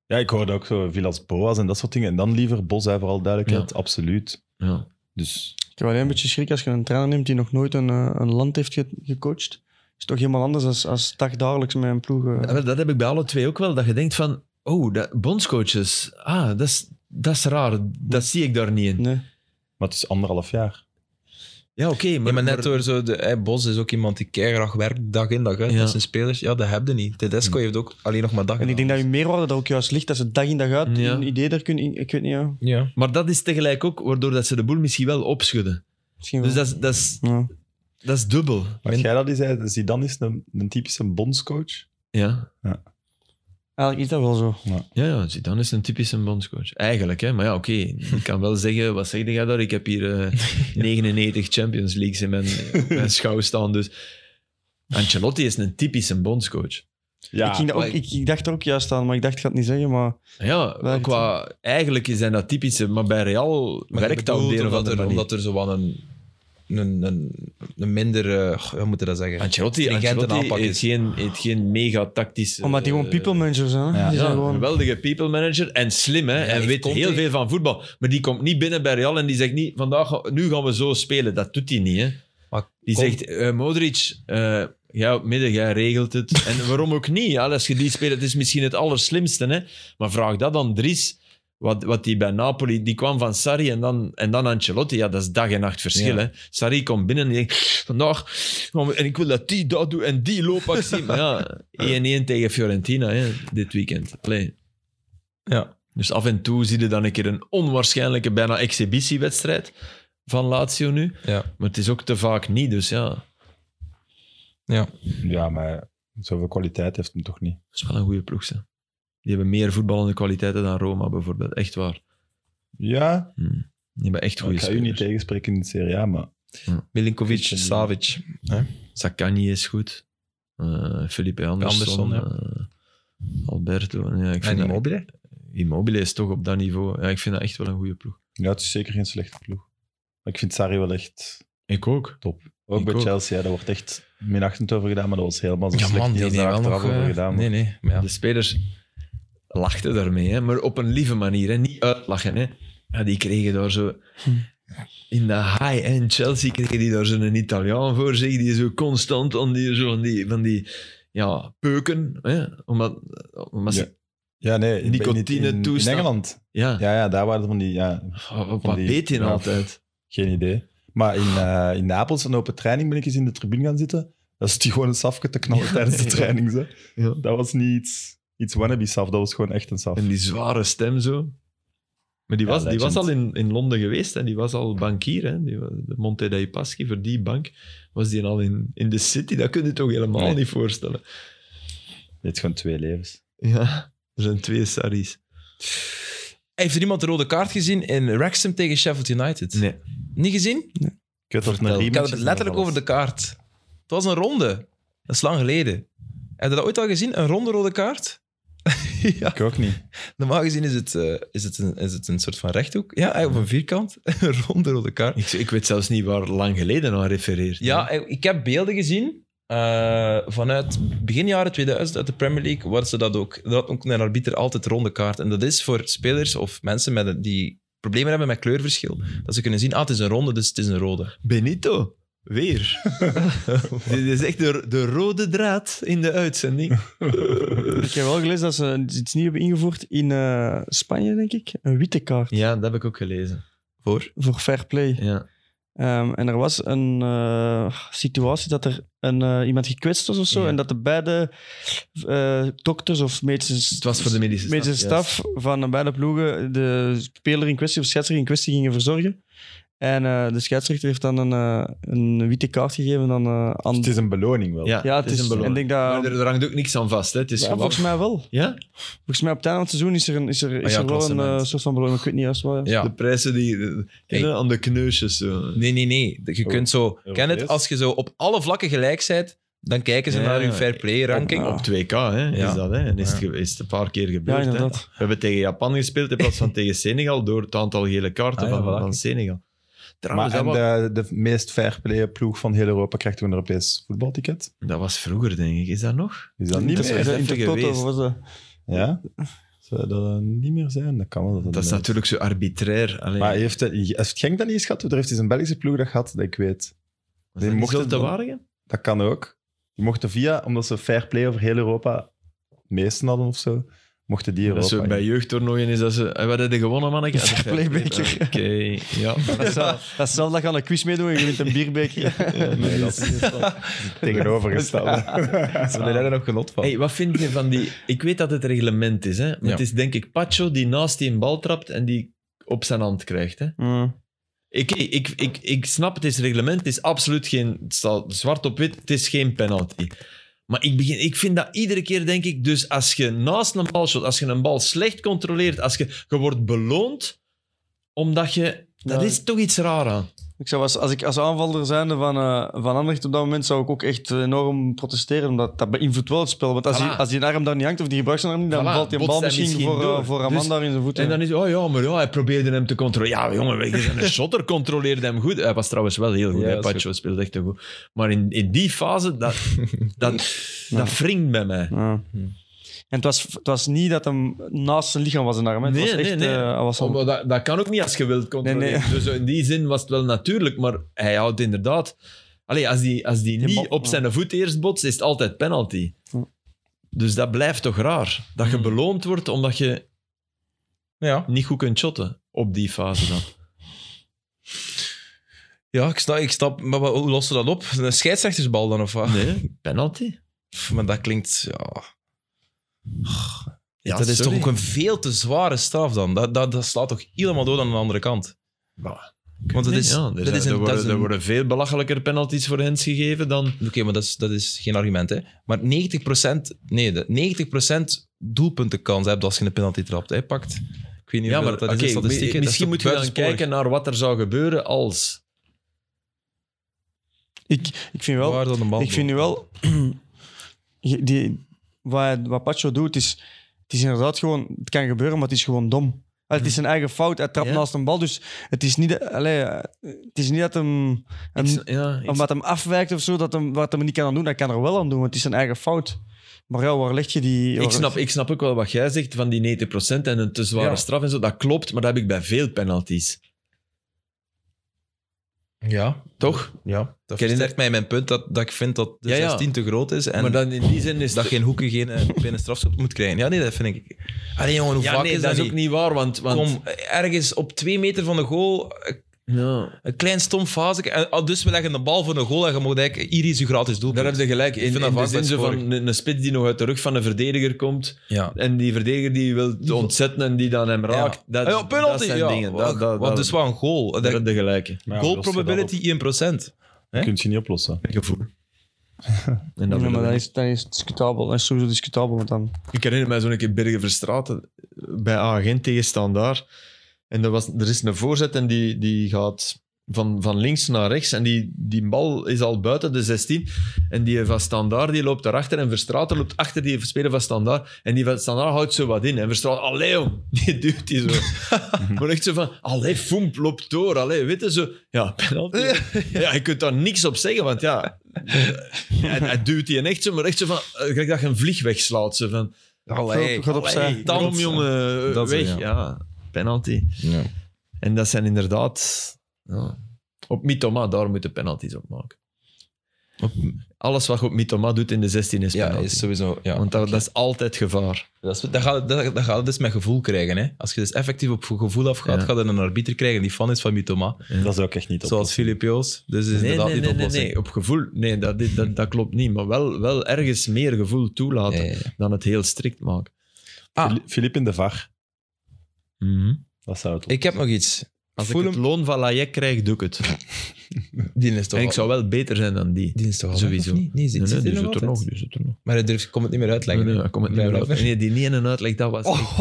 S2: Ja, ik hoorde ook zo Villas Boas en dat soort dingen. En dan liever Bos, hè, vooral duidelijkheid. Absoluut.
S3: Ja.
S2: Dus
S4: Ik heb alleen een beetje schrik als je een trainer neemt die nog nooit een, eh, een land heeft ge- gecoacht. is toch helemaal anders als, als dagdagelijks met een ploeg. eh.
S3: maar Ah, Dat heb ik bij alle twee ook wel. Dat je denkt van, oh, dat, bondscoaches. Ah, dat is, dat is raar. Dat zie ik daar niet in.
S4: Nee.
S2: Maar het is anderhalf jaar.
S3: Ja, oké. maar,
S1: Ja, maar net
S3: maar-
S1: door zo... De, hey, Bos is ook iemand die keihard werkt dag in dag uit.
S3: Ja.
S1: Dat zijn spelers. Ja, dat heb je niet.
S3: Hm.
S1: Tedesco heeft ook alleen nog maar dag
S4: En ik denk dat je meerwaarde daar ook juist ligt, dat ze dag in dag uit
S3: Ja.
S4: een idee daar kunnen... in- Ik weet niet, ja.
S1: Ja.
S3: maar dat is tegelijk ook waardoor dat ze de boel misschien wel opschudden.
S4: Misschien wel.
S3: Dus dat is, dat is,
S4: Ja.
S3: dat is dubbel.
S2: Wat jij dat zei, Zidane is een, een typische bondscoach.
S3: Ja.
S4: Eigenlijk is dat wel zo.
S3: Ja, ja, Zidane is een typische bondscoach. Eigenlijk, hè. Maar ja, oké. Ik kan wel zeggen, wat zeg jij daar? Ik heb
S1: [LAUGHS]
S3: hier eh, 99 Champions Leagues in mijn, mijn schouw staan, dus... Ancelotti is een typische bondscoach.
S2: Ja,
S4: ik, ging dat ook, ik, ik dacht er ook juist aan, maar ik dacht, ik ga het niet zeggen, maar...
S3: Ja,
S4: Werkt
S3: qua, eigenlijk zijn dat typische, maar bij Real
S1: Maar ik
S3: werkt dat op de
S1: bedoel,
S3: een
S1: omdat,
S3: of andere
S1: er,
S3: manier.
S1: omdat er zo wat een, een, een, een minder... eh, goh, hoe moet je dat zeggen?
S3: Ancelotti,
S1: stringente
S3: Ancelotti
S1: aanpak
S3: heeft,
S1: is.
S3: geen, heeft geen mega tactische...
S4: Omdat die gewoon
S3: eh,
S4: people managers zijn. hè.
S2: ja.
S4: Die
S3: Ja,
S4: zijn
S3: een
S4: gewoon...
S3: geweldige people manager en slim hè,
S1: Ja,
S3: en
S1: heeft
S3: weet
S1: Conte-
S3: heel veel van voetbal. Maar die komt niet binnen bij Real en die zegt niet, vandaag, ga- nu gaan we zo spelen. Dat doet hij niet. Hè.
S1: Maar
S3: Die
S1: Conte-
S3: zegt, eh, Modric, eh jij op midden, jij regelt het. En waarom ook niet? Ja, als je die speelt, het is misschien het allerslimste. Hè. Maar vraag dat aan Dries, wat, wat die bij Napoli, die kwam van Sarri en dan, en dan Ancelotti. Ja, dat is dag en nacht verschil.
S1: Ja.
S3: Hè. Sarri komt binnen en die denkt, vandaag, gaan we- en ik wil dat die dat doet en die
S1: [LAUGHS]
S3: loopactie. Maar ja, 1-1 tegen Fiorentina hè, dit weekend. Allee.
S1: Ja.
S3: Dus af en toe zie je dan een keer een onwaarschijnlijke, bijna exhibitiewedstrijd van Lazio nu.
S1: Ja.
S3: Maar het is ook te vaak niet, dus ja. Dat
S2: ja, maar zoveel kwaliteit heeft hem toch niet.
S3: is wel een goede ploeg, ze. Die hebben meer voetballende kwaliteiten dan Roma bijvoorbeeld. Echt waar.
S2: Ja,
S3: Die hebben echt goede
S2: ik ga u
S3: spelers.
S2: niet tegenspreken in de Serie A, maar...
S1: Milinkovic,
S2: Ik vind-
S1: Savic.
S3: Sakani is goed. Eh Felipe Anderson.
S1: Anderson, ja.
S3: eh, Alberto. Ja,
S1: En
S3: ik vind dat-
S1: Immobile.
S3: Immobile is toch op dat niveau. Ja, ik vind dat echt wel een goede ploeg.
S2: Ja, het is zeker geen slechte ploeg. Maar ik vind Sarri wel echt...
S3: Ik ook.
S2: Ook
S3: Ik
S2: bij
S3: ook.
S2: Chelsea, ja, daar wordt echt minachtend over gedaan, maar dat was helemaal zo slecht. Heel daar
S1: wel
S2: achteraf
S1: nog,
S2: over
S1: eh,
S2: gedaan.
S1: Nee, nee. Maar ja.
S3: De spelers lachten daarmee, hè, maar op een lieve manier. Hè. Niet uitlachen. Hè. Ja, die kregen daar zo... In de high-end Chelsea kregen die daar zo'n Italiaan voor zich, die zo constant aan die, zo van die, van die ja, peuken. Hè, omdat, omdat ze-
S2: Ja, nee. in-
S3: Nicotine
S2: in, in, in
S3: toestaan.
S2: Engeland.
S3: ja,
S2: Ja, ja, daar waren er van die... Ja,
S3: Oh, wat
S2: van die-
S3: deed hij nou
S2: ja.
S3: altijd?
S2: Geen idee. Maar in, eh, in Napels, een open training, ben ik eens in de tribune gaan zitten. Dat is die gewoon een safke te knallen tijdens de training. Zo.
S3: Ja.
S2: Dat was niet iets, iets wannabe-saf, dat was gewoon echt een saf.
S3: En die zware stem zo. Maar die
S2: Ja,
S3: was, die was
S2: legend.
S3: al in, in Londen geweest en die was al bankier. Hè? Die, was- de Monte dei Paschi, voor die bank, was die al in, in de city. Dat kun je toch helemaal
S2: Nee.
S3: niet voorstellen.
S2: Dit is gewoon twee levens.
S3: Ja, er zijn twee Sarri's.
S1: Heeft er iemand de rode kaart gezien in Wrexham tegen Sheffield United?
S3: Nee.
S1: Niet gezien?
S2: Ik weet dat het een
S3: Vertel.
S2: rematch
S1: Ik had
S2: is,
S1: het
S2: maar
S1: letterlijk
S2: dat
S1: over de kaart. Het was een ronde. Dat is lang geleden. Heb je dat ooit al gezien? Een ronde rode kaart? [LAUGHS] ja.
S2: Ik ook niet.
S1: Normaal gezien is het, eh, is, het een, is het een soort van rechthoek. Ja, eigenlijk op een vierkant. [LAUGHS] een ronde rode kaart.
S3: Ik, ik weet zelfs niet waar lang geleden aan refereert.
S1: Ja, eh, ik ik heb beelden gezien eh, vanuit begin jaren 2000 uit de Premier League, waar ze dat ook... Dat had ook een arbiter altijd ronde kaart. En dat is voor spelers of mensen met, een- die problemen hebben met kleurverschil, dat ze kunnen zien, ah, het is een ronde, dus het is een rode.
S3: Benito, weer. [LAUGHS] Dit is echt de, de rode draad in de uitzending.
S4: Ik heb wel gelezen dat ze iets nieuws hebben ingevoerd in eh, Spanje, denk ik. Een witte kaart
S3: Ja, dat heb ik ook gelezen. Voor?
S4: voor fair play.
S3: Ja.
S4: Ehm, en er was een eh, situatie dat er een, eh, iemand gekwetst was of zo.
S3: Ja.
S4: En dat de beide eh, dokters of medische,
S3: Het was voor de medische staf.
S4: medische
S3: juist.
S4: staf van beide ploegen de speler in kwestie of scheidsrechter in kwestie gingen verzorgen. En eh, de scheidsrechter heeft dan een, eh, een witte kaart gegeven aan, eh aan
S2: Dus het is een beloning wel.
S3: Ja,
S4: Ja, het is,
S3: een
S4: en ik
S3: beloning.
S4: denk dat,
S3: Maar er, er hangt ook niks aan vast. Hè. Het is
S4: ehm, Ja,
S3: gewoon-
S4: volgens mij wel.
S3: Ja?
S4: Volgens mij op het einde van het seizoen is er, een, is
S3: Ah
S4: er, is
S1: ja,
S4: er wel een
S1: klassement.
S4: eh, soort van beloning. Ik weet niet juist waar.
S1: Ja.
S3: De prijzen die... eh,
S1: Hey.
S3: eh, Aan de kneusjes. Zo.
S1: Nee, nee, nee. Je
S2: Oh,
S1: kunt zo... Ken het?
S2: Europees?
S1: Als je zo op alle vlakken gelijk bent, dan kijken ze
S3: Ja,
S1: naar je
S3: ja.
S1: fair play ranking.
S4: Ja.
S3: Op 2K hè,
S1: Ja.
S3: is dat. Hè. En is, het, ge- is het een paar keer
S4: Ja,
S3: gebeurd. hè.
S4: inderdaad.
S3: We hebben tegen Japan gespeeld in [LAUGHS] plaats van tegen Senegal door het aantal gele kaarten
S1: Ah, ja,
S3: van,
S1: voilà.
S3: van Senegal.
S2: Maar
S3: Trouwens,
S2: en
S3: Ah, dat, wa-
S2: de, de meest fair ploeg van heel Europa krijgt ook een Europees voetbalticket.
S3: dat was vroeger, denk ik. Is dat nog?
S2: Is dat niet
S4: Dat is
S2: meer?
S3: meer.
S4: de
S3: Even
S4: Intertoto,
S3: geweest.
S4: was dat?
S2: Ja? Zou dat niet meer zijn? Dat kan wel.
S3: Dat is
S2: niet meer
S3: natuurlijk zo arbitrair. Alleen,
S2: Maar heeft, het- heeft Genk dat niet eens gehad? Er heeft eens een Belgische ploeg dat gehad, dat ik weet.
S3: was dat
S2: die
S3: niet
S2: mochten
S3: zo te
S2: dan-
S3: waardigen?
S2: Dat kan ook. Die mochten via, omdat ze fair play over heel Europa meesten hadden of zo, mochten die
S3: Dat
S2: Europa
S3: zo bij
S2: in.
S3: jeugdtoernooien is dat ze... En wat hebben gewonnen, manneke? Ah, de
S4: Playbeker.
S3: vijf. Ah, Oké, ja.
S4: Dat is wel- [LAUGHS] dat is hetzelfde dat je aan een quiz meedoet en je wint een [LAUGHS] bierbeker.
S2: Nee, dat is tegenovergestelde.
S1: Ze hebben er nog genot van.
S3: [LAUGHS] Hey, wat vind je van die... Ik weet dat het reglement is, hè. Maar
S1: Ja.
S3: het is denk ik Pacho die naast die een bal trapt en die op zijn hand krijgt, hè.
S4: Mm.
S3: Ik, ik, ik, ik snap, het is reglement, het is absoluut geen... Het staat zwart op wit, het is geen penalty. Maar ik, begin, ik vind dat iedere keer, denk ik, dus als je naast een bal shot, als je een bal slecht controleert, als je, je wordt beloond, omdat je... Dat
S4: Ja.
S3: is toch iets raar aan.
S4: Ik zou als, als ik als aanvaller zijnde van, eh van Anderlecht op dat moment zou ik ook echt eh, enorm protesteren. Omdat dat beïnvloedt wel het spel. Want als,
S3: Voilà.
S4: die, als die arm daar niet hangt of die gebruikt zijn arm niet, dan
S3: Voilà,
S4: valt die
S3: botst
S4: bal
S3: hij
S4: misschien,
S3: misschien
S4: voor, eh,
S3: door. Dus-
S4: voor Amanda in zijn voeten.
S3: En dan is het, oh ja, maar ja, hij probeerde hem te controleren. Ja, jongen, wij zijn een shotter, controleerde hem goed. Hij was trouwens wel heel goed,
S1: Ja,
S3: hè,
S1: dat is
S3: Pacho speelde echt heel goed. Maar in, in die fase, dat, dat, dat wringt bij mij.
S4: Ja. En het was, het was niet dat hem naast zijn lichaam was een arm. hè. Het
S3: Nee,
S4: was echt,
S3: nee, nee.
S4: eh, hij was
S3: Oh,
S4: aan-
S3: maar dat, dat kan ook niet als je wilt controleren.
S4: Nee,
S3: Dus in die zin was het wel natuurlijk, maar hij houdt inderdaad... Allee, als die, als die,
S4: Die
S3: niet
S4: bal-
S3: op zijn voet eerst botst, is het altijd penalty.
S4: Ja.
S3: Dus dat blijft toch raar. Dat je beloond wordt omdat je
S1: Ja,
S3: niet goed kunt shotten op die fase dan.
S1: ja ik, sta, ik stap. Maar wat- hoe lossen ze dat op? Een scheidsrechtersbal dan of wat?
S3: Nee, penalty.
S1: Pff, Maar dat klinkt. Ja.
S3: Ja,
S1: dat is
S3: sorry.
S1: toch ook een veel te zware straf dan? Dat, dat, dat slaat toch helemaal door aan de andere kant?
S3: Bah,
S1: Want dat
S3: Nee,
S1: is.
S3: ja, er,
S1: dat
S3: zijn-
S1: is een-
S3: er worden,
S1: dat is
S3: er
S1: een-
S3: worden veel belachelijker penalties voor Hens gegeven dan...
S1: Oké, maar dat is, dat is geen argument, hè. Maar 90%, nee, de- 90% doelpuntenkans hebt als je een penalty trapt, hè, pakt. Ik weet niet
S3: Ja,
S1: hoeveel
S3: maar
S1: dat is
S3: oké,
S1: in statistieken.
S3: mi-
S1: Dat is
S3: misschien
S1: toch
S3: moet je dan
S1: buitensporig?
S3: kijken naar wat er zou gebeuren als...
S4: ik, ik vind wel...
S1: Waar dan de bal
S4: Ik vind nu wel, [CLEARS THROAT] je- die, wat, wat Pacho doet, is, het is inderdaad gewoon, het kan gebeuren, maar het is gewoon dom. Ah, het is zijn eigen fout, hij trapt
S3: Ja.
S4: naast een bal, dus het is niet, dat- allee, eh, het is niet dat hem, hem-
S3: Ik- ja, ik-
S4: omdat hem afwijkt of zo, dat hem, wat hem niet kan aan doen, hij kan er wel aan doen, want het is zijn eigen fout. Maar ja, waar leg je die...
S3: Ik
S4: waar-
S3: snap, ik snap ook wel wat jij zegt van die 90% en een te zware
S1: Ja.
S3: straf en zo. Dat klopt, maar dat heb ik bij veel penalties.
S1: Ja,
S3: Toch?
S1: ja. Dat
S3: herinner-
S1: versterkt mij mijn punt dat, dat ik vind dat de
S3: Ja, ja.
S1: 16 te groot is en
S3: maar dan in die zin is
S1: dat
S3: het-
S1: geen hoeken geen eh, binnen strafschop moet krijgen. Ja, nee, dat vind ik... Allee, jongen, hoe
S3: ja,
S1: vaak
S3: nee,
S1: is
S3: dat is
S1: niet?
S3: ook niet waar, want... want
S1: Kom, ergens op twee meter van de goal, eh,
S3: Ja,
S1: een klein stom fase. En, ah, dus we leggen de bal voor de goal en je moet eigenlijk... Hier is je gratis doelpunt.
S3: daar heb je gelijk.
S1: vind
S3: In,
S1: dat
S3: in de
S1: vaak
S3: zin zo
S1: buitensporig.
S3: van een, een spits die nog uit de rug van een verdediger komt
S1: Ja.
S3: en die verdediger die wil ontzetten en die dan hem raakt. Dat,
S1: Ah ja, penalty.
S3: dat zijn
S1: ja.
S3: dingen.
S1: Wat-
S3: Dat, dat,
S1: wat
S3: dat,
S1: dus wel een goal.
S3: daar
S1: Dat-
S3: heb je gelijk.
S2: Maar ja,
S1: goal
S2: los je dat
S1: probability 1%.
S2: op, kun je niet oplossen.
S3: Gevoel. En
S4: Ja,
S3: dat
S4: maar
S3: willen we
S4: dat
S3: niet.
S4: is, dat is discutabel, dat is sowieso discutabel, want dan...
S3: Ik herinner mij zo'n keer Bergen Verstraten bij agent tegenstaan daar. En er, was, er is een voorzet en die, die gaat van, van links naar rechts. En die, die bal is al buiten de 16. En die van Standaard die loopt daarachter. En Verstraten loopt achter die speler van Standaard. En die van Standaard houdt zo wat in. En Verstraten, allee jong, [LAUGHS] die duwt die zo. maar echt zo van, allee, foemp, loopt door. Allee, weet je, zo. Ja, penalty. [LAUGHS] ja, je kunt daar niks op zeggen, want ja... Hij, hij duwt die en echt zo, maar echt zo van... eh, gelijk dat je een vlieg wegslaat. Zo van,
S4: Allee, gaat opzij.
S3: dan
S1: Tand.
S3: jongen,
S1: Dat
S3: weg.
S1: is het,
S3: ja. penalty. En dat zijn inderdaad... Ja. Op Mitoma, daar moeten penalties op maken. Alles wat je op Mitoma doet in de 16 is
S1: Ja,
S3: penalty.
S1: is sowieso... Ja.
S3: Want dat, dat is altijd gevaar.
S1: Dat, is, dat, gaat, dat, dat gaat het dus met gevoel krijgen. Hè? Als je dus effectief op gevoel afgaat,
S3: Ja.
S1: gaat er een arbiter krijgen die fan is van Mitoma.
S2: Dat is ook echt niet op.
S1: Zoals Filip Joos. Dus is
S3: nee,
S1: inderdaad
S3: nee,
S1: niet
S3: nee,
S1: de
S3: nee,
S1: oplossing.
S3: nee, op gevoel. Nee, dat, dit- dat, dat klopt niet. Maar wel, wel ergens meer gevoel toelaten
S1: Nee, nee.
S3: dan het heel strikt maken.
S1: Ah.
S2: Fili- Filip in de VAR,
S3: Mhm.
S2: dat zou het
S1: Ik heb nog iets.
S3: Als ik
S1: Fulham-
S3: het loon van Lajek krijg, doe ik het.
S1: Die is toch
S3: En ik
S1: al-
S3: zou wel beter zijn dan die.
S1: Die is toch al
S3: Sowieso.
S1: weg, of niet? Nee,
S3: Nee,
S1: zit,
S3: nee,
S1: zit
S3: die
S1: er
S3: zit
S1: nog
S3: er
S1: altijd?
S3: nog, die zit er nog.
S1: Maar hij durft, komt het niet meer uitleggen.
S3: Nee, nee, dat komt het niet meer uit. Nee, die niet in en uitleg, dat was, echt-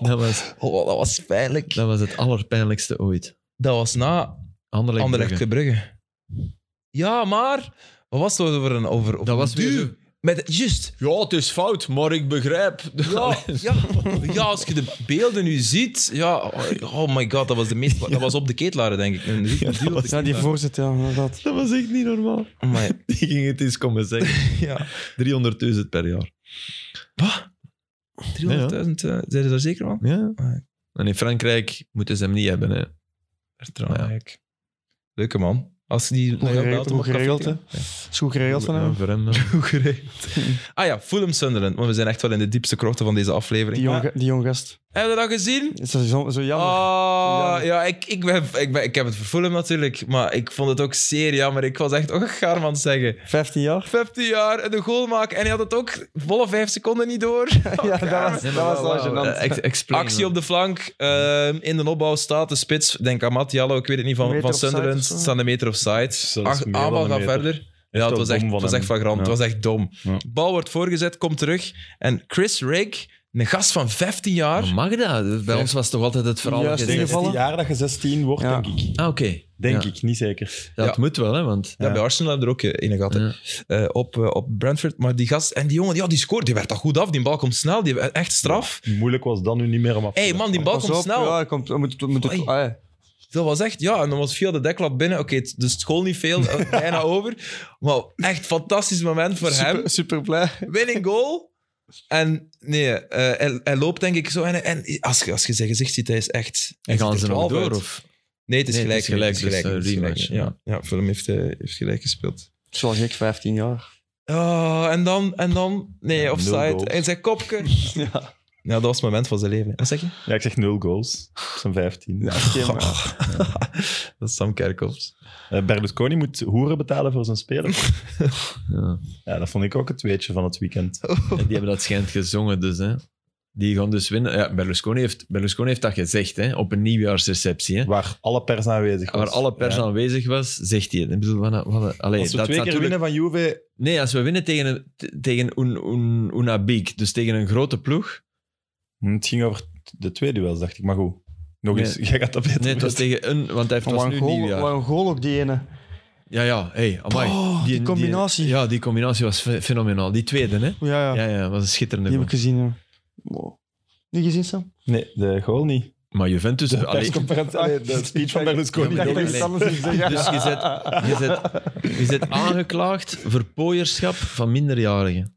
S3: dat was,
S1: [LAUGHS] Oh, dat was pijnlijk.
S3: dat was het allerpijnlijkste ooit.
S1: Dat was na
S3: Anderlecht.
S1: Anderlecht
S3: Brugge.
S1: Club Brugge. Ja, maar... Wat was het over een... Over, over
S3: Dat was
S1: een duw?
S3: weer
S1: Met, juist.
S3: Ja, het is fout, maar ik begrijp. [LAUGHS]
S1: Ja, ja, ja, als je de beelden nu ziet... Ja, oh, oh my god, dat was de meest... Dat was op de ketelaren, denk ik. Een duw op de
S4: Ja, die
S1: ketelaren.
S4: voorzet, ja, inderdaad.
S3: Dat was echt niet normaal.
S1: Amai.
S3: Die ging het eens komen zeggen. [LAUGHS]
S1: Ja.
S3: 300.000 per jaar.
S1: Wat? 300.000? eh, zijn ze daar zeker van?
S3: Ja.
S1: Ja.
S3: En in Frankrijk moeten ze hem niet hebben. Hè.
S1: Vertrouwen, Leuke man. Als die
S4: Hoe
S1: jou
S4: geregeld,
S1: belt om
S4: hoe
S1: op café te
S4: geregeld, hè?
S1: gaan.
S4: Is goed geregeld van hem.
S3: Ja, voor hem [LAUGHS] dan.
S1: [LAUGHS] Hoe geregeld.
S4: [LAUGHS]
S1: Ah ja, Fulham Sunderland. Want we zijn echt wel in de diepste krochten van deze aflevering. Ah,
S4: Die jonge, die jonge gast.
S1: Hebben we dat gezien?
S4: Is dat zo, zo jammer?
S1: Ah,
S4: Jammer.
S1: ja, ik, ik, ben, ik, ben, ik heb het voor Fulham natuurlijk, maar ik vond het ook zeer jammer. Ik was echt, oh, Gaarman zeggen.
S4: 15 jaar?
S1: 15 jaar, de goal maken. En hij had het ook volle 5 seconden niet door.
S4: ja, dat was,
S3: Nee,
S4: dat
S3: maar
S4: was
S3: wauw,
S4: wel gênant.
S3: eh, ex- explain,
S1: Actie
S3: man.
S1: op de flank. ehm, in de opbouw staat de spits. Denk aan Matt Jallo, ik weet het niet,
S4: Een
S1: van,
S4: meter
S1: van
S4: offside
S1: Sunderland.
S4: of zo?
S1: Staan een meter offside.
S2: dat is
S1: Ach,
S2: meer dan
S1: aanbal
S2: een
S1: gaat
S2: meter.
S1: verder. Ja,
S2: wel
S1: het was echt, het
S2: dom van
S1: was
S2: hem.
S1: echt flagrant.
S2: Ja.
S1: Het was echt dom.
S2: Ja.
S1: Bal wordt voorgezet, komt terug. En Chris Rake, een gast van 15 jaar.
S3: Maar mag dat? Bij ons was toch altijd het verhaal.
S4: Juist,
S3: dat je zegt-
S4: ingevallen.
S2: Het jaar dat je 16 wordt,
S4: Ja.
S2: denk ik.
S3: Ah, oké.
S2: Denk
S3: Ja.
S2: ik, niet zeker.
S3: Ja, het moet wel, hè, want...
S1: Ja, bij Arsenal hebben we er ook eh, in de gaten. Eh, op, eh, op Brentford. Maar die gast, en die jongen, ja, die scoort. Die werd dat goed af. Die bal komt snel. Die echt straf.
S2: Moeilijk was dan nu niet meer om af te
S1: Hé hey,
S2: leggen.
S1: man, die bal
S4: Pas
S1: komt
S4: op,
S1: snel.
S4: Ja, komt, moet, moet het,
S1: Oei.
S4: ah, ja.
S1: Dat was echt, ja. En dan was via de deklap binnen. Oké, het- dus het school niet veel,
S3: [LAUGHS]
S1: eh, bijna over. Maar echt fantastisch moment voor hem.
S4: super, super blij.
S1: Winning goal. En nee, eh, hij, hij loopt denk ik zo. En, en als, je- als je zijn gezicht ziet, hij is echt... hij
S3: En
S1: ziet
S3: gaan
S1: er
S3: ze nog
S1: 12
S3: door?
S1: uit.
S3: Of?
S1: Nee, het is
S3: Nee,
S1: gelijk.
S3: het is gelijk,
S1: het is
S3: dus,
S1: het
S3: eh,
S1: is gelijk,
S3: rematch,
S1: Ja, ja Fulham heeft, eh, heeft gelijk gespeeld.
S4: Het is wel gek, 15 jaar.
S1: Ah, en dan, en dan... Nee,
S2: Ja, nul
S1: offside.
S2: goals.
S1: En zijn kopje.
S4: Ja,
S1: Ja, dat was het moment van zijn leven. Wat zeg je?
S2: Ja, ik zeg 0 goals. Op zijn 15.
S4: oké, maar-
S1: [LAUGHS] Dat is Sam Kerkhoffs.
S2: Eh, Berlusconi moet hoeren betalen voor zijn speler.
S3: Ja.
S2: Ja, dat vond ik ook het weetje van het weekend.
S3: En die hebben dat schijnt gezongen, dus. Hè. Die gaan dus winnen. Ja, Berlusconi, heeft, Berlusconi heeft dat gezegd hè, op een nieuwjaarsreceptie. Hè,
S2: Waar alle pers aanwezig was.
S3: waar alle pers
S2: Ja.
S3: aanwezig was, zegt hij het. Ik bedoel, wat, een- wat, een- allee,
S2: Als we
S3: dat
S2: twee keer
S3: natuurlijk-
S2: winnen van Juve,
S3: Nee, als we winnen tegen, een- t- tegen un, un, Una Big, dus tegen een grote ploeg.
S2: Hm, Het ging over de twee duels, dacht ik. Maar goed. Nog
S3: Nee.
S2: eens, [LAUGHS] jij gaat dat beter
S3: Nee, het was
S2: weten.
S3: tegen een, want hij heeft het was
S4: Wat
S3: nu
S4: een goal-
S3: nieuwjaar.
S4: wat een goal ook die ene.
S3: Ja, ja, hey, amai.
S4: Oh, die combinatie.
S3: ja, die combinatie was fe- fenomenaal. Die tweede, hè?
S4: Ja, ja.
S3: Ja, ja, was een schitterende
S4: die heb
S3: goal.
S4: ik gezien. Ja. Wow. Niet gezien, Sam?
S2: Nee, de goal niet.
S3: Maar Juventus...
S2: De
S3: allee,
S4: Ah,
S2: persconferentie, allee,
S4: [LAUGHS]
S2: de speech van Berlusconi.
S3: Ja, maar
S2: nog
S3: dat
S2: eens.
S3: is- [LAUGHS] dus je zet, je, zet, je zet aangeklaagd voor pooierschap van minderjarigen.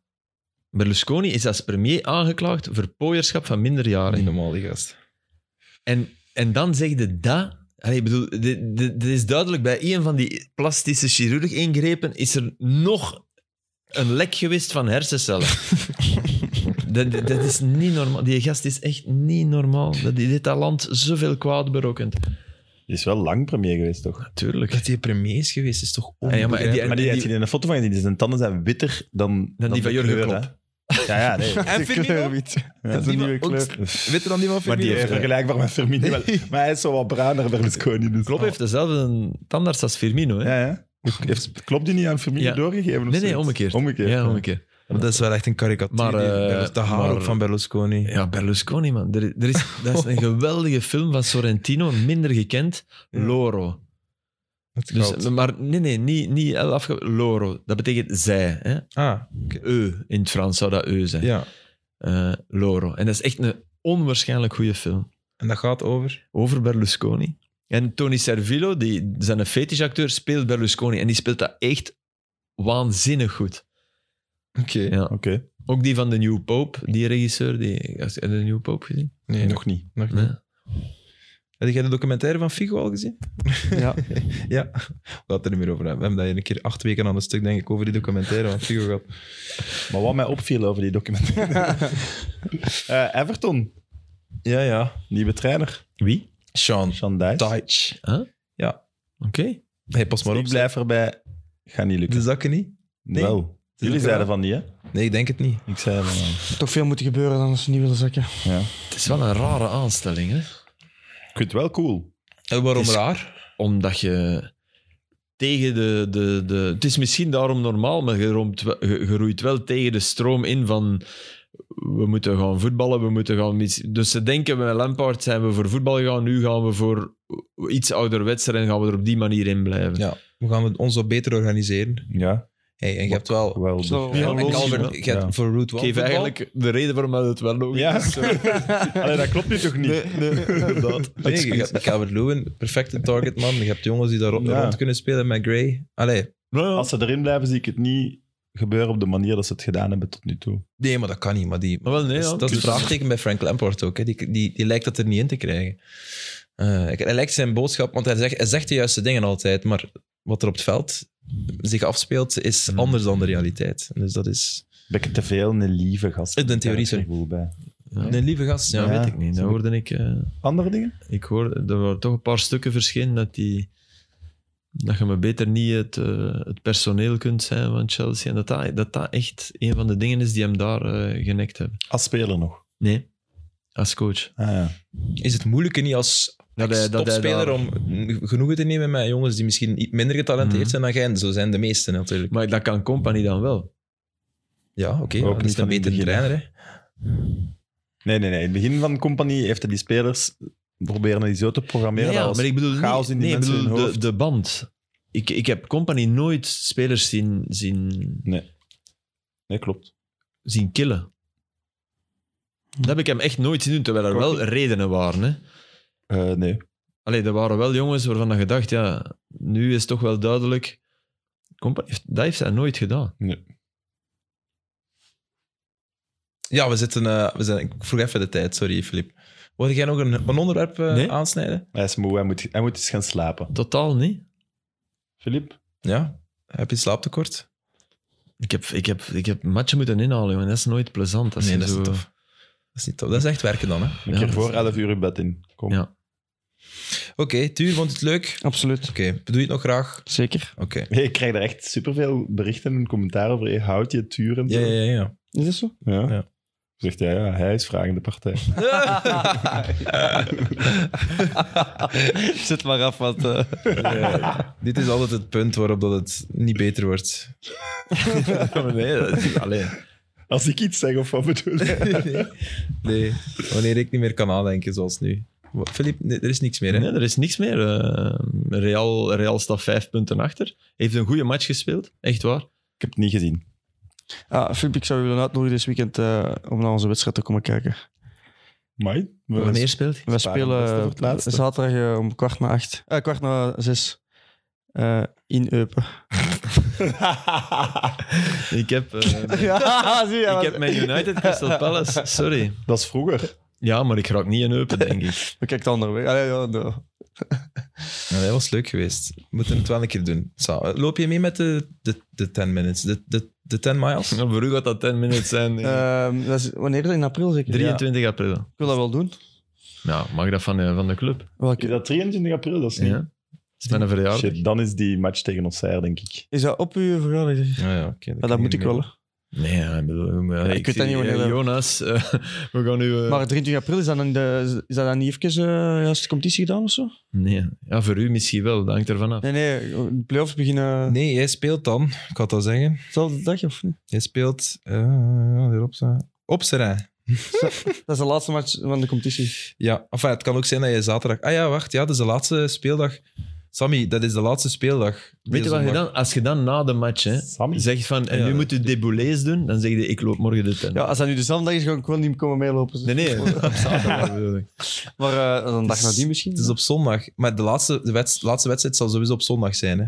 S3: Berlusconi is als premier aangeklaagd voor pooierschap van
S1: Niet
S3: minderjarigen.
S1: normaal, die gast.
S3: En, en dan zeg je dat... Allee, ik bedoel, dit- dit- dit is duidelijk, bij een van die plastische chirurg-ingrepen is er nog een lek geweest van hersencellen. dat, dat dat is niet normaal. Die gast is echt niet normaal. Dat die dit dat land zoveel kwaad berokkent.
S2: Die is wel lang premier geweest, toch?
S3: Natuurlijk.
S1: Dat hij premier is geweest, is toch
S3: Ja, maar die-
S1: onbegrijpelijk.
S2: maar die
S3: en
S2: heb
S3: die-
S2: je in een foto van gezien. Die zijn tanden zijn witter dan... Dan,
S3: die van
S2: de
S3: Jurgen
S2: kleur,
S3: Klopp.
S2: hè. Ja, ja,
S3: [LAUGHS]
S2: nee.
S1: En Firmino?
S4: Dat is een nieuwe kleur.
S1: Witter dan die van
S2: Maar die
S1: Firmino?
S2: heeft vergelijkbaar met Firmino. wel. Maar hij is zo wat bruiner, Berlusconi. Dus.
S3: Klopp heeft dezelfde tandarts als Firmino. Hè?
S2: Ja, ja. Heeft, klopt die niet aan Firmino
S3: Ja.
S2: doorgegeven? of
S3: nee, nee,
S2: zoiets?
S3: omgekeerd.
S2: Omgekeerd.
S3: Ja, omgekeerd.
S1: Maar dat is wel echt een karikatuur.
S3: Maar,
S1: die-
S3: eh,
S1: dat is de haar
S3: maar-
S1: ook van Berlusconi.
S3: Ja, Berlusconi, man. Er, er is, dat is een geweldige film van Sorrentino, minder gekend.
S1: Ja.
S3: Loro.
S1: Het goud.
S3: Dus, maar nee, nee, niet, niet L afge... Loro, dat betekent zij. Hè?
S1: ah,
S3: Eu, in het Frans zou dat eu zijn.
S1: ja.
S3: Eh, Loro. En dat is echt een onwaarschijnlijk goede film.
S1: En dat gaat over?
S3: over Berlusconi. En Tony Servillo, die, zijn een fetishacteur, speelt Berlusconi. En die speelt dat echt waanzinnig goed.
S1: Oké.
S3: Ja.
S2: Oké.
S3: Ook die van The New Pope, die regisseur. Die, heb je The New Pope gezien?
S1: Nee, nog,
S2: Nog niet.
S1: nog niet.
S3: Nee.
S1: Heb jij de documentaire van Figo al gezien?
S4: Ja.
S1: Ja. We gaan het er niet meer over hebben. We hebben dat hier een keer acht weken aan een stuk, denk ik, over die documentaire van Figo gehad.
S2: Maar wat mij opviel over die documentaire...
S3: [LAUGHS]
S2: Eh, Everton,
S1: Ja, ja.
S2: nieuwe trainer.
S3: Wie?
S1: Sean
S2: Sean Dyche.
S1: Deitch.
S3: Oké.
S1: Hey, pas maar
S2: Ik
S1: op.
S2: blijf erbij. Gaat niet
S1: De
S3: Dus
S2: lukken.
S1: zakken niet?
S2: Nee. Wel. Jullie
S1: lukt
S2: zeiden
S1: wel.
S2: van niet, hè?
S1: Nee, ik denk het niet.
S2: Ik zei van eh, wel.
S4: Toch veel moet gebeuren dan als ze niet willen zakken.
S3: Het is wel een rare aanstelling, hè?
S2: Ik vind het wel cool.
S1: En Eh, waarom
S3: Het is-
S1: raar?
S3: Omdat je tegen de, de, de... Het is misschien daarom normaal, maar je, roomt, wel- je, je roeit wel tegen de stroom in van... We moeten gaan voetballen, we moeten gaan... mis- Dus ze denken, met Lampard zijn we voor voetbal gegaan, nu gaan we voor iets ouderwets en gaan we er op die manier in blijven.
S1: Ja. We gaan het ons wat beter organiseren.
S2: Ja,
S1: Hey, en je hebt wel...
S2: wel. dus-
S4: Zo,
S1: Ja, en
S4: logisch,
S1: Calvert-
S2: wel.
S1: je hebt
S2: Ja.
S1: voor Route
S3: Ik
S1: 1
S3: geef eigenlijk de reden waarom dat het wel logisch
S2: Ja.
S1: [LAUGHS]
S3: is.
S2: [LAUGHS] Allee, dat klopt nu toch niet? [LAUGHS]
S3: inderdaad.
S1: Nee, je hebt Calvert-Lewin, perfecte targetman. Je hebt jongens die daar rond-
S2: Ja.
S1: rond kunnen spelen met Gray. Allee,
S2: Als ze erin blijven, zie ik het niet gebeuren op de manier dat ze het gedaan hebben tot nu toe.
S1: Nee, maar dat kan niet. Maar die,
S3: Maar wel, nee,
S1: dat is,
S3: ja. dus-
S1: dat is een vraagteken bij Frank Lampard ook. Hè. Die, die, die lijkt dat er niet in te krijgen. Eh, ik- hij lijkt zijn boodschap, want hij zegt, hij zegt de juiste dingen altijd, maar wat er op het veld zich afspeelt, is
S3: Hmm.
S1: anders dan de realiteit. En dus dat is
S2: Bekken te veel een lieve gast.
S1: In de theorie, sorry.
S2: Gevoel bij.
S1: een lieve gast.
S3: Ja,
S1: Ja.
S3: weet ik niet. Dat
S2: zo.
S3: hoorde ik... eh,
S2: Andere dingen?
S3: ik hoorde... Er waren toch een paar stukken verschenen dat die... Dat je maar beter niet het, eh, het personeel kunt zijn van Chelsea. En dat dat, dat dat echt een van de dingen is die hem daar eh, genekt hebben.
S2: Als speler nog.
S3: Nee. Als coach.
S2: Ah, ja.
S1: Is het moeilijker niet als
S3: Dat hij- dat hij
S1: topspeler
S3: daar-
S1: om genoegen te nemen met jongens die misschien iets minder getalenteerd
S3: Mhm.
S1: zijn dan jij? En zo zijn de meesten natuurlijk.
S3: Maar dat kan Company dan wel.
S1: Ja, oké.
S2: Ook
S1: ja, dat
S2: niet
S1: is
S2: van
S1: een
S2: in het
S1: betere
S2: begin, hè.
S1: trainer. Hè.
S2: Nee, nee, nee. In het begin van de compagnie heeft hij die spelers proberen die zo te programmeren.
S3: Nee, ja,
S2: dat was
S3: maar ik bedoel niet-
S2: chaos in die
S3: nee, ik
S2: mensen
S3: bedoel
S2: hun
S3: de-
S2: hoofd.
S3: De, band. Ik, ik heb Company nooit spelers zien, zien,
S2: Nee, klopt.
S3: zien killen. Dat heb ik hem echt nooit zien doen, terwijl er
S2: Ik ook
S3: wel redenen waren. Hè.
S2: Eh, nee.
S3: Allee, er waren wel jongens waarvan je dacht, ja, nu is het toch wel duidelijk. Company, heeft- dat heeft hij nooit gedaan.
S1: Ja, we zitten, eh, we zijn, ik vroeg even de tijd, sorry Filip. Wil jij nog een, een onderwerp eh,
S3: Nee.
S1: aansnijden?
S2: Hij is moe, hij moet, hij moet eens gaan slapen.
S3: Totaal niet.
S2: Filip?
S1: Ja? Heb je slaaptekort?
S3: Ik heb, ik heb, ik heb matchen moeten inhalen, jongen. Dat is nooit plezant. Als
S1: nee,
S3: je
S1: dat is,
S3: zo...
S1: niet tof. dat is niet tof. Dat is echt werken dan. hè. Oké,
S2: Een
S3: Ja,
S2: keer
S3: dat
S2: voor
S3: is-
S2: 11 uur in bed in. Kom.
S3: Ja.
S1: Tuur, vond je het leuk?
S4: Absoluut.
S1: Oké, bedoel je het nog graag?
S4: Zeker.
S1: Oké.
S2: Hey, ik krijg er echt superveel berichten en commentaar over. Hey, houd je turen?
S1: Ja, ja, ja. ja.
S4: Is dat zo?
S2: Ja.
S1: Ja.
S2: Zegt hij, ja, hij is vragende partij.
S4: Zet maar af, want... eh,
S1: Ja, Dit is altijd het punt waarop dat het niet beter wordt.
S3: [LAUGHS] nee, dat is, allee.
S2: [LAUGHS] Als ik iets zeg, of wat bedoel je?
S1: nee. nee, wanneer ik niet meer kan nadenken zoals nu. Wa- Filip, nee, er is niks meer. Hè?
S3: Nee, er is niks meer. Eh, Real, Real staat vijf punten achter. Heeft een goede match gespeeld, echt waar.
S2: Ik heb het niet gezien.
S4: ah, Filip, ik zou je willen uitnodigen dit weekend eh, om naar onze wedstrijd te komen kijken.
S2: Maar
S3: Wanneer speelt hij?
S4: Wij
S2: Sparen beste voor
S4: spelen
S2: het laatste.
S4: zaterdag eh, om kwart na acht. eh, kwart na zes. eh, in Eupen.
S3: Ik heb, eh,
S4: [LAUGHS] Ja, [LAUGHS] zie je.
S3: ik heb mijn United Crystal Palace, sorry.
S2: Dat is vroeger.
S3: Ja, maar ik raak niet in Eupen, denk ik.
S4: We kijken de andere weg. Allee, ja, de-
S1: Nou, dat was leuk geweest. We moeten het wel een keer doen. Zo, loop je mee met de, de, de 10 minutes, de, de, de 10 miles? Ah
S3: Maar voor u gaat dat 10 minutes zijn. eh, denk ik.
S4: Ehm, dat is, wanneer is dat? In april zeker? Ja.
S3: 23 april.
S4: Ik wil dat wel doen.
S3: Nou, mag dat van, eh, van de club?
S2: Is
S4: Welke,
S2: dat 23 april? Dat is niet...
S3: Ja. Dat is mijn verjaardag.
S2: Shit, dan is die match tegen ons zij, denk ik.
S4: is dat op uw verjaardag? Ja,
S1: ja, oké,
S4: Ah, dat
S1: kan
S4: moet ik wel. hè.
S3: Nee, ja, ik bedoel... maar
S4: ik weet dat
S3: zie,
S4: niet wanneer
S3: eh,
S4: dat-
S3: Jonas, eh, [LAUGHS] we gaan nu... eh,
S4: Maar 23 april, is dat dan, de, is dat dan niet even eh, juist de competitie gedaan of zo?
S3: Nee, ja, voor u misschien wel. Dat hangt ervan af.
S4: Nee, nee, de playoffs beginnen
S1: Nee, jij speelt dan, ik had al zeggen.
S4: dezelfde dag of niet?
S1: Jij speelt eh, weer op zijn. Op zijn rij.
S4: Dat is de laatste match van de competitie.
S1: Ja, enfin, het kan ook zijn dat je zaterdag. Ah ja, wacht, ja, dat is de laatste speeldag. Sammy, dat is de laatste speeldag.
S3: Weet je wat je dan... Als je dan na de match... Hè,
S2: Sammy?
S3: zegt van, en
S1: dus Ja,
S3: nu
S1: dat-
S3: moet je deboulés doen, dan zeg je, ik loop morgen de tent.
S4: Ja, als dat nu dezelfde dag is, ga ik wel niet komen meelopen.
S3: Nee, nee. op zaterdag bedoel ik.
S4: Maar eh, dan een dag nadien misschien?
S1: Het is op zondag. Maar de laatste, de wets- laatste wedstrijd zal sowieso op zondag zijn. Hè?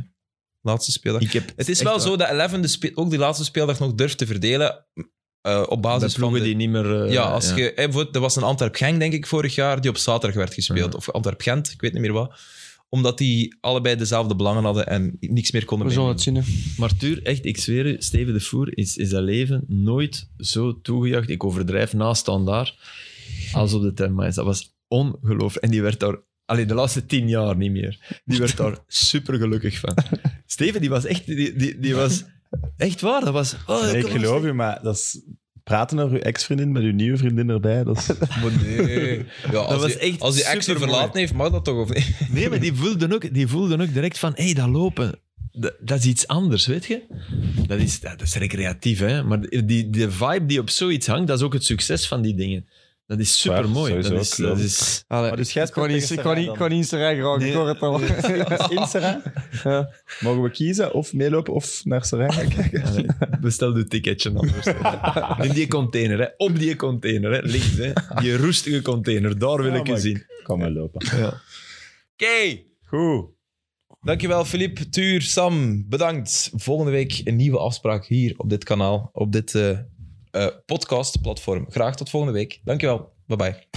S1: Laatste speeldag.
S3: Ik heb
S1: Het is
S3: echt
S1: wel
S3: waar.
S1: zo dat Eleven de spe- ook die laatste speeldag nog durft te verdelen. eh, op
S3: Bij
S1: basis van.
S3: ploegen
S1: de-
S3: die niet meer... eh,
S1: ja, als Je, eh, bijvoorbeeld, er was een Antwerp-Genk, denk ik, vorig jaar, die op zaterdag werd gespeeld.
S3: Ja.
S1: Of Antwerp-Gent, ik weet niet meer wat. Omdat die allebei dezelfde belangen hadden en niks meer konden
S4: We zullen
S1: meenemen.
S4: het zien. hè.
S3: Maar Tuur, echt, ik zweer u, Steven de Voer is, is dat leven nooit zo toegejaagd. Ik overdrijf naast daar als op de termijn. Dat was ongelooflijk. En die werd daar, alleen de laatste tien jaar niet meer, die
S2: [LAUGHS]
S3: werd daar super gelukkig van. Steven, die was echt, die, die, die was echt waar. Dat was, oh,
S2: Nee, ik
S3: kom,
S2: geloof je, maar dat is... Praten over uw ex-vriendin met uw nieuwe vriendin erbij, dat is...
S1: Maar nee. Ja, als
S3: was
S1: die-
S3: echt
S1: Als die ex je
S3: supermooi.
S1: verlaten heeft, mag dat toch? Of niet?
S3: Nee, maar die voelden ook, die voelden ook direct van, hé, hey, dat lopen, dat, dat is iets anders, weet je? Dat is, dat is recreatief, hè? Maar die, die vibe die op zoiets hangt, dat is ook het succes van die dingen. Dat is
S2: Waar,
S3: super mooi.
S2: sowieso,
S3: Dat is, dat
S2: klopt.
S3: is, [LAUGHS]
S4: Allee,
S2: Maar dus jij
S4: ik kon
S2: speelt
S4: niet, ik
S2: tegen
S4: kon niet, ik
S2: Sarah
S4: kon niet in zijn rij geraken, ik
S3: Nee.
S4: hoor het al.
S2: [LAUGHS]
S4: [LAUGHS]
S2: In Serrain?
S4: Ja.
S2: Mogen we kiezen of meelopen of naar Serrain gaan kijken?
S3: allee, bestel je ticketje anders. In die container, hè? op die container, hè? links. Hè? Die roestige container, daar wil
S2: Ja,
S3: ik je
S2: maar
S3: zien.
S2: Kom maar lopen.
S1: Oké.
S2: Goed.
S1: Dankjewel, Filip, Tuur, Sam. Bedankt. Volgende week een nieuwe afspraak hier op dit kanaal, op dit eh eh, podcastplatform. Graag tot volgende week. Dankjewel. Bye-bye.